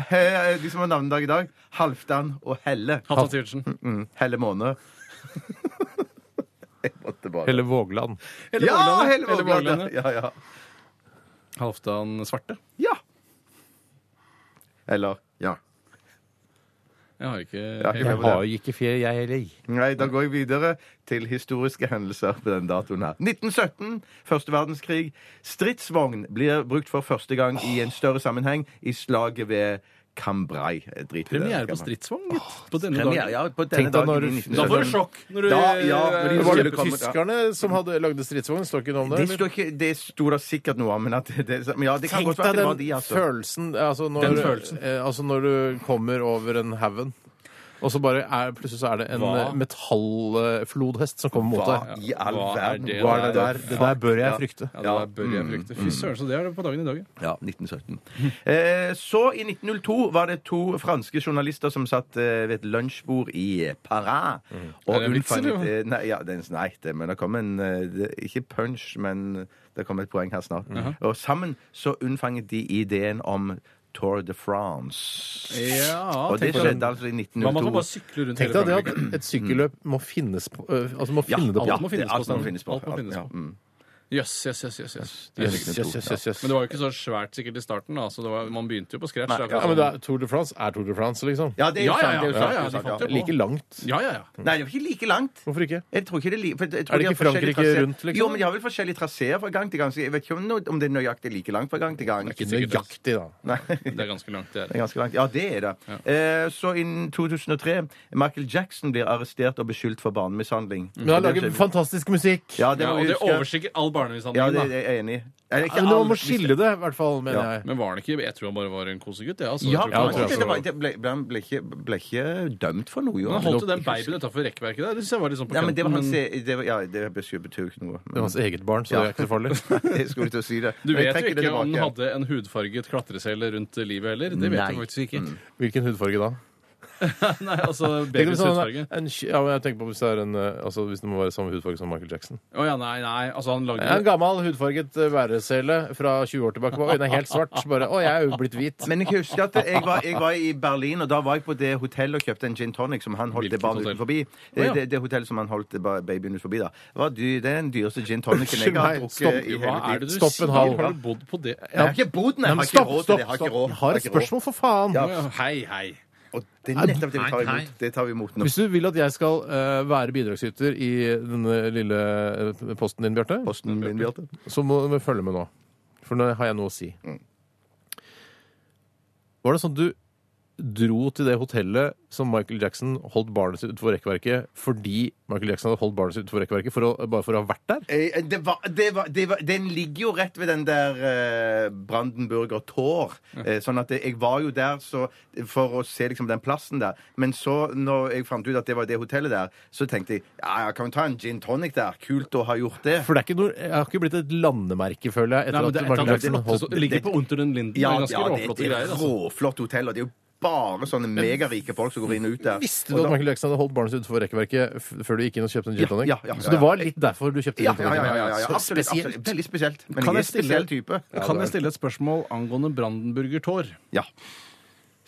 S2: he, de som har navnedag i dag, Halvdan og Helle.
S4: Hatta Sivertsen.
S2: Mm, Helle måned. (laughs) Jeg måtte bare
S3: Helle Vågland.
S2: Ja,
S4: Vågland,
S2: Helle
S4: Helle
S2: Vågland!
S4: Vågland,
S2: Ja, ja.
S4: Halvdan Svarte.
S2: ja. Eller
S8: Ja.
S4: Jeg har ikke
S2: Ja, ikke
S4: helt-
S3: Jeg har jo ikke fjer, jeg heller.
S2: Nei, da går jeg videre til historiske hendelser på den datoen her. 1917, første verdenskrig. Stridsvogn blir brukt for første gang i en større sammenheng i slaget ved Cambrai. Eh, Drit i det.
S4: Premiere på stridsvogn, gitt. På denne
S2: Premiere,
S4: dagen.
S2: ja, på denne
S3: Tenk deg når
S2: dagen i
S3: du-
S2: 1917.
S4: Da får du sjokk! Når du,
S2: Da- ja, men
S3: Det var det
S2: det kommer-
S3: tyskerne som hadde lagde stridsvogn? Står ikke noe om det?
S2: Det
S3: eller?
S2: sto, ikke, det sto da sikkert noe om, men at det, det, men ja, det kan
S3: Tenk
S2: godt være
S3: deg
S2: at det var
S3: den
S2: de, altså.
S3: følelsen, altså når,
S4: Den følelsen.
S3: Eh, altså når du kommer over en haugen, og så bare er, plutselig så er det en eh,
S4: Hva?
S3: metallflodhest som kommer mot
S2: Hva
S3: deg.
S2: i all
S4: Hva er
S2: verden?
S4: det
S3: Hva er det der? Det der bør jeg
S2: Ja. Mm.
S3: frykte.
S4: Ja, det der bør jeg frykte. Fy søren, så det er det på dagen i dag. ja.
S2: Ja, 1917. Eh, så, i 1902, var det to franske journalister som satt eh, ved et lunsjbord i eh, Paris. Og
S4: Mm. Er det en vits,
S2: unnfanget-
S4: eller?
S2: eh, nei, ja, det er en nei, det, men det kom en eh, det, Ikke punch, men eh, det kom et poeng her snart.
S4: Mhm.
S2: Og sammen så unnfanget de ideen om Tour de France.
S4: Ja,
S2: og det
S4: tenk deg-
S2: skjedde altså i 1902.
S4: Man må bare sykle rundt
S3: Tenk deg det at et sykkelløp må finnes på eh, Altså må
S2: ja,
S3: finne det
S2: ja,
S3: på.
S4: må finnes
S2: det- alt
S4: på,
S2: må
S4: Stein.
S2: finnes på.
S4: Alt må finnes
S2: Ja,
S4: på.
S2: mm.
S4: Jøss, jøss, jøss, jøss, jøss.
S3: Jøss, jøss, jøss, jøss, jøss.
S4: Men det var jo ikke så svært sikkert i starten. da, så det var, Man begynte jo på scratch. da,
S3: Ja, men det
S4: kanskje.
S3: er, Tour de France er Tour de France, liksom.
S2: Ja, det
S4: Ja,
S2: er jo
S4: ja,
S2: sant. det er jo
S4: ja,
S2: sant, det er
S4: ja,
S2: jo
S4: de
S2: sant,
S4: fant det
S2: ja.
S4: på.
S3: Like langt.
S4: sånn. ja, ja, ja.
S2: Nei, det var ikke like langt.
S3: Hvorfor ikke?
S2: Jeg tror ikke det er li... for jeg
S3: Er det
S2: tror de har
S3: ikke Frankrike
S2: forskjellige traseer.
S3: rundt, liksom?
S2: Jo, men de har vel forskjellige traseer fra gang til gang. Så jeg vet ikke om, no- om det er nøyaktig like langt fra gang til gang.
S3: Ikke nøyaktig, da.
S2: Nei, (laughs)
S4: Det
S2: det
S4: er ganske langt. det er.
S2: er ganske langt. Ja, det er det. Eh, så innen 2003 Michael Jackson blir arrestert og beskyldt for barnemishandling.
S3: Mm. Men han lager fantastisk musikk.
S2: Ja, det
S4: Ja,
S2: må
S4: og
S2: vi
S4: det
S2: huske.
S4: oversikker all
S2: Ja,
S4: barnemishandling.
S2: det
S4: da.
S2: er jeg enig i. Eller ikke
S3: Men man
S2: alle-
S3: må skille det, i hvert fall, mener
S2: Ja.
S3: jeg.
S4: Men var han ikke Jeg tror han bare var en kosegutt. Ja, altså,
S2: Ja,
S4: Jeg tror ikke
S2: kanskje
S4: han
S2: det var-
S4: var-
S2: det ble, ble, han ble, ikke, ble ikke dømt for noe, jo.
S4: Men han holdt jo den babyen utafor rekkverket der. Det synes jeg var litt sånn på
S2: Ja, men det var
S4: kanten,
S2: hans
S4: men
S2: det var, Ja, det betyr betyr jo ikke noe.
S3: Det er hans eget barn, så det er ikke så farlig.
S2: (laughs) Jeg skulle til å si det.
S4: Du
S2: Men
S4: vet jo
S2: jeg trekker det
S4: ikke om den
S2: tilbake.
S4: hadde en hudfarget klatresele rundt livet heller. Det vet
S2: Nei. Mm.
S4: jeg faktisk ikke.
S3: Hvilken hudfarge da?
S4: (laughs) Nei, altså
S3: Tenk om
S4: babyens
S3: sånn,
S4: hudfarge.
S3: en, sk- ja, men jeg tenker på hvis det er en eh, altså, Hvis den må være samme hudfarge som Michael Jackson.
S4: Å ja, nei, nei. Altså, han lagde
S3: En gammel hudfarget eh, væresele fra 20 år tilbake. Oi, den er helt svart. Bare, Å, jeg er jo blitt hvit.
S2: Men jeg husker at jeg var, jeg var i Berlin, og da var jeg på det hotellet og kjøpte en gin tonic som han holdt
S4: Hvilket
S2: det barnet
S4: hotell?
S2: utenfor. forbi.
S4: Å, ja.
S2: det, det hotellet som han holdt ba- babyen utenfor. da. Det var dy, det er den dyreste gin tonicen jeg
S3: Unnskyld
S2: har
S3: meg, stopp.
S2: drukket i
S4: Hva
S2: hele
S4: er det
S2: mitt liv.
S4: du
S3: Stopp en
S4: sier?
S3: hal.
S4: Har du bodd på det?
S2: Jeg har ikke bodd, nei.
S3: Nei, men
S2: Jeg har ikke
S3: stopp,
S2: råd
S3: stopp,
S2: til det. Jeg har
S3: stopp.
S2: ikke råd.
S3: Jeg har et
S2: Jeg har ikke råd.
S3: spørsmål, for faen.
S2: Ja.
S4: Hei, hei.
S2: Og det er nettopp det vi tar
S8: Hei, hei.
S2: imot. Det tar vi imot nå.
S3: Hvis du vil at jeg skal eh, være bidragsyter i denne lille eh, posten din, Bjarte,
S2: Posten min, Bjarte.
S3: så må du følge med nå. For nå har jeg noe å si.
S2: Mm.
S3: Var det sånn at du dro til det hotellet som Michael Jackson holdt barnet sitt utenfor rekkverket fordi Michael Jackson hadde holdt barnet sitt utenfor rekkverket for å, bare for å ha vært der?
S2: Eh, Det var, det var, det var, den ligger jo rett ved den der eh, Brandenburger Tor. Eh, sånn at jeg var jo der så, for å se liksom den plassen der. Men så, når jeg fant ut at det var det hotellet der, så tenkte jeg ja, ja, kan vi ta en gin tonic der? Kult å ha gjort det.
S3: For det er ikke noe, jeg har ikke blitt et landemerke, føler jeg, etter
S4: Nei, men det,
S3: at Michael
S4: det,
S3: Jackson holdt
S4: det ligger på Unter den Linden.
S2: Ja,
S4: det er ganske
S2: ja det,
S4: råflotte
S2: det er
S4: greier.
S2: et
S4: Altså.
S2: råflott hotell, og det er jo bare sånne megarike folk som går inn og ut der.
S3: Visste du at Michael Jackson hadde holdt barnet sitt utenfor rekkverket f- før du gikk inn og kjøpte en gin
S2: Ja,
S3: tonic?
S2: ja, ja, ja,
S3: Så det
S2: ja.
S3: var litt derfor du kjøpte
S2: ja,
S3: gin
S2: ja,
S3: tonic?
S2: ja, ja, ja, ja,
S3: Så
S2: absolutt, absolutt.
S3: spesielt.
S2: Veldig spesielt.
S4: Kan
S2: Men jeg er
S4: jeg
S2: en
S4: stille-
S2: spesiell type.
S4: Kan jeg stille et spørsmål angående Brandenburger Tor?
S2: Ja.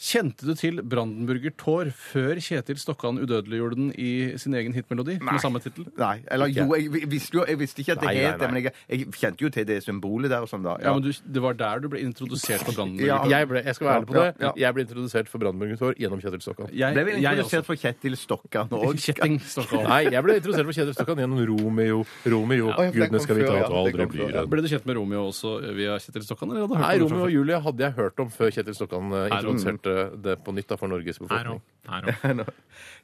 S4: Kjente du til Brandenburger Tår før Kjetil Stokkan udødeliggjorde den i sin egen hitmelodi med samme tittel?
S2: Nei. Eller jo, jeg vi- visste jo jeg visste ikke at det
S3: Nei, nei,
S2: het det,
S3: nei.
S2: men jeg, jeg kjente jo til det symbolet der og sånn, da.
S4: Ja, men du, Det var der du ble introdusert for Brandenburger
S2: Ja.
S4: Tor.
S3: Jeg, ble, jeg skal være ærlig på
S2: Ja,
S3: det.
S2: ja.
S3: Jeg ble introdusert for Brannmurgens hår gjennom Kjetil Stokkan.
S4: Jeg,
S2: Ble vi
S4: jeg
S2: introdusert
S4: også.
S2: for Kjetil Stokkan
S4: (laughs)
S2: òg?
S4: Kjetting Stokkan.
S3: Nei, jeg ble introdusert for Kjetil Stokkan gjennom Romeo. Romeo,
S2: Ja, for den
S3: Gudene
S2: kom
S3: skal vite
S2: før, ja,
S3: at du aldri
S2: den kom
S3: blir
S2: før, ja.
S3: en
S4: Ble du kjent med Romeo også via Kjetil Stokkan? Eller hadde du hørt
S3: Nei,
S4: om det fra
S3: Romeo og
S4: før?
S3: Julie hadde jeg hørt om før Kjtil Stokkan eh, introduserte det på nytt da, for Norges befolkning.
S8: Her òg.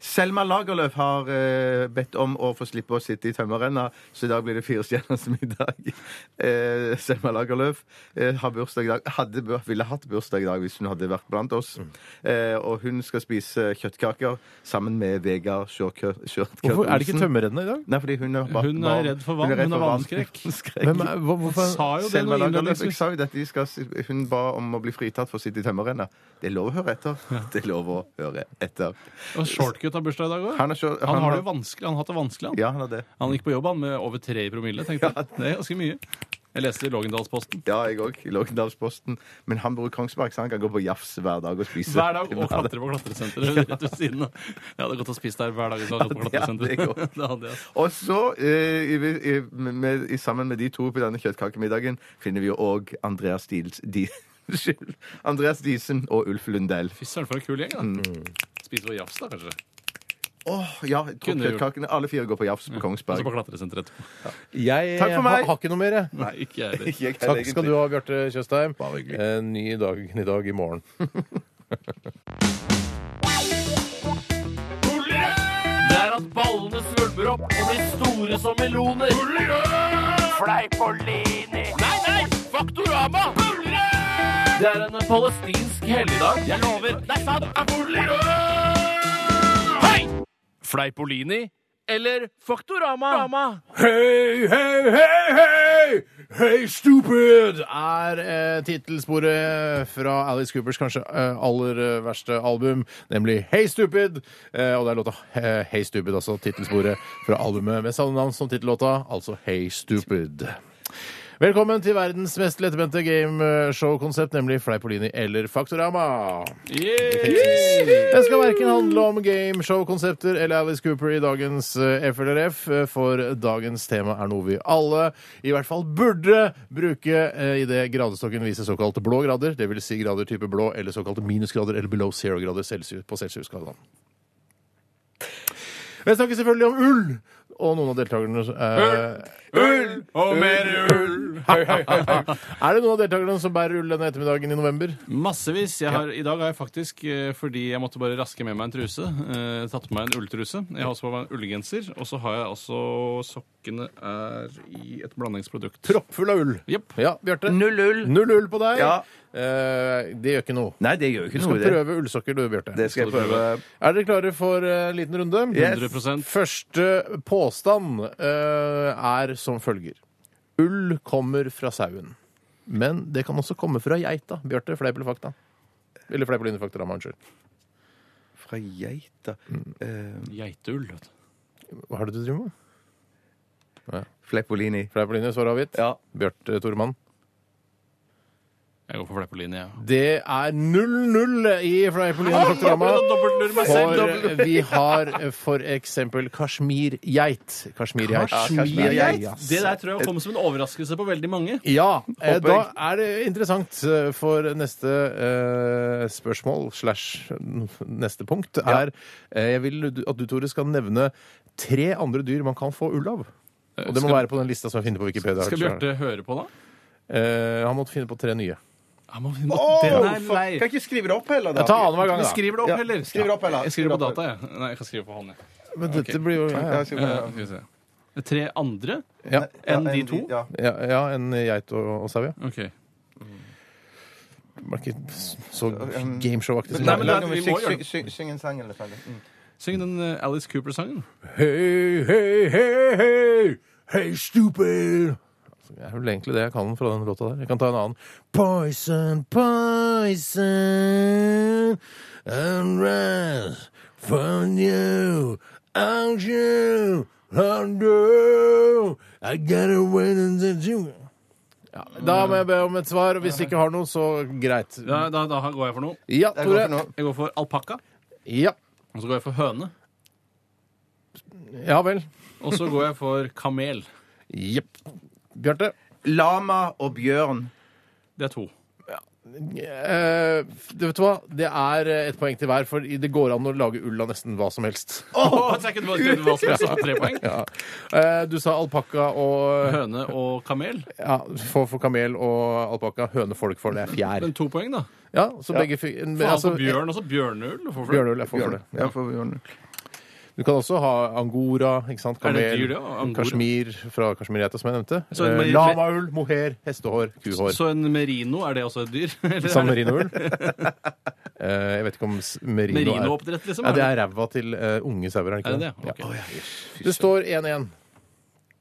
S2: Selma Lagerlöf har eh, bedt om å få slippe å sitte i tømmerrenna, så i dag blir det firestjerners middag. (laughs) Eh, Selma Lagerløf eh, har bursdag i dag. Hadde, bur- ville hatt bursdag i dag hvis hun hadde vært blant oss.
S4: Mm.
S2: Eh, og hun skal spise kjøttkaker sammen med Vegard Sjørkø- Sjørtkø...
S3: Hvorfor er det ikke
S2: Olsen.
S3: tømmerrennene i dag?
S2: Nei, fordi hun er, va-
S4: Hun er
S2: varm.
S4: redd for vann. Hun har vannskrekk.
S3: Hvem er, hva, hvorfor?
S4: Sa jo det
S2: Selma
S4: noe
S2: Lagerlöf jeg
S4: innledningsvis.
S2: sa jo at de skal, si- hun ba om å bli fritatt for å sitte i tømmerrenna. Det er lov å høre etter. Det er lov å høre etter.
S4: Og Shortcut har bursdag i dag òg.
S2: Han er så- han
S4: han, har
S2: har-
S4: det vanskelig, han har hatt det vanskelig, han.
S2: Ja, han er det.
S4: Han gikk på jobb han med over tre i promille, tenkte jeg. Det er ganske mye. Jeg leste i Lågendalsposten.
S2: Ja, jeg òg. I Lågendalsposten. Men han bor i Kongsberg, så han kan gå på jafs hver dag og spise.
S4: Hver dag og klatre på klatresenteret rett ved siden av. Jeg hadde gått og spist der hver dag. hvis jeg hadde gått på
S2: (laughs) Ja, det hadde
S4: (laughs)
S2: jeg
S4: klatresenteret. Det hadde jeg.
S2: Og så, eh, i, i, med, i, sammen med de to på denne kjøttkakemiddagen, finner vi jo òg Andreas Diels... Di, (laughs) unnskyld. Andreas Diesen og Ulf Lundell.
S4: Fy søren, for en kul gjeng,
S2: Mm.
S4: da. Spiser på jafs, da, kanskje.
S2: Åh, ja, jeg
S4: Kunne
S2: tror
S4: gjort. Altså
S2: kjøttkakene Alle fire går på jafs på
S4: Og så
S2: Kongsberg.
S4: på klatresenteret etterpå.
S3: Jeg
S2: Takk for
S3: ha-
S2: meg.
S3: har ikke noe mer, jeg.
S4: Nei, ikke jeg heller.
S2: Ikke jeg heller,
S3: Takk skal du
S2: egentlig.
S3: ha, Bjarte Tjøstheim.
S2: Bare hyggelig.
S3: Eh, Ny dagen i dag i morgen.
S9: Det er at ballene svulmer opp og blir store som meloner. Fleipolini. Nei, nei! Faktorama. Det er en palestinsk helligdag. Jeg lover. Det er sant. Hei! Fleipolini eller Faktorama?
S3: Hei, hei, hei, hei! Hei, stupid! Er eh, tittelsporet fra Alice Coopers kanskje eh, aller eh, verste album, nemlig Hey Stupid. Eh, og det er låta eh, Hey Stupid, altså tittelsporet fra albumet med samme navn som tittellåta, altså Hey Stupid. Velkommen til verdens mest lettbente gameshow-konsept, nemlig Fleipolini eller Faktorama. Det skal verken handle om gameshow-konsepter eller Alice Cooper i dagens eh, FLRF, eh, for dagens tema er noe vi alle, i hvert fall burde, bruke eh, i det gradestokken viser såkalte blå grader, det vil si grader type blå, eller såkalte minusgrader, eller below zero grader Celsius på Celsius-skalaen. Vi snakker selvfølgelig om ull, og noen av deltakerne eh, Ull!
S4: Og mer ull!
S3: Er det noen av deltakerne som bærer ull denne ettermiddagen i november?
S4: Massevis. Jeg har, I dag har jeg faktisk, eh, fordi jeg måtte bare raske med meg en truse, eh, tatt på meg en ulltruse. Jeg har også på meg en ullgenser, og så har jeg altså Sokkene er i et blandingsprodukt.
S3: Proppfull av ull.
S4: Jepp.
S3: Ja, Bjarte.
S2: Null ull.
S3: Null ull på deg.
S2: Ja.
S3: Eh, det gjør ikke noe.
S2: Nei, det gjør jo
S3: Du
S2: ikke
S3: skal
S2: noe, det.
S3: prøve ullsokker, du, Bjarte.
S2: Det skal jeg prøve.
S3: Er dere klare for eh, en liten runde?
S2: Yes.
S4: 100
S3: Første påstand eh, er som følger. Ull kommer fra sauen. Men det kan også komme fra geita. Bjarte, fleip eller fakta? Eller fleip eller fakta, da, unnskyld.
S2: Fra geita eh,
S4: Geiteull. vet du.
S3: Hva er det du driver med?
S2: Fleipolini.
S3: Fleip eller svar avgitt?
S2: Ja.
S3: Bjarte Tormann?
S4: Jeg går for fleipolini, jeg.
S3: Det er 0-0 i Fleipolini Faktorama. For vi har eh, for eksempel kasjmirgeit. Kasjmirgeit.
S2: Kasjmirgeit?
S3: Ja,
S4: Det der tror jeg kom som en overraskelse på veldig mange.
S3: Ja, eh,
S2: Håper
S3: da er det interessant, eh, for neste eh, spørsmål slash neste punkt er eh, Jeg vil du- at du, Tore, skal nevne tre andre dyr man kan få ull av. Og det må
S4: Skal-
S3: være på den lista som jeg finner på Wikipedia.
S4: Skal Bjarte høre på, da?
S3: Eh, han måtte finne på tre nye.
S4: Han må,
S2: Åh,
S4: den er
S2: fuck.
S4: lei.
S2: Kan ikke skrive det opp heller, da.
S3: Ta annenhver gang,
S4: Men
S3: da.
S4: skriver det opp,
S2: Ja,
S4: heller.
S2: skriv det opp, eller?
S4: Jeg skriver på data, jeg. Nei, jeg kan skrive på hånd, jeg.
S3: Men dette blir jo ja,
S2: Ja,
S3: ja.
S2: skriv det
S4: Eh,
S2: opp.
S4: skal vi se. Tre andre?
S3: Ja,
S4: Enn
S2: Ja,
S4: de to?
S2: Ja.
S3: ja, ja en geit og, og sau, ja.
S4: OK.
S3: Det var ikke så um, gameshow-aktig som
S4: Nei,
S3: det
S4: men
S3: er.
S4: da- vi må
S2: Syng-
S4: gjøre
S2: syng- syng- Syng en sang eller noe sånt. Mm.
S4: Syng den eh, Alice Cooper-sangen.
S3: Hei, hei, hei, hei, hei, stupid! Altså, Det er vel egentlig det jeg kan fra den låta der. Jeg kan ta en annen. Poison, poison, and rest from you, and you, and you, I gotta wait until you. Da må jeg be om et svar, og hvis du ikke har noe, så greit.
S4: Da, da, da går jeg for noe.
S3: Ja,
S2: Jeg går for
S3: Tore.
S2: noe.
S4: Jeg går for alpakka.
S3: Ja.
S4: Og så går jeg for høne.
S3: ja vel.
S4: Og så går jeg for kamel.
S3: Jepp. Bjarte?
S2: Lama og bjørn.
S4: Det er to.
S3: Eh, det vet du hva? Det er eh, et poeng til hver, for det går an å lage ull av nesten hva som helst.
S4: Oh, jeg kunne bare skrevet hva som helst. Tre (laughs) poeng.
S3: Ja. Eh, du sa alpakka og
S4: Høne og kamel.
S3: ja, for, for kamel og alpakka. Hønefolk for det er fjær.
S4: Men to poeng, da.
S3: Ja, så begge fikk en-
S4: Faen,
S3: altså,
S4: altså, bjørn også. Bjørneull. Hvorfor det?
S3: Bjørneull er for, for det.
S2: Ja, for bjørn.
S3: Du kan også ha angora, ikke sant?
S4: Er det
S3: kamel,
S4: dyr, det, angora?
S3: kasjmir fra kasjmirgeita, som jeg nevnte.
S4: Så en
S3: Eh,
S4: mer-
S3: Lamaull, mohair, hestehår, kuhår.
S4: Så en merino, er det også et dyr? (laughs) Eller er det-
S3: San Merino-ull. (laughs) Eh, jeg vet ikke om s- merino, er
S4: Merino-oppdrett, liksom?
S3: Nei, det er ræva til eh, unge sauer, er det
S4: Er
S3: ikke
S4: det det? Ok.
S3: Ja. Det står 1-1.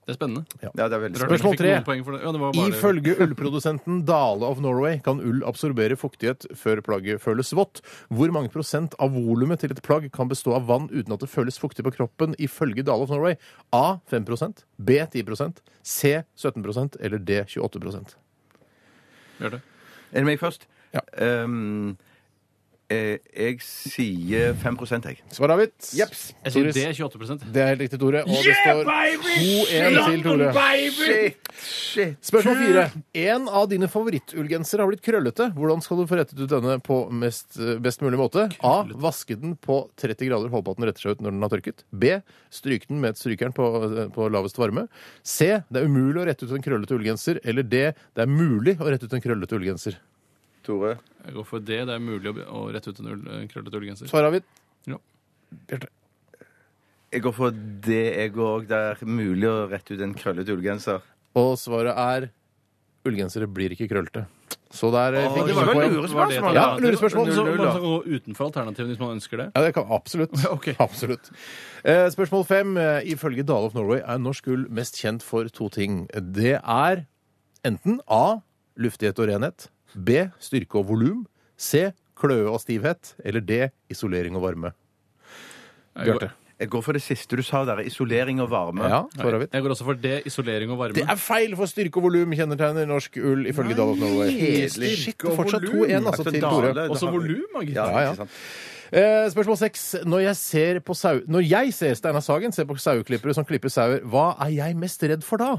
S4: Det er spennende.
S2: Ja, det er veldig
S4: Rart
S2: spennende.
S4: jeg ikke
S3: Spørsmål
S4: fikk
S3: tre.
S4: noen poeng for det. Ja, det var bare-
S3: Ifølge ullprodusenten Dale of Norway kan ull absorbere fuktighet før plagget føles vått. Hvor mange prosent av volumet til et plagg kan bestå av vann uten at det føles fuktig på kroppen, ifølge Dale of Norway? A 5 B 10 C 17 eller D 28
S4: Gjør det.
S2: Er det meg først?
S3: Ja.
S2: Ehm, eh, jeg sier 5 jeg.
S3: Svar avgitt.
S4: Jeg sier
S3: Tores.
S4: det er 28
S3: Det er helt riktig, Tore. Og det står 2-1 til Tore.
S2: Shit! Shit!
S3: Spørsmål fire. En av dine favorittullgensere har blitt krøllete. Hvordan skal du få rettet ut denne på mest, best mulig måte? A. Vaske den på 30 grader, håpe at den retter seg ut når den har tørket. B. Stryk den med et strykjern på, på lavest varme. C. Det er umulig å rette ut en krøllete ullgenser. Eller D. Det er mulig å rette ut en krøllete ullgenser.
S2: Tore.
S4: Jeg går for det. Det er mulig å be- å rette ut en ull- en krøllete ullgenser.
S3: Svar avgitt.
S4: Ja.
S3: Bjarte.
S2: Jeg går for det jeg òg. Det er mulig å rette ut en krøllete ullgenser.
S3: Og svaret er ullgensere blir ikke krøllete. Så der eh, fikk du
S2: det var jo
S3: poeng.
S2: lure
S4: Var det et
S2: spørsmål,
S3: ja.
S4: alternativ?
S3: Lurespørsmål,
S4: Så
S3: null,
S4: Man
S3: null, da.
S4: skal gå utenfor alternativene hvis man ønsker det.
S3: Ja, det kan absolutt.
S4: Ok.
S3: absolutt. Eh, spørsmål fem. Eh, Ifølge Dale of Norway er norsk ull mest kjent for to ting. Det er enten A. Luftighet og renhet. B. Styrke og volum. C. Kløe og stivhet. Eller D. Isolering og varme.
S4: Jeg går-
S3: Bjarte.
S2: Jeg går for det siste du sa der. Isolering og varme.
S3: Ja, svaret mitt.
S4: Jeg går også for det. Isolering og varme.
S3: Det er feil, for styrke og volum kjennetegner norsk ull ifølge Dale of Norway.
S2: Kjedelig.
S3: Shit, fortsatt 2-1 altså, til
S2: Dale,
S3: Tore.
S2: da
S4: Også
S2: har vi-
S4: volum, da, gitt.
S2: Ja,
S3: Ja, ja.
S2: ikke sant.
S3: Eh, spørsmål seks. Når jeg ser på sau... Når jeg ser Steinar Sagen se på saueklippere som klipper sauer, hva er jeg mest redd for da?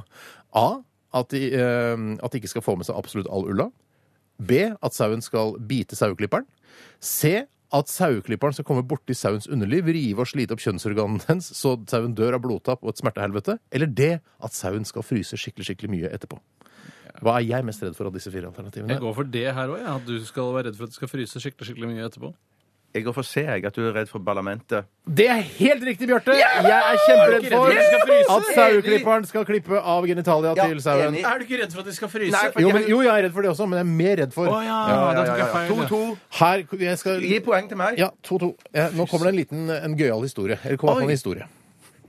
S3: A. At de, eh, at de ikke skal få med seg absolutt all ulla. B. At sauen skal bite saueklipperen. C. At saueklipperen skal komme borti sauens underliv, rive og slite opp kjønnsorganene dens, så sauen dør av blodtap og et smertehelvete. Eller D. At sauen skal fryse skikkelig, skikkelig mye etterpå. Hva er jeg mest redd for av disse fire alternativene?
S4: Jeg går for det her òg, ja. at du skal være redd for at det skal fryse skikkelig skikkelig mye etterpå.
S2: Jeg går for C, jeg. At du er redd for parlamentet.
S3: Det er helt riktig, Bjarte. Jeg er kjemperedd for at saueklipperen skal klippe av genitalia
S2: Ja,
S3: til sauen.
S2: enig.
S4: Er du ikke redd for at de skal fryse?
S2: Nei, for-
S3: Jo, men, jo, jeg er redd for det også, men jeg er mer redd for
S4: Å ja, da tok jeg feil. ja.
S2: 2-2.
S3: Her, jeg skal
S2: Gi poeng til meg.
S3: Ja, 2-2. Ja, nå kommer det en liten, en gøyal historie. Eller kommer i hvert fall en historie.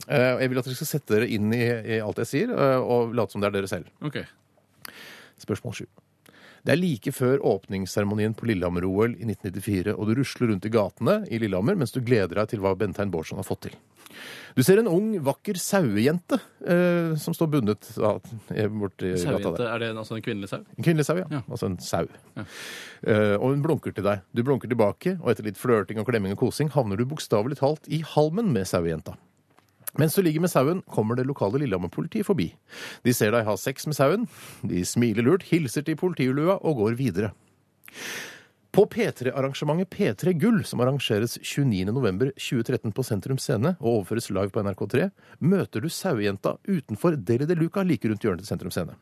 S3: Eh, og jeg vil at dere skal sette dere inn i, i alt jeg sier, eh, og late som det er dere selv.
S4: Ok.
S3: Spørsmål 7. Det er like før åpningsseremonien på Lillehammer-OL i 1994, og du rusler rundt i gatene i Lillehammer mens du gleder deg til hva Bentein Bårdsson har fått til. Du ser en ung, vakker sauejente eh, som står bundet ja, borti gata
S4: Sauejente,
S3: der.
S4: er det en, altså en kvinnelig sau?
S3: En kvinnelig sau, ja. Altså en sau. Eh, og hun blunker til deg. Du blunker tilbake, og etter litt flørting og klemming og kosing havner du bokstavelig talt i halmen med sauejenta. Mens du ligger med sauen, kommer det lokale Lillehammer-politiet forbi. De ser deg ha sex med sauen, de smiler lurt, hilser til politiulua og går videre. På P3-arrangementet P3 Gull, som arrangeres 29.11.2013 på Sentrum Scene og overføres live på NRK3, møter du sauejenta utenfor Deli de Luca like rundt hjørnet til Sentrum Scene.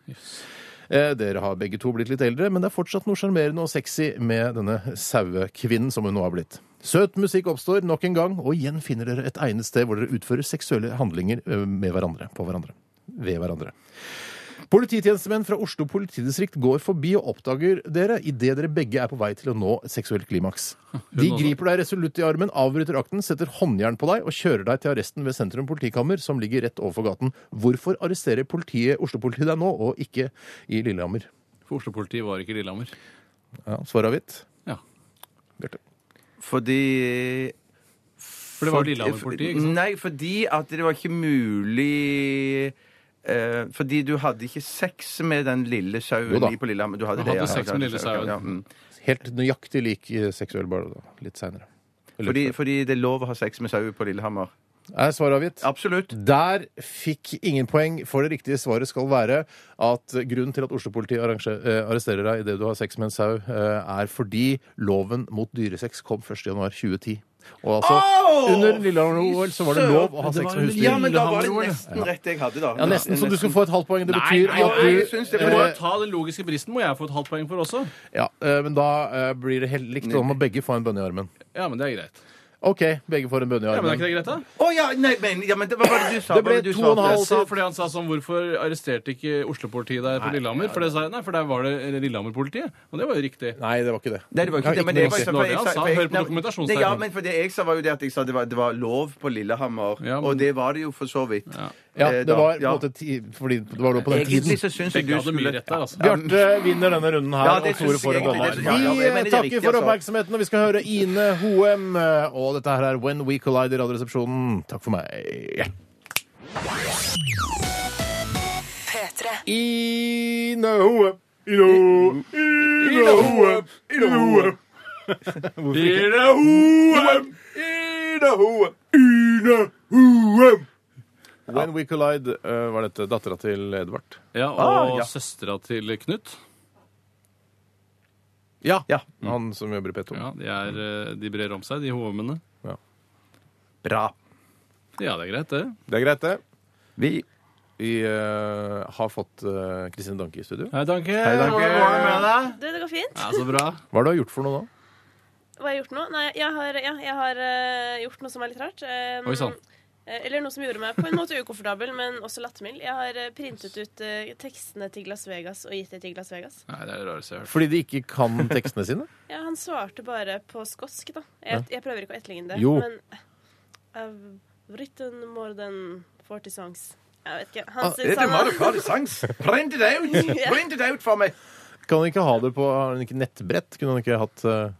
S3: Eh, Dere har begge to blitt litt eldre, men det er fortsatt noe sjarmerende og sexy med denne sauekvinnen som hun nå har blitt. Søt musikk oppstår nok en gang, og igjen finner dere et egnet sted hvor dere utfører seksuelle handlinger eh, med hverandre, på hverandre, ved hverandre. Polititjenestemenn fra Oslo politidistrikt går forbi og oppdager dere idet dere begge er på vei til å nå et seksuelt klimaks. De griper deg resolutt i armen, avbryter akten, setter håndjern på deg og kjører deg til arresten ved Sentrum politikammer, som ligger rett overfor gaten. Hvorfor arresterer politiet Oslo-politiet deg nå, og ikke i Lillehammer?
S4: For Oslo-politiet var ikke i Lillehammer.
S3: Ja, Svaret avgitt.
S4: Ja.
S3: Bjarte.
S2: Fordi
S4: For det var Lillehammer-politiet, ikke sant?
S2: Nei, fordi at det var ikke mulig eh, fordi du hadde ikke sex med den lille
S3: Jo
S2: sauen
S3: da.
S2: i på Lillehammer. Du hadde,
S4: Du hadde
S2: det, ja.
S4: sex med lille sauen.
S2: Ja, mm.
S3: Helt nøyaktig lik eh, seksuell bare da, litt seinere.
S2: fordi, fordi det er lov å ha sex med sau på Lillehammer.
S3: Er svaret avgitt?
S2: Absolutt.
S3: Der fikk ingen poeng, for det riktige svaret skal være at grunnen til at Oslo-politiet arranger- eh, arresterer deg idet du har sex med en sau, eh, er fordi loven mot dyresex kom 1.1.2010. Og altså, under Lillehammer-OL så var det lov å ha sex med husdyr.
S2: Ja, men da var det
S4: Lillehammer-OL.
S2: nesten rett jeg hadde, da.
S3: Ja, nesten, så du skal få et halvt poeng. Det
S4: Nei,
S3: betyr
S4: nei,
S3: at
S4: nei,
S3: du
S2: jeg syns det
S4: Du må
S2: var
S4: jo ta den logiske bristen, må jeg få et halvt poeng for også.
S3: Ja, eh, men da eh, blir det helt likt. Da må begge få en bønne i armen.
S4: Ja, men det er greit.
S3: OK, begge får en bønne i
S4: Ja, men er
S3: armen.
S4: ikke det greit, da?
S2: Å ja, nei, men, ja, men det var bare du sa.
S3: Det ble
S2: bare du
S3: to
S2: svarte.
S3: og en halv
S4: Jeg sa fordi han sa sånn Hvorfor arresterte ikke Oslo-politiet deg på Lillehammer? For det sa jeg, nei, for der var det Lillehammer-politiet. Og det var jo riktig.
S3: Nei, det var ikke det.
S2: Nei, det var ikke
S3: Ja,
S2: det. Men
S3: noe
S2: det
S3: å
S2: var,
S3: si.
S2: for jeg
S4: Nå, det han sa.
S2: for jeg-
S4: Hør på
S2: nei,
S4: dokumentasjonen,
S2: nei, Ja,
S4: Steinar.
S2: men for det jeg sa, var jo det at jeg sa det var, det var lov på Lillehammer.
S4: Ja, men-
S2: Og det var det jo for så vidt.
S4: Ja.
S3: Ja,
S2: Eh,
S3: det
S2: da.
S3: var på en
S2: Ja.
S3: måte ti, fordi det var lov på den tiden.
S2: Egentlig så syns jeg
S4: Begge
S2: du
S4: hadde mye
S2: skulle
S4: rett der, altså.
S3: Bjarte vinner denne runden her,
S2: Ja, det
S3: og Tore
S2: synes
S3: får
S2: jeg
S3: en
S2: egentlig
S3: bønne.
S2: det- ja, ja,
S3: Vi
S2: jeg mener
S3: eh,
S2: det er
S3: takker
S2: riktig,
S3: for
S2: altså.
S3: oppmerksomheten, og vi skal høre Ine Hoem. eh, Og dette her er When We Collide i Radioresepsjonen. Takk for meg.
S6: P3.
S3: Ine Hoem. Ine Hoem. Ine Hoem. Ine Hoem. Ine Hoem. Ine Hoem. Ine Hoem. When We Collide eh, var dette dattera til Edvard.
S4: Ja,
S2: Ah,
S4: og
S2: ja.
S4: søstera til Knut.
S3: Ja. Han som jobber i P2.
S4: Ja, de, er, eh, de brer om seg, de hovmennene.
S2: Bra.
S4: Ja, det er greit, det.
S3: Det er greit, det.
S2: Vi
S3: Vi eh, har fått eh, Kristine Danke i studio.
S4: Hei, Danke.
S10: Du, det går fint.
S4: Ja, så bra.
S3: Hva har du gjort for noe nå?
S10: Hva har jeg gjort nå? Nei, jeg har, ja, jeg har eh, gjort noe som er litt rart. Eh,
S4: Oi, sånn. sann.
S10: eh, Eller noe som gjorde meg på en måte ukomfortabel, men også lattermild. Jeg har eh, printet ut eh, tekstene til Las Vegas og gitt det til Las Vegas.
S4: Nei, det er det rareste jeg har hørt.
S3: Fordi de ikke kan
S10: (laughs)
S3: tekstene sine?
S10: Ja, han svarte bare på skotsk, da. Jeg, jeg prøver ikke å etterligne det.
S3: Jo.
S10: Men I've written more than 40 songs. Jeg vet ikke. Han
S2: Det
S10: synes
S2: Ah, er
S10: han
S2: Mario Party
S10: (laughs)
S2: sangs. Print it out! Print it out for meg!
S3: Kan han ikke ha det på har han ikke nettbrett? Kunne han ikke hatt eh,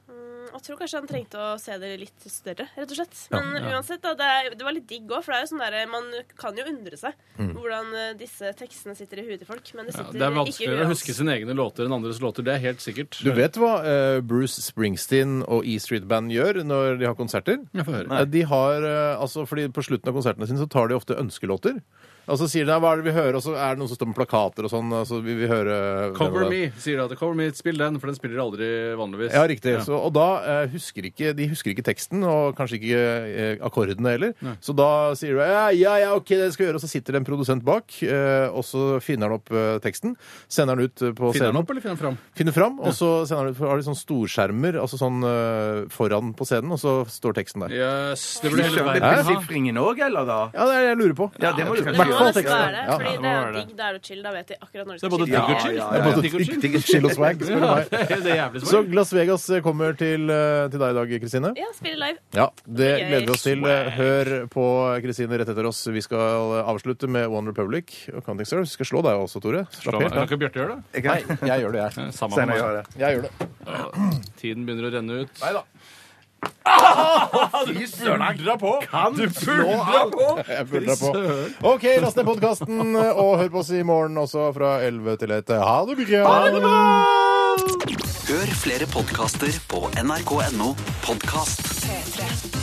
S10: Jeg tror kanskje han trengte å se det litt større, rett og slett. Men uansett, da, det, er, det var litt digg òg, for det er jo sånn der, man kan jo undre seg hvordan eh, disse tekstene sitter i huet til folk. Men det
S4: Mm. Ja,
S10: sitter
S4: det er
S10: ikke i
S4: vanskeligere å
S10: huet
S4: huske sine egne låter enn andres låter. Det er helt sikkert.
S3: Du vet hva eh, Bruce Springsteen og E Street Band gjør når de har konserter?
S4: Jeg får høre.
S3: Eh, De har, eh, altså, fordi På slutten av konsertene sine så tar de ofte ønskelåter. Og så sier de "Nei, 'hva er det vi hører', og så er det noen som står med plakater og sånn. Altså, vi vil høre
S4: Cover Me, sier de. Cover Me, Spill den, for den spiller de aldri vanligvis.
S3: Ja, riktig. Så, og da eh, husker ikke, de husker ikke teksten, og kanskje ikke eh, akkordene heller. Så da sier du ja, ja, ja, ok, det skal vi gjøre. Og så sitter det en produsent bak, eh, og så finner han opp eh, teksten. Sender den ut eh,
S4: Finner den
S3: på scenen.
S4: opp, eller finner den fram?
S3: Finner fram, og så sender han ut, har de sånne storskjermer altså sånn eh, foran på scenen, og så står teksten der.
S4: Jøss, det
S2: Du
S4: burde hele
S2: skjønner
S4: verden
S2: det er
S4: ha.
S2: prinsippringen òg, eller da?
S3: Ja, det er det jeg lurer på.
S2: Ja, det må du
S10: Det
S2: kanskje gjøre.
S10: må nesten være det,
S3: Ja,
S10: fordi
S4: det må
S10: det er
S4: være det.
S10: digg. Da er det chill. Da vet de akkurat når
S4: Det
S10: det
S4: er både digg
S10: skal chill.
S4: og chill.
S2: ja,
S4: Det er
S2: ja.
S4: både digg og chill.
S3: Digg chill og swag, spør du
S4: Ja,
S3: meg.
S4: det er jævlig
S3: Så
S4: smart.
S3: Las Vegas kommer til, eh, til deg i dag, Kristine.
S10: Ja, spille live.
S3: Ja, det
S10: Gøy.
S3: gleder vi oss til. Hør på Kristine rett etter oss. Vi skal avslutte med One Republic og Counting Stars. Vi skal slå deg også, Tore. Slapp helt
S4: Kan
S3: av.
S4: ikke Bjarte gjøre det?
S2: Jeg kan-
S3: Nei, (laughs) jeg gjør det, jeg.
S4: Samme
S2: Steinar
S4: med meg.
S2: gjør det.
S3: Jeg gjør det.
S4: Tiden begynner å renne ut.
S3: Nei da.
S2: Fy søren, han
S3: Jeg følger deg på. OK, last ned podkasten og hør på oss i morgen også fra 11 til 1. Ha det bra!
S11: Hør flere podkaster på nrk.no podkast.
S6: P3.